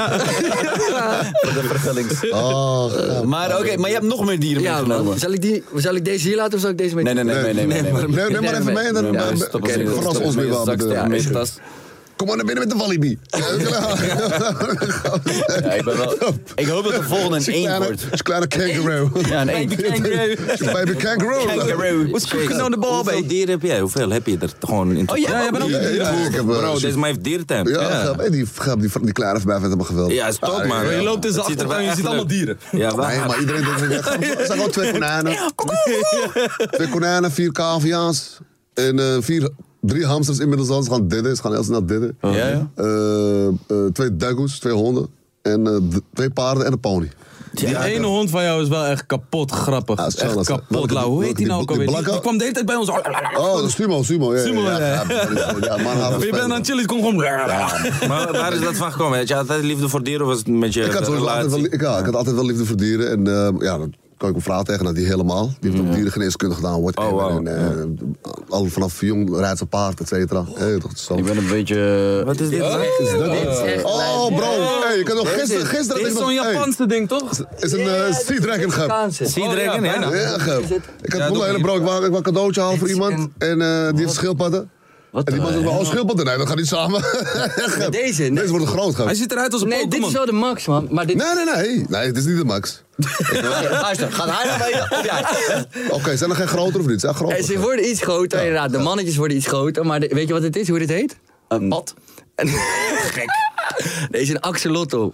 Speaker 3: de vergellings.
Speaker 7: Oh, gaaf.
Speaker 3: Maar oké, maar je hebt nog meer dieren
Speaker 9: Ja, man.
Speaker 3: meegenomen.
Speaker 9: Zal ik, die, zal ik deze hier laten of zal ik deze mee?
Speaker 3: Nee, nee, nee, nee, nee. nee, nee.
Speaker 7: Nee, neem maar even mee en dan
Speaker 3: Ja,
Speaker 7: eh,
Speaker 3: stop
Speaker 7: oké,
Speaker 3: als je-
Speaker 7: verras
Speaker 3: stop
Speaker 7: ons weer
Speaker 3: als
Speaker 7: wel. met
Speaker 3: je straks daar
Speaker 7: de-
Speaker 3: mee
Speaker 7: met-
Speaker 3: tas.
Speaker 7: Kom maar naar binnen met de Walibi. Ja,
Speaker 3: Ja, ik ben wel... Ik hoop dat de volgende een eend
Speaker 7: kleine,
Speaker 3: wordt.
Speaker 7: is kleine kangaroo.
Speaker 3: Ja, een eend.
Speaker 9: eh,
Speaker 7: Baby kangaroo.
Speaker 3: What's cooking on the ball,
Speaker 6: Hoeveel
Speaker 3: baby?
Speaker 6: dieren heb jij? Hoeveel heb je er gewoon in?
Speaker 3: Oh, ja, jij bent ook
Speaker 7: Ja,
Speaker 3: een
Speaker 7: ja, ik heb, eh,
Speaker 6: Bro,
Speaker 7: super-
Speaker 6: deze man heeft dierentuin.
Speaker 7: Ja, gaaf. Hey, die, gaaf, die, die kleine voorbij vindt hem geweldig.
Speaker 6: Ja, is top,
Speaker 7: Ah,
Speaker 6: man.
Speaker 7: ja, ja.
Speaker 5: Je loopt in zijn
Speaker 6: Het ziet er wel
Speaker 5: achtertuin, je
Speaker 6: echt
Speaker 5: ziet allemaal
Speaker 6: leuk.
Speaker 5: dieren.
Speaker 6: Ja, waar?
Speaker 7: Nee, maar iedereen denkt, ja, gewoon- er zijn gewoon twee konijnen. Twee konijnen, vier cavia's. En eh, vier, drie hamsters inmiddels al. Ze gaan didden, ze gaan heel snel didden.
Speaker 3: Oh, Ja, ja.
Speaker 7: Eh, eh, twee dagoes, twee honden. En eh, d- twee paarden en een pony.
Speaker 5: Die ene hond van jou is wel echt kapot grappig.
Speaker 7: Ah,
Speaker 5: echt
Speaker 7: Charles,
Speaker 5: kapot
Speaker 7: welke-
Speaker 5: lauw. Hoe heet die nou ook
Speaker 7: welke- die
Speaker 5: alweer? Die,
Speaker 7: blakke?
Speaker 5: die kwam de hele tijd bij ons.
Speaker 7: Oh, dat is Sumo, Sumo. Ja,
Speaker 5: Sumo,
Speaker 7: ja.
Speaker 5: ja.
Speaker 7: ja, ja, ja, man, haat
Speaker 5: je bent
Speaker 7: spelen.
Speaker 5: aan het chillen, die komt gewoon...
Speaker 6: Maar waar is dat van gekomen? Had je altijd liefde voor dieren of was het met je
Speaker 7: ik had, sowieso altijd wel,
Speaker 6: relatie?
Speaker 7: ik, ja, ik had altijd wel liefde voor dieren. En eh, ja, dan kan ik mijn vrouw tegen dat die helemaal. Die heeft ook dierengeneeskunde gedaan, whatever.
Speaker 6: Oh, wauw.
Speaker 7: en, eh, al vanaf jong rijdt ze paard, et cetera. Hey, toch, zo.
Speaker 3: Ik ben een beetje...
Speaker 6: Wat is dit?
Speaker 7: Oh, bro. Hey, ik had nog gisteren... gisteren
Speaker 5: Dit
Speaker 7: had ik
Speaker 5: is zo'n
Speaker 7: nog- hey,
Speaker 5: Japanse ding, toch?
Speaker 7: is een eh, sea dragon gehad.
Speaker 9: Spaanse.
Speaker 6: Zie je er
Speaker 5: Oh, ja,
Speaker 6: een in, hè?
Speaker 7: Ja, gehad. Ik had een
Speaker 6: doe
Speaker 7: hele
Speaker 6: maar.
Speaker 7: bro. Ik wou ik wou een cadeautje halen voor
Speaker 9: Dit is
Speaker 7: iemand.
Speaker 9: een-
Speaker 7: En eh, die heeft schildpadden. En die man zegt, oh, schildpadden? Nee, dat gaat niet samen. Gep.
Speaker 9: deze, nee.
Speaker 7: Deze wordt groot, gehad.
Speaker 5: Hij ziet eruit als een
Speaker 9: Nee, dit is
Speaker 5: Pokémon.
Speaker 9: wel de max, man. Maar dit...
Speaker 7: Nee, nee, nee. Nee, het is niet de max.
Speaker 3: Luister, gaat hij naar mij of jij?
Speaker 7: Oké, zijn er geen groter of niet? Zijn er
Speaker 9: Eh,
Speaker 7: groter?
Speaker 9: ze worden iets groter, inderdaad. De mannetjes worden iets groter. Maar de- weet je wat het is, hoe dit heet?
Speaker 3: Een pad?
Speaker 9: Gek. Deze een axolotl.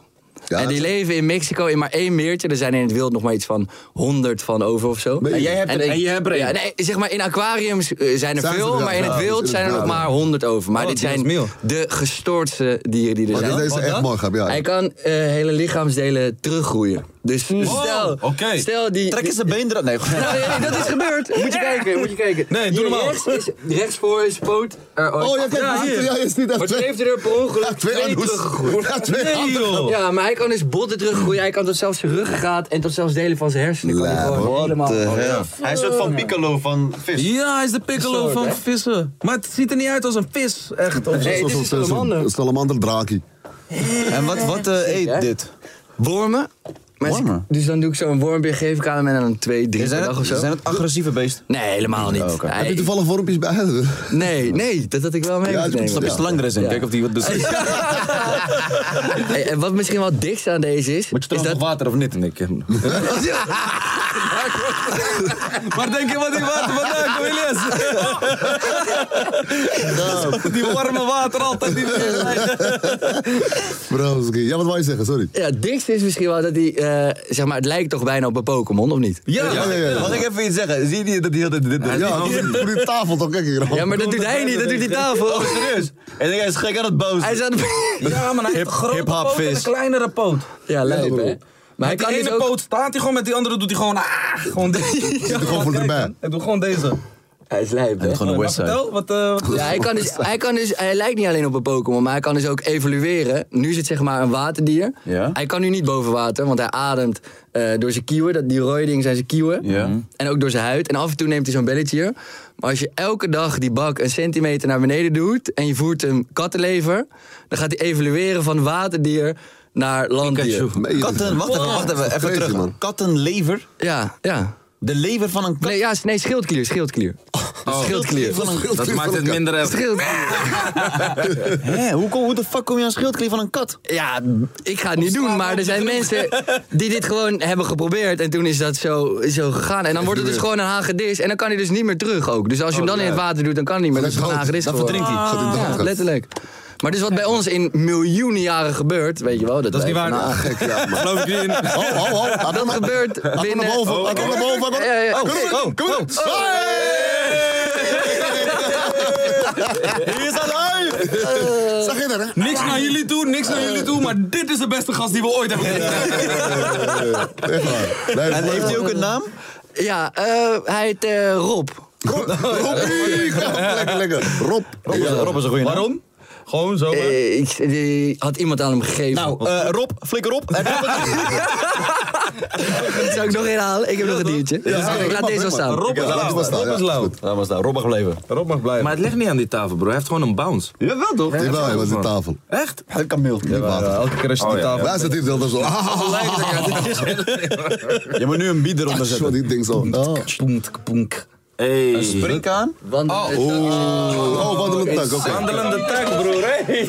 Speaker 7: Ja,
Speaker 9: en die
Speaker 7: dat-
Speaker 9: leven in Mexico in maar één meertje. Er zijn in het wild nog maar iets van honderd van over of zo.
Speaker 7: En jij
Speaker 3: hebt er- en jij hebt er één?
Speaker 9: Ja, nee, zeg maar in aquariums eh, zijn er
Speaker 7: Zijn ze
Speaker 9: veel,
Speaker 7: er-
Speaker 9: maar in
Speaker 7: ja,
Speaker 9: het
Speaker 7: dus in
Speaker 9: wild
Speaker 7: het
Speaker 9: zijn er nog
Speaker 7: wild.
Speaker 9: maar honderd over. Maar
Speaker 3: Oh,
Speaker 9: dit
Speaker 3: die is
Speaker 9: zijn
Speaker 3: mil.
Speaker 9: de gestoordste dieren die er
Speaker 7: Maar
Speaker 9: zijn.
Speaker 7: dit is
Speaker 9: Wat
Speaker 7: echt
Speaker 9: dan?
Speaker 7: mooi, grap. Ja,
Speaker 9: Hij kan eh, hele lichaamsdelen teruggroeien. Dus stel,
Speaker 5: oké.
Speaker 9: stel die...
Speaker 3: Trek eens zijn been eruit. Nee, gewoon-
Speaker 9: Nou, nee, nee, dat is gebeurd. Moet je kijken, moet je kijken.
Speaker 5: Nee, doe
Speaker 9: Hier
Speaker 5: normaal.
Speaker 9: Rechts, is, rechts voor is poot. Er,
Speaker 7: Oh, ja, kijk, ja, ja, je ziet echt
Speaker 9: Maar toen
Speaker 7: twee,
Speaker 9: heeft hij er per ongeluk
Speaker 7: ja, twee
Speaker 9: twee
Speaker 7: handhoes.
Speaker 9: teruggegroeid.
Speaker 7: Ja, twee
Speaker 5: Nee,
Speaker 7: handhoes.
Speaker 5: joh.
Speaker 9: Ja, maar hij kan dus botten teruggroeien. Hij kan tot zelfs zijn ruggengraat en tot zelfs delen van zijn hersenen. Kan hij gewoon helemaal...
Speaker 3: Hij is een soort van Piccolo van vis.
Speaker 5: Ja, hij is de piccolo
Speaker 9: Soort,
Speaker 5: van
Speaker 9: hè?
Speaker 5: vissen. Maar het ziet er niet uit als een vis, echt. Of zo.
Speaker 9: Nee, het is een salamander.
Speaker 7: salamanderdraakie.
Speaker 3: En wat, wat eh,
Speaker 9: hè?
Speaker 3: eet dit?
Speaker 9: Wormen. Maar ze-
Speaker 3: Wormen?
Speaker 9: Dus dan doe ik zo'n wormpje, geef ik aan hem en dan twee, drie per
Speaker 3: Zijn
Speaker 9: dag
Speaker 3: het,
Speaker 9: of zo.
Speaker 3: zijn het agressieve beesten?
Speaker 9: Nee, helemaal niet.
Speaker 3: Oh, oké.
Speaker 9: Hij-
Speaker 7: Heb je toevallig vormpjes bij huizen?
Speaker 9: nee, nee, dat had ik wel mee
Speaker 7: Ja,
Speaker 9: moeten
Speaker 7: het is
Speaker 9: nemen.
Speaker 3: Stap je slang er eens in,
Speaker 9: Ja.
Speaker 3: kijk of die wat beslist.
Speaker 9: Hey, en wat misschien wel het dichtste aan deze is...
Speaker 3: Moet je
Speaker 9: is
Speaker 3: trouwens nog water of niet?
Speaker 6: Nee, ik heb hem.
Speaker 5: Maar denk je wat die water vandaan komt, Elias?
Speaker 3: Nou.
Speaker 5: Die warme water altijd. Die...
Speaker 7: Bro, Ski. ja, wat wou je zeggen? Sorry.
Speaker 9: Ja, het dikste is misschien wel dat hij, eh, zeg maar, het lijkt toch bijna op een Pokémon, of niet?
Speaker 5: Ja,
Speaker 7: ja, ja.
Speaker 3: Mag ik even iets zeggen? Zie je dat die altijd dit doet?
Speaker 7: Ja, voor die tafel toch, kijk hier.
Speaker 9: Ja, maar dat doet hij niet, dat doet die tafel.
Speaker 3: Oh, serieus? En hij is gek aan het boos.
Speaker 9: Hij is aan de...
Speaker 5: ja maar hij heeft een grote
Speaker 3: hip-hop
Speaker 5: poot en een
Speaker 3: vis.
Speaker 5: kleinere poot.
Speaker 9: Ja, lijp, hè?
Speaker 7: bro.
Speaker 9: Maar hij
Speaker 5: met
Speaker 9: kan
Speaker 5: die ene
Speaker 9: dus ook...
Speaker 5: poot staat hij gewoon, met die andere doet hij gewoon... Ah, gewoon deze.
Speaker 7: gewoon voor erbij.
Speaker 5: Ik doe gewoon deze.
Speaker 6: Hij is lijp, hè?
Speaker 3: Gewoon een website.
Speaker 6: Wat, eh, wat-
Speaker 9: Ja, hij, kan dus, hij, kan dus, hij lijkt niet alleen op een Pokémon, maar hij kan dus ook evolueren. Nu zit zeg maar een waterdier.
Speaker 3: Ja.
Speaker 9: Hij kan nu niet boven water, want hij ademt eh, door zijn kieuwen. Dat, die rode dingen zijn zijn kieuwen.
Speaker 3: Ja.
Speaker 9: En ook door zijn huid. En af en toe neemt hij zo'n belletje hier. Maar als je elke dag die bak een centimeter naar beneden doet... en je voert hem kattenlever... dan gaat hij evolueren van waterdier naar landdier.
Speaker 3: Katten, wacht even, wacht even, even
Speaker 4: Crazy,
Speaker 3: terug.
Speaker 4: man.
Speaker 3: Kattenlever?
Speaker 9: Ja, ja.
Speaker 3: De lever van een kat?
Speaker 9: Nee, ja, nee schildklier, schildklier. schildklier.
Speaker 3: Van een-
Speaker 6: dat maakt het minder erg.
Speaker 9: Schildklier.
Speaker 3: Hè, hoe, kom- hoe de fuck kom je aan schildklier van een kat?
Speaker 9: Ja, ik ga het niet doen, maar er zijn mensen die dit gewoon hebben geprobeerd. En toen is dat zo, zo gegaan. En dan wordt het dus gewoon een hagedis. En dan kan hij dus niet meer terug ook. Dus als je hem dan in het water doet, dan kan hij niet meer. Dan is het gewoon een hagedis
Speaker 4: Dan
Speaker 9: geworden.
Speaker 4: verdrinkt hij. Gaat hij
Speaker 9: Ja,
Speaker 4: dood.
Speaker 9: letterlijk. Maar dus wat bij ons in miljoenen jaren gebeurt, weet je wel. Dat,
Speaker 6: Dat is niet
Speaker 9: wij
Speaker 6: waar.
Speaker 9: vandaag-
Speaker 4: Gek, ja, man.
Speaker 6: Geloof ik niet in.
Speaker 5: Oh,
Speaker 4: Ho, ho, ho. Laat hem
Speaker 9: Dat gebeurt
Speaker 4: Laat hem
Speaker 9: binnen...
Speaker 4: naar boven. Laat hem naar boven. Laat hem-
Speaker 9: Ja, ja.
Speaker 4: Oh, kom maar, kom maar.
Speaker 5: oh.
Speaker 3: Hier is alive!
Speaker 4: Hey! Zag je dat, hè?
Speaker 6: Niks naar jullie toe, niks naar jullie toe, maar dit is de beste gast die we ooit hebben gekregen.
Speaker 4: Echt waar. Nee,
Speaker 3: En
Speaker 4: maar-
Speaker 3: heeft hij ook een naam?
Speaker 9: Ja, eh, hij heet eh, Rob.
Speaker 4: Rob, Robbie, kom, lekker, lekker. Rob.
Speaker 3: Rob is, Rob is een goede naam.
Speaker 6: Waarom? Gewoon zo. hè?
Speaker 9: Eh, ik, die had iemand aan hem gegeven.
Speaker 3: Nou, eh, Rob, flikker op.
Speaker 9: dat zou ik nog inhalen. Ik heb nog een diertje. Dus
Speaker 4: ja,
Speaker 9: ik
Speaker 4: ja,
Speaker 9: laat deze wel
Speaker 4: ja,
Speaker 9: staan.
Speaker 6: Rob is
Speaker 4: Ja,
Speaker 6: lauw.
Speaker 4: dat was dat,
Speaker 6: Rob
Speaker 4: ja.
Speaker 6: is lauw.
Speaker 3: Laat maar staan, Rob mag blijven.
Speaker 6: Rob mag blijven. Maar het ligt niet aan die tafel, bro. Hij heeft gewoon een bounce.
Speaker 3: Jawel toch?
Speaker 4: Die wel, hij was aan
Speaker 6: man.
Speaker 4: tafel.
Speaker 6: Echt?
Speaker 3: Hij kan mild. Ja, maar, eh,
Speaker 6: Elke keer als je die tafel...
Speaker 4: Wij zitten hier zelf zo. Ah, ah, ah,
Speaker 3: je moet nu een bied eronder
Speaker 4: zo
Speaker 3: zetten.
Speaker 4: die ding zo. Ah.
Speaker 6: Poenk, poenk. Hey.
Speaker 3: Springkaan?
Speaker 9: Want, eh, dat-
Speaker 4: Oh, wandelend tak, oké.
Speaker 6: Wandelende tak, broer. Hey.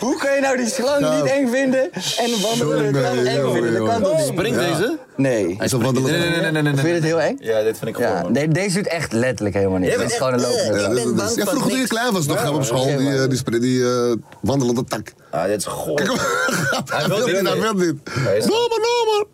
Speaker 9: Hoe kan je nou die slang
Speaker 4: Nou,
Speaker 9: niet eng vinden en wandelen
Speaker 4: jongen,
Speaker 9: dan eng
Speaker 4: jongen,
Speaker 9: vinden? Dat kan
Speaker 4: jongen.
Speaker 9: toch niet?
Speaker 3: Springt deze?
Speaker 9: Nee.
Speaker 4: Hij is een wandelend tak.
Speaker 3: nee, nee, nee.
Speaker 9: Vind je het heel eng?
Speaker 3: Ja, dit vind ik gewoon.
Speaker 9: Ja,
Speaker 3: man.
Speaker 9: nee, deze doet echt letterlijk helemaal niks. Het is gewoon een
Speaker 4: Ja,
Speaker 9: loopnut.
Speaker 4: dat is- ja, vroeger toen je klein was, nog gaan we op school, die, eh, die, spray- die eh, wandelende tak.
Speaker 3: Ah, dit is goor.
Speaker 4: Hij
Speaker 3: wil
Speaker 4: niet,
Speaker 3: niet,
Speaker 4: hij
Speaker 3: nee.
Speaker 4: wil niet. No man, no man.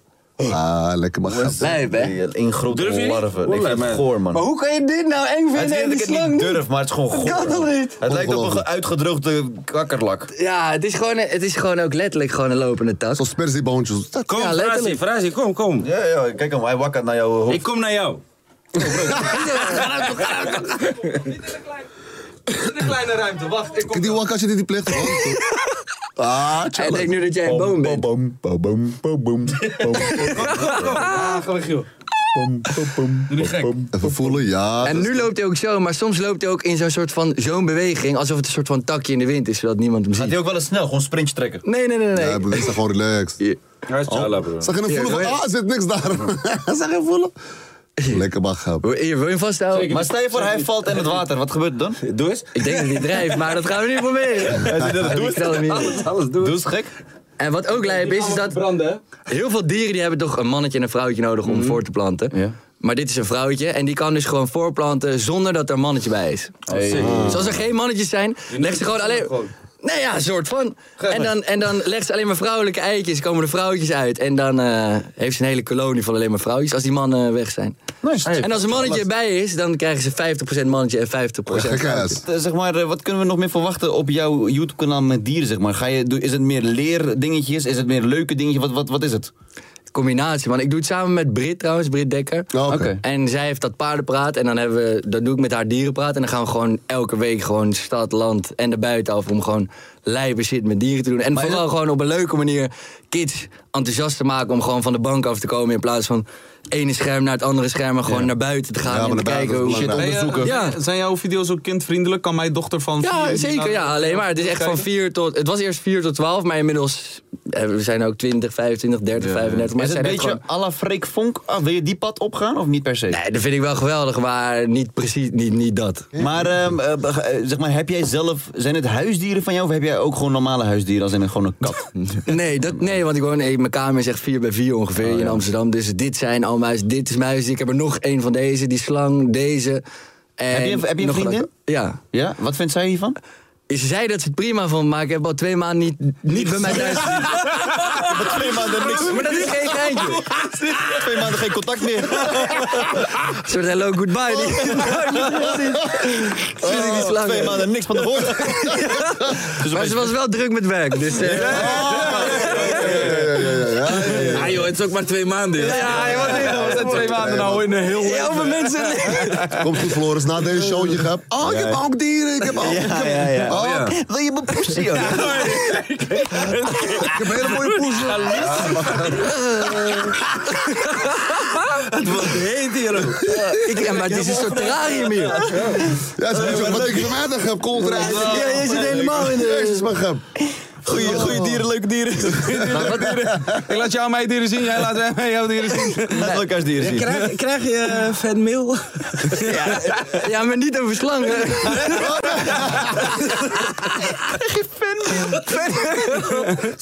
Speaker 4: Ah, lekker maar grap.
Speaker 9: Lijp, hè?
Speaker 3: Die In grote
Speaker 6: Durf je niet?
Speaker 3: larven. Ik vind
Speaker 6: Oeh,
Speaker 3: het
Speaker 6: man.
Speaker 3: goor, man.
Speaker 9: Maar hoe kan je dit nou eng
Speaker 3: Het is
Speaker 9: vinden
Speaker 3: niet
Speaker 9: en
Speaker 3: dat
Speaker 9: die
Speaker 3: ik het
Speaker 9: slang
Speaker 3: niet
Speaker 9: niet?
Speaker 3: durf, maar het is gewoon goor.
Speaker 9: kan toch
Speaker 3: man.
Speaker 9: niet?
Speaker 3: Het lijkt op een
Speaker 4: Ongelooflijk.
Speaker 3: uitgedroogde kakkerlak.
Speaker 9: Ja, het is, gewoon, het is gewoon ook letterlijk gewoon een lopende tas.
Speaker 4: Zoals persieboontjes. Dat-
Speaker 6: Kom,
Speaker 9: Ja,
Speaker 6: Frazi,
Speaker 9: letterlijk.
Speaker 6: Frazi, kom, kom.
Speaker 3: Ja, ja, kijk hem, hij wakkert naar jouw hoofd.
Speaker 6: Ik kom naar jou.
Speaker 4: Kijk die wakkastje die die pleegt. Oh, Ah,
Speaker 9: Hij denkt
Speaker 4: challenge.
Speaker 9: nu dat jij een boom bent.
Speaker 4: Boom, boom, boom, boom, boom,
Speaker 6: Ah, ga weg, joh.
Speaker 4: boom, boom, boom,
Speaker 6: Doe die gek.
Speaker 4: boom. Even voelen, ja.
Speaker 9: En nu loopt hij ook zo, maar soms loopt hij ook in zo'n soort van zo'n beweging. Alsof het een soort van takje in de wind is, zodat niemand hem
Speaker 3: Gaat hij
Speaker 9: ziet.
Speaker 3: ook wel eens snel, gewoon sprintje trekken.
Speaker 9: Nee, nee, nee, nee.
Speaker 4: Ja, broer, is gewoon relaxed.
Speaker 6: Hij is chala, bro.
Speaker 4: Zag je hem
Speaker 9: Ja,
Speaker 4: voelen? van,
Speaker 9: ja.
Speaker 4: Ah, er zit niks daar. Zag je hem voelen? Lekker maar grap.
Speaker 9: Wil- Hier, wil je hem vasthouden?
Speaker 3: Maar stel je voor, hij valt in het water, wat gebeurt er dan?
Speaker 6: Doe eens.
Speaker 9: Ik denk dat hij drijft, maar dat gaan we niet proberen. Ik stel hem niet.
Speaker 6: Alles doen.
Speaker 3: Doe eens gek.
Speaker 9: En wat ook lijp is, is dat heel veel dieren die hebben toch een mannetje en een vrouwtje nodig om voor te planten.
Speaker 3: Ja.
Speaker 9: Maar dit is een vrouwtje en die kan dus gewoon voorplanten zonder dat er een mannetje bij is. Dus als er geen mannetjes zijn, legt ze gewoon alleen... Nee ja, een soort van. En dan, en dan legt ze alleen maar vrouwelijke eitjes, komen de vrouwtjes uit. En dan eh, heeft ze een hele kolonie van alleen maar vrouwtjes als die mannen eh, weg zijn.
Speaker 3: Nice.
Speaker 9: En als een mannetje erbij is, dan krijgen ze 50% mannetje en 50%
Speaker 4: Gekke
Speaker 9: vrouwtje.
Speaker 4: ass.
Speaker 3: Eh, Zeg maar, eh, wat kunnen we nog meer verwachten op jouw YouTube-kanaal met dieren? Zeg maar? Ga je, doe- is het meer leerdingetjes? Is het meer leuke dingetjes? Wat, wat, wat is het?
Speaker 9: combinatie, man. Ik doe het samen met Brit trouwens, Brit Dekker.
Speaker 4: Oh, Oké.
Speaker 3: Oké.
Speaker 9: En zij heeft dat paardenpraat en dan, hebben we, dan doe ik met haar dierenpraat. En dan gaan we gewoon elke week gewoon stad, land en de buitenaf om gewoon lijpe shit met dieren te doen. En vooral gewoon op een leuke manier kids enthousiast te maken om gewoon van de bank af te komen. In plaats van ene scherm naar het andere scherm en gewoon naar buiten te gaan
Speaker 4: Ja, maar
Speaker 9: en te
Speaker 4: naar buiten
Speaker 9: kijken hoe
Speaker 4: is
Speaker 9: shit
Speaker 4: belangrijk.
Speaker 9: onderzoeken. Ja.
Speaker 5: Zijn jouw video's ook kindvriendelijk? Kan mijn dochter van
Speaker 9: Ja,
Speaker 5: vier-
Speaker 9: zeker. Ja, alleen maar. Het is echt van 4 tot. Het was eerst 4 tot 12, maar inmiddels. eh, We zijn ook 20, 25, 30, 35. Maar
Speaker 3: is het een
Speaker 9: zijn echt
Speaker 3: beetje
Speaker 9: gewoon-
Speaker 3: à la Freek Vonk? Ah, wil je die pad opgaan of niet per se?
Speaker 9: Nee, dat vind ik wel geweldig, maar niet precies, niet, niet dat.
Speaker 3: Maar, ehm, eh, eh, zeg maar, heb jij zelf, zijn het huisdieren van jou of heb jij ook gewoon normale huisdieren als in een, gewoon een kat?
Speaker 9: Nee, dat, nee want ik woon, nee, mijn kamer is echt 4 bij 4 ongeveer hier in Amsterdam. Dus dit zijn al mijn huizen, dit is mijn huis. Ik heb er nog één van deze, die slang, deze. En
Speaker 3: Heb je- heb je een
Speaker 9: nog
Speaker 3: vriendin?
Speaker 9: Ja.
Speaker 3: ja? Wat vindt zij hiervan?
Speaker 9: Ze zei dat ze het prima vond, maar ik heb al twee maanden niet, niet bij mij thuis gezien.
Speaker 3: Twee maanden niks.
Speaker 9: Maar dat is geen geintje.
Speaker 3: Twee maanden geen contact meer.
Speaker 9: Een soort hello, goodbye. Die, Sinds ik die slang
Speaker 3: Oh, Twee
Speaker 9: heb.
Speaker 3: maanden niks van de horen.
Speaker 9: Maar ze was wel druk met werk, dus... eh,
Speaker 4: Ja, ja, ja, ja, ja.
Speaker 9: Ah joh,
Speaker 6: het is ook maar twee maanden. joh.
Speaker 5: Ja, ja, wat is dat? We zijn twee maanden nou in een heel...
Speaker 9: Heel veel mensen.
Speaker 4: Komt goed, Floris, na deze show. Je gaat. Oh, ik heb ook dieren. Ik heb ook. ik heb-
Speaker 3: ja,
Speaker 4: Oh,
Speaker 3: ja.
Speaker 6: Ja.
Speaker 3: Wil je mijn poesie?
Speaker 4: ik heb hele mooie poezen.
Speaker 6: Wat heet hier ook?
Speaker 9: Ik, ja, maar het is een soort terrarium hier.
Speaker 4: Ja, ze moeten wat ik vanmiddag heb. Komt eruit. Ja, je zit helemaal in de. Jezus, maar Gep.
Speaker 3: Goeie, goeie dieren, leuke dieren.
Speaker 5: Oh.
Speaker 3: Nou,
Speaker 5: Ik laat jou mijn dieren zien, jij laat mij- mij jouw dieren zien.
Speaker 3: Laten we elkaars dieren zien.
Speaker 9: Krijg, je fanmail? Ja. ja, maar niet over slangen.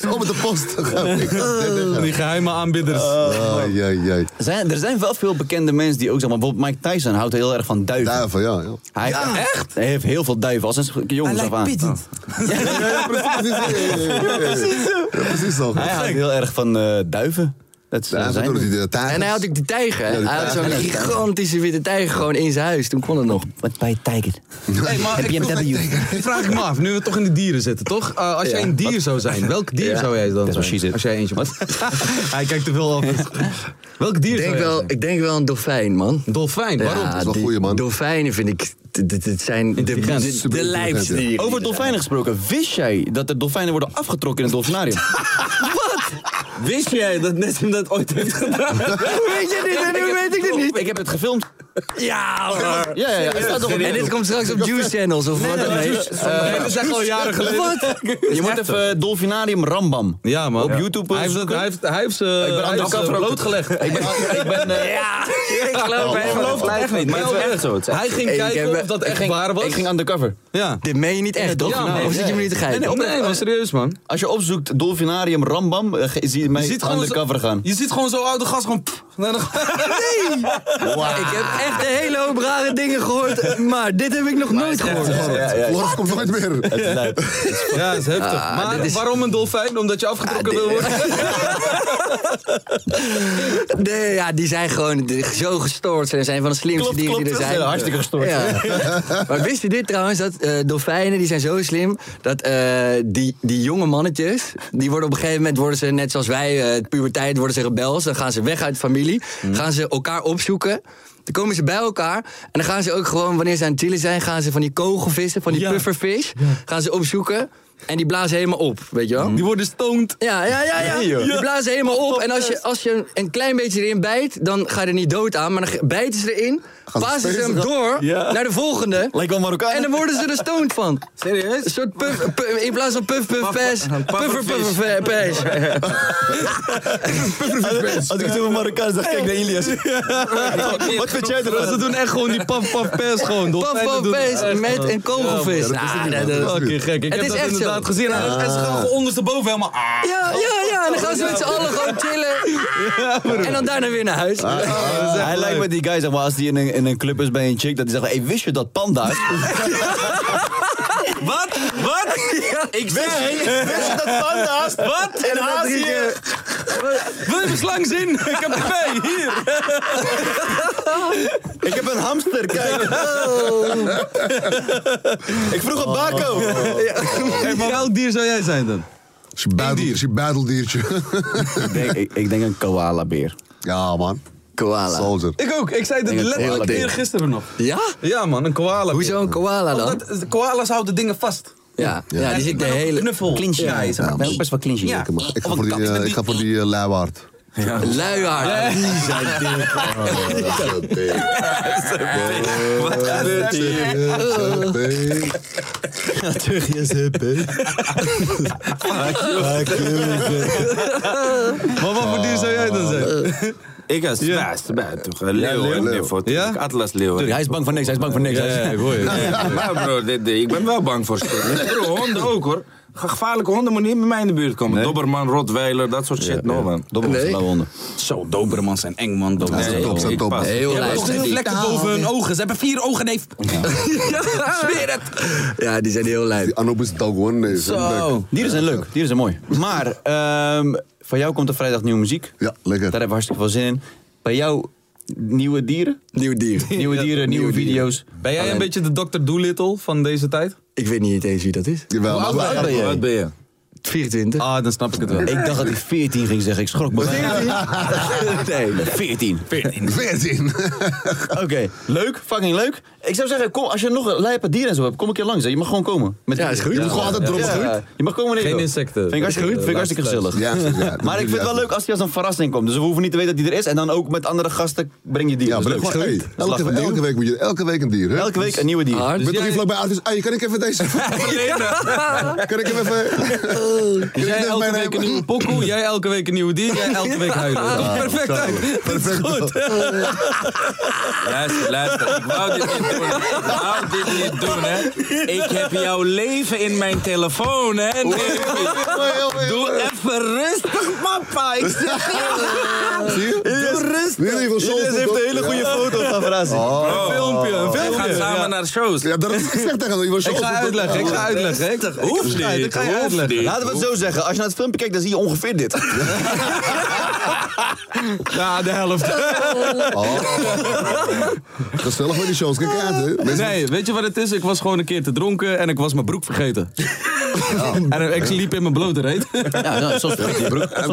Speaker 4: Zo met de post. Gep. Ik- dit- dit-
Speaker 5: Die geheime aanbidders.
Speaker 4: Oh, jee, jee.
Speaker 3: Zijn, er zijn wel veel bekende mensen die ook zeg maar, bijvoorbeeld Mike Tyson houdt heel erg van duiven.
Speaker 4: Duiven, ja. ja.
Speaker 3: Hij echt? Hij heeft heel veel duiven, als een jongens af aan. Oh.
Speaker 4: Ja, precies zo. Ja, precies zo.
Speaker 3: Hij houdt heel erg van eh, duiven. Dat is- eh,
Speaker 4: Ja,
Speaker 3: zijn
Speaker 4: ze doen het
Speaker 3: we.
Speaker 4: in de tuin.
Speaker 9: En hij had ook die tijger. hè? Hij had zo'n gigantische witte tijger gewoon in zijn huis. Toen kon het nog.
Speaker 3: Wat bij Tiger?
Speaker 5: Hey, maar
Speaker 3: Heb
Speaker 5: ik-
Speaker 3: je hem W?
Speaker 5: Vraag ik me af, nu we toch in de dieren zitten, toch? Eh, als jij een dier zou zijn, welk dier zou jij dan
Speaker 3: That's what she
Speaker 5: zijn?
Speaker 3: said.
Speaker 5: Als jij eentje was. Hij kijkt te veel af. welk dier
Speaker 9: Ik denk,
Speaker 5: zou jij
Speaker 9: wel,
Speaker 5: zijn?
Speaker 9: ik denk wel een dolfijn, man.
Speaker 5: Dolfijn, waarom?
Speaker 4: is wel
Speaker 9: die
Speaker 4: goeie, man.
Speaker 9: Nou, Dolfijnen vind ik. d- d- Het zijn de, de,
Speaker 5: Intelligent,
Speaker 9: de, de
Speaker 4: superintelligent,
Speaker 9: lijpsdieren.
Speaker 3: Over dolfijnen gesproken, wist jij dat er dolfijnen worden afgetrokken in het dolfinarium?
Speaker 6: Wist jij dat Nessim dat ooit heeft gedaan?
Speaker 9: Weet je dit? En hoe weet ik dit niet?
Speaker 3: Ik heb het gefilmd.
Speaker 9: Ja, hoor.
Speaker 3: Ja, ja, ja. Het staat toch op
Speaker 9: En dit komt straks op Juice Channels of wat dan ook.
Speaker 5: Nee, dat is echt al jaren geleden.
Speaker 3: Je moet even eh, Dolfinarium Rambam.
Speaker 5: Ja, man.
Speaker 3: Op YouTube.
Speaker 5: Hij heeft, dat- hij heeft, hij heeft ze hij heeft ze blootgelegd.
Speaker 3: Ik ben, ik ben, eh, Oh,
Speaker 9: Ja, ik geloof
Speaker 6: Ik
Speaker 9: hem.
Speaker 6: geloof het echt niet, maar het is wel echt zo. Het is echt-
Speaker 5: Hij ging
Speaker 9: Ik
Speaker 5: kijken
Speaker 9: heb-
Speaker 5: of dat
Speaker 9: ik
Speaker 5: echt
Speaker 9: ging-
Speaker 5: waar was.
Speaker 3: ik ging undercover.
Speaker 5: ja.
Speaker 9: Dit meen je niet echt, toch?
Speaker 5: Ja, nee,
Speaker 9: of zit je me niet te
Speaker 5: Nee,
Speaker 9: geiten?
Speaker 5: nee, nee, maar serieus, man.
Speaker 3: Als je opzoekt Dolfinarium Rambam, eh, ge- zie je mij
Speaker 5: Je ziet gewoon
Speaker 3: undercover
Speaker 5: zo,
Speaker 3: gaan.
Speaker 5: Je ziet gewoon zo'n oude gast gewoon... pff, naar de-
Speaker 9: Ik heb echt een hele hoop rare dingen gehoord, maar dit heb ik nog nooit gehoord.
Speaker 4: Floris komt nooit meer.
Speaker 3: Het is lijp.
Speaker 5: Ja, dat is heftig.
Speaker 9: Ah,
Speaker 5: maar
Speaker 9: dit is-
Speaker 5: waarom een dolfijn? Omdat je afgetrokken
Speaker 9: Ah,
Speaker 5: wil worden?
Speaker 9: Nee, ja, die zijn gewoon de- zo gestoord. Ze zijn van de slimste
Speaker 3: Klopt,
Speaker 9: dieren
Speaker 3: klopt.
Speaker 9: die er
Speaker 3: Ze
Speaker 9: zijn.
Speaker 3: zijn hartstikke gestoord.
Speaker 9: Ja. maar wist je dit trouwens? Dat eh, dolfijnen, die zijn zo slim... dat eh, die, die jonge mannetjes... die worden op een gegeven moment, worden ze net zoals wij... eh, puberteit, worden ze rebels. Dan gaan ze weg uit de familie.
Speaker 3: Mhm.
Speaker 9: Gaan ze elkaar opzoeken... Dan komen ze bij elkaar en dan gaan ze ook gewoon, wanneer ze aan het chillen zijn, gaan ze van die kogelvissen, van die pufferfish, gaan ze opzoeken en die blazen helemaal op, weet je wel?
Speaker 5: Die worden stoned.
Speaker 9: Ja, ja, ja, ja. Die blazen helemaal op. En als je, als je een, een klein beetje erin bijt, dan ga je er niet dood aan. Maar dan ge- bijten ze erin, passen ze hem door
Speaker 3: Ja.
Speaker 9: naar de volgende.
Speaker 3: Lijkt wel Marokkaan.
Speaker 9: En dan worden ze er stoned van.
Speaker 6: Serieus?
Speaker 9: Een soort puff, pu- in plaats van puff, puff, pes. Puffer, puffer, pes.
Speaker 3: Als ik zo een Marokkaan zeg, kijk naar Ilias. Wat vind jij ervan?
Speaker 5: Ze doen echt gewoon die paf paf pers gewoon.
Speaker 9: Puff,
Speaker 5: Dolfijnen
Speaker 9: puff,
Speaker 5: doen
Speaker 9: pes
Speaker 5: echt
Speaker 9: met
Speaker 5: gewoon.
Speaker 9: een kogelvis.
Speaker 4: Ja, dat is niet
Speaker 9: Nou, dat-
Speaker 4: waar.
Speaker 9: dat-
Speaker 5: Fucking gek. Ik
Speaker 9: Het
Speaker 5: heb
Speaker 9: is
Speaker 5: dat
Speaker 9: echt zo.
Speaker 5: inderdaad gezien. En en ze gaan gewoon ondersteboven helemaal... ah.
Speaker 9: Ja, ja, ja. En dan gaan ze met z'n allen gewoon chillen. En dan daarna weer naar huis.
Speaker 3: Ah, Hij lijkt me die guy, zeg maar, als die in een, in een club is bij een chick, dat hij zegt, hey, wist je dat panda's?
Speaker 6: Wat? Wat? Ik zeg...
Speaker 3: wist je dat panda's?
Speaker 6: Wat? In Azië?
Speaker 5: Wil je mijn slang zien? Ik heb er twee. Hier.
Speaker 3: Ik heb een hamster, kijk. Ik vroeg op Baco.
Speaker 5: Hey, maar welk dier zou jij zijn dan?
Speaker 4: Is je buidel- Is je buideldiertje.
Speaker 3: Ik denk, ik, ik denk een koala-beer.
Speaker 4: Ja, man.
Speaker 9: Koala.
Speaker 4: Soldier.
Speaker 5: Ik ook. Ik zei dat
Speaker 3: denk het
Speaker 5: letterlijk
Speaker 3: koala.
Speaker 5: weer gisteren nog.
Speaker 9: Ja?
Speaker 5: Ja man, een koala.
Speaker 9: Hoezo een koala dan?
Speaker 5: Omdat koalas houden dingen vast.
Speaker 9: Ja, ja die zit de
Speaker 5: ben ook
Speaker 9: hele...
Speaker 5: knuffel.
Speaker 3: Klinsje. Ja, ik ben ook best wel klinsje.
Speaker 4: Ik, heb- ik ga voor die, eh, ik ga voor die eh, luiwaard.
Speaker 9: Luiaard. Die zijn dik.
Speaker 4: Wat gebeurt hier?
Speaker 3: Terug je zippen.
Speaker 5: Maar wat voor dier zou jij dan zijn?
Speaker 6: Ik als nou, best, ben toch een leeuw, hè?
Speaker 4: leeuw.
Speaker 6: Nee, voor-
Speaker 5: Ja?
Speaker 6: Atlas leeuw. hè?
Speaker 3: Hij is bang voor niks, hij is bang voor niks.
Speaker 5: Ja, ja, ik hoor
Speaker 6: Nou,
Speaker 5: je.
Speaker 6: Maar bro, dit, dit- ik ben wel bang voor shit. Bro, honden ook hoor. Ge- Gevaarlijke honden moeten niet bij mij in de buurt komen. Dobberman, Rotweiler, dat soort shit. no man.
Speaker 3: Dobbel
Speaker 9: Nee.
Speaker 3: honden.
Speaker 5: Zo, dobermans zijn eng man. Dobermans.
Speaker 4: zijn top, zijn
Speaker 6: ik
Speaker 4: top.
Speaker 6: pas.
Speaker 9: Heel
Speaker 6: Ja,
Speaker 9: lijp.
Speaker 6: toch
Speaker 5: Ze
Speaker 6: geen
Speaker 5: hebben vlekken boven hun ogen. Ze hebben vier ogen, neef.
Speaker 9: Zweer het. Ja, die zijn heel lijp.
Speaker 4: Die Anubis Dalgon. Nee, is een
Speaker 3: Zo.
Speaker 4: leuk.
Speaker 3: Dieren zijn leuk, dieren zijn mooi. Maar ehm, van jou komt er vrijdag nieuwe muziek.
Speaker 4: Ja, lekker.
Speaker 3: Daar hebben we hartstikke veel zin in. Bij jou nieuwe dieren?
Speaker 9: Nieuw dier.
Speaker 3: Nieuwe dieren, nieuwe, video's.
Speaker 5: Ben jij een beetje de Dr. Doolittle van deze tijd?
Speaker 9: Ik weet niet eens wie dat is.
Speaker 4: Jawel, maar
Speaker 3: oud ben
Speaker 6: Wat ben je?
Speaker 9: 24.
Speaker 3: Ah, dan snap ik het wel. Ik dacht dat hij 14 ging zeggen. Ik schrok me. Nee, nee, 14. 14.
Speaker 4: 14.
Speaker 3: Oké, leuk. Fucking leuk. Ik zou zeggen, kom, als je nog lijpe dieren en zo hebt, kom een keer langs. hè. Je mag gewoon komen. Met
Speaker 9: Ja, is goed.
Speaker 3: Je
Speaker 9: Ja,
Speaker 3: moet gewoon altijd
Speaker 9: ja,
Speaker 3: droppen.
Speaker 9: is
Speaker 3: Ja, Je mag komen nee,
Speaker 5: Geen
Speaker 3: joh.
Speaker 5: insecten.
Speaker 3: Vind ik hartstikke goed. Vind ik hartstikke gezellig.
Speaker 4: Ja, ja, ja.
Speaker 3: Maar ik vind het wel leuk als hij als een verrassing komt. Dus we hoeven niet te weten dat hij er is. En dan ook met andere gasten breng je dieren.
Speaker 4: Ja, maar
Speaker 3: dat is
Speaker 4: gewoon,
Speaker 3: leuk.
Speaker 4: hey,
Speaker 3: Dat is
Speaker 4: elke,
Speaker 3: lachen.
Speaker 4: elke week moet je elke week een dier. Hè?
Speaker 3: Elke week een nieuwe dier.
Speaker 9: Hard.
Speaker 4: Ik ben toch hier
Speaker 5: Dus jij-
Speaker 4: vlakbij Artis. Hey, kan ik even deze... kan ik hem even... kan ik
Speaker 5: Jij
Speaker 4: deze
Speaker 5: elke week een
Speaker 4: meenemen?
Speaker 5: nieuwe pokoe, jij elke week een nieuwe dier, jij elke week huilen. Komt perfect uit. Dat is goed.
Speaker 6: Luister, luister. Ik wou dit niet doen. Ik wou dit niet doen, hè. Ik heb jouw leven in mijn telefoon, hè. Nee, Doe even rustig, papa. Ik zeg
Speaker 4: Zie je?
Speaker 3: Rustig.
Speaker 4: Jullie van Soul
Speaker 3: Iedereen heeft
Speaker 4: Food,
Speaker 3: een hele
Speaker 4: toch?
Speaker 3: goede foto van verrassing.
Speaker 4: Oh.
Speaker 5: Een filmpje, een
Speaker 6: Wij gaan
Speaker 5: filmpje.
Speaker 6: samen naar shows.
Speaker 4: Ja, dat is gezegd tegen hem.
Speaker 5: Ik ga uitleggen, ik ga uitleggen. Ik
Speaker 6: Hoeft
Speaker 5: ga-
Speaker 6: niet,
Speaker 5: ik ga je
Speaker 6: hoeft
Speaker 5: uitleggen.
Speaker 6: niet.
Speaker 3: Laten we het zo zeggen. Als je naar het filmpje kijkt, dan zie je ongeveer dit.
Speaker 5: Ja, de helft.
Speaker 4: Gezellig met die shows. Kijk uit, hè. Mensen-
Speaker 5: Nee, weet je wat het is? Ik was gewoon een keer te dronken en ik was mijn broek vergeten. En ik liep in mijn blote reet.
Speaker 3: Ja, nou, soms breekt je broek.
Speaker 4: Ja,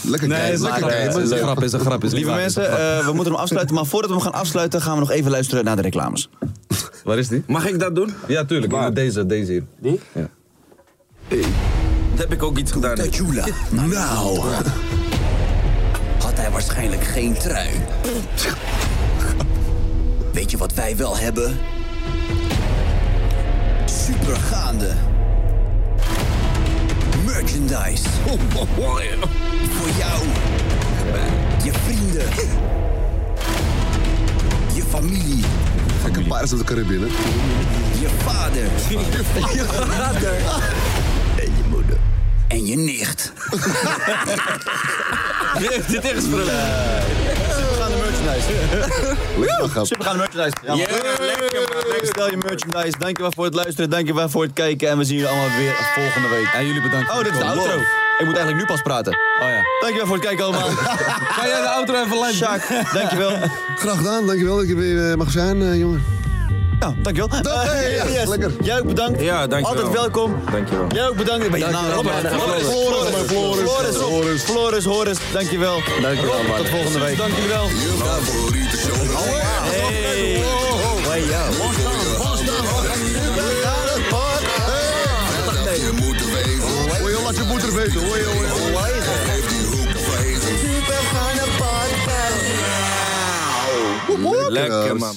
Speaker 4: Lekker kijken.
Speaker 5: Nee, eh,
Speaker 4: Lekker
Speaker 5: is een grap,
Speaker 4: kijken.
Speaker 5: is een grap, is een grap. is een
Speaker 3: Lieve
Speaker 5: grap.
Speaker 3: mensen, eh, we moeten hem afsluiten. Maar voordat we hem gaan afsluiten, gaan we nog even luisteren naar de reclames.
Speaker 5: Waar is die?
Speaker 6: Mag ik dat doen?
Speaker 5: Ja, tuurlijk.
Speaker 6: Waar?
Speaker 5: Deze, deze hier.
Speaker 6: Dat heb ik ook iets gedaan.
Speaker 10: Tajula. Nou. Had hij waarschijnlijk geen trui. Weet je wat wij wel hebben? Supergaande. Merchandise. Voor jou. Je vrienden. Je familie.
Speaker 4: Lekker Pirates of the Caribbean, hè.
Speaker 10: Je vader. Je vader. En je moeder. En je nicht.
Speaker 6: Dit is gesprullen.
Speaker 3: Supergaande merchandise.
Speaker 4: Lekker grap.
Speaker 3: Supergaande merchandise. Ja, man.
Speaker 6: Yeah.
Speaker 3: Lekker, man. Lekker stel je merchandise. Dankjewel voor het luisteren. Dankjewel voor het kijken. En we zien jullie allemaal weer volgende week.
Speaker 5: En jullie bedankt.
Speaker 3: Oh,
Speaker 5: voor
Speaker 3: dit is
Speaker 5: het
Speaker 3: de
Speaker 5: komen.
Speaker 3: outro.
Speaker 5: Wow.
Speaker 3: Ik moet eigenlijk nu pas praten.
Speaker 5: Oh ja.
Speaker 3: Dankjewel voor het kijken allemaal.
Speaker 5: Ga jij de outro even live doen?
Speaker 3: Sjaak, dankjewel.
Speaker 4: Graag gedaan. Dankjewel dat je weer eh, mag zijn, eh, jongen.
Speaker 3: Ja, Nou, dankjewel. Eh,
Speaker 4: hey, ja, lekker.
Speaker 3: Jij ook bedankt.
Speaker 6: Ja, dankjewel.
Speaker 3: Altijd welkom.
Speaker 6: Dankjewel.
Speaker 3: Jij ook bedankt. Ben je
Speaker 9: Dankjewel,
Speaker 3: naam?
Speaker 9: Robert.
Speaker 3: Floris.
Speaker 4: Floris,
Speaker 3: Floris.
Speaker 4: Floris.
Speaker 3: Floris. Floris. Floris. Floris. Dankjewel.
Speaker 9: Dankjewel,
Speaker 3: Rob,
Speaker 9: man.
Speaker 3: Tot volgende week. Dankjewel.
Speaker 7: favoriete show.
Speaker 3: Hey.
Speaker 7: Dat je moeder weet.
Speaker 4: Hoor je, laat je moeder weten. Hoor je, hoor je.
Speaker 7: Heeft die hoek verheven.
Speaker 6: Lekker, man.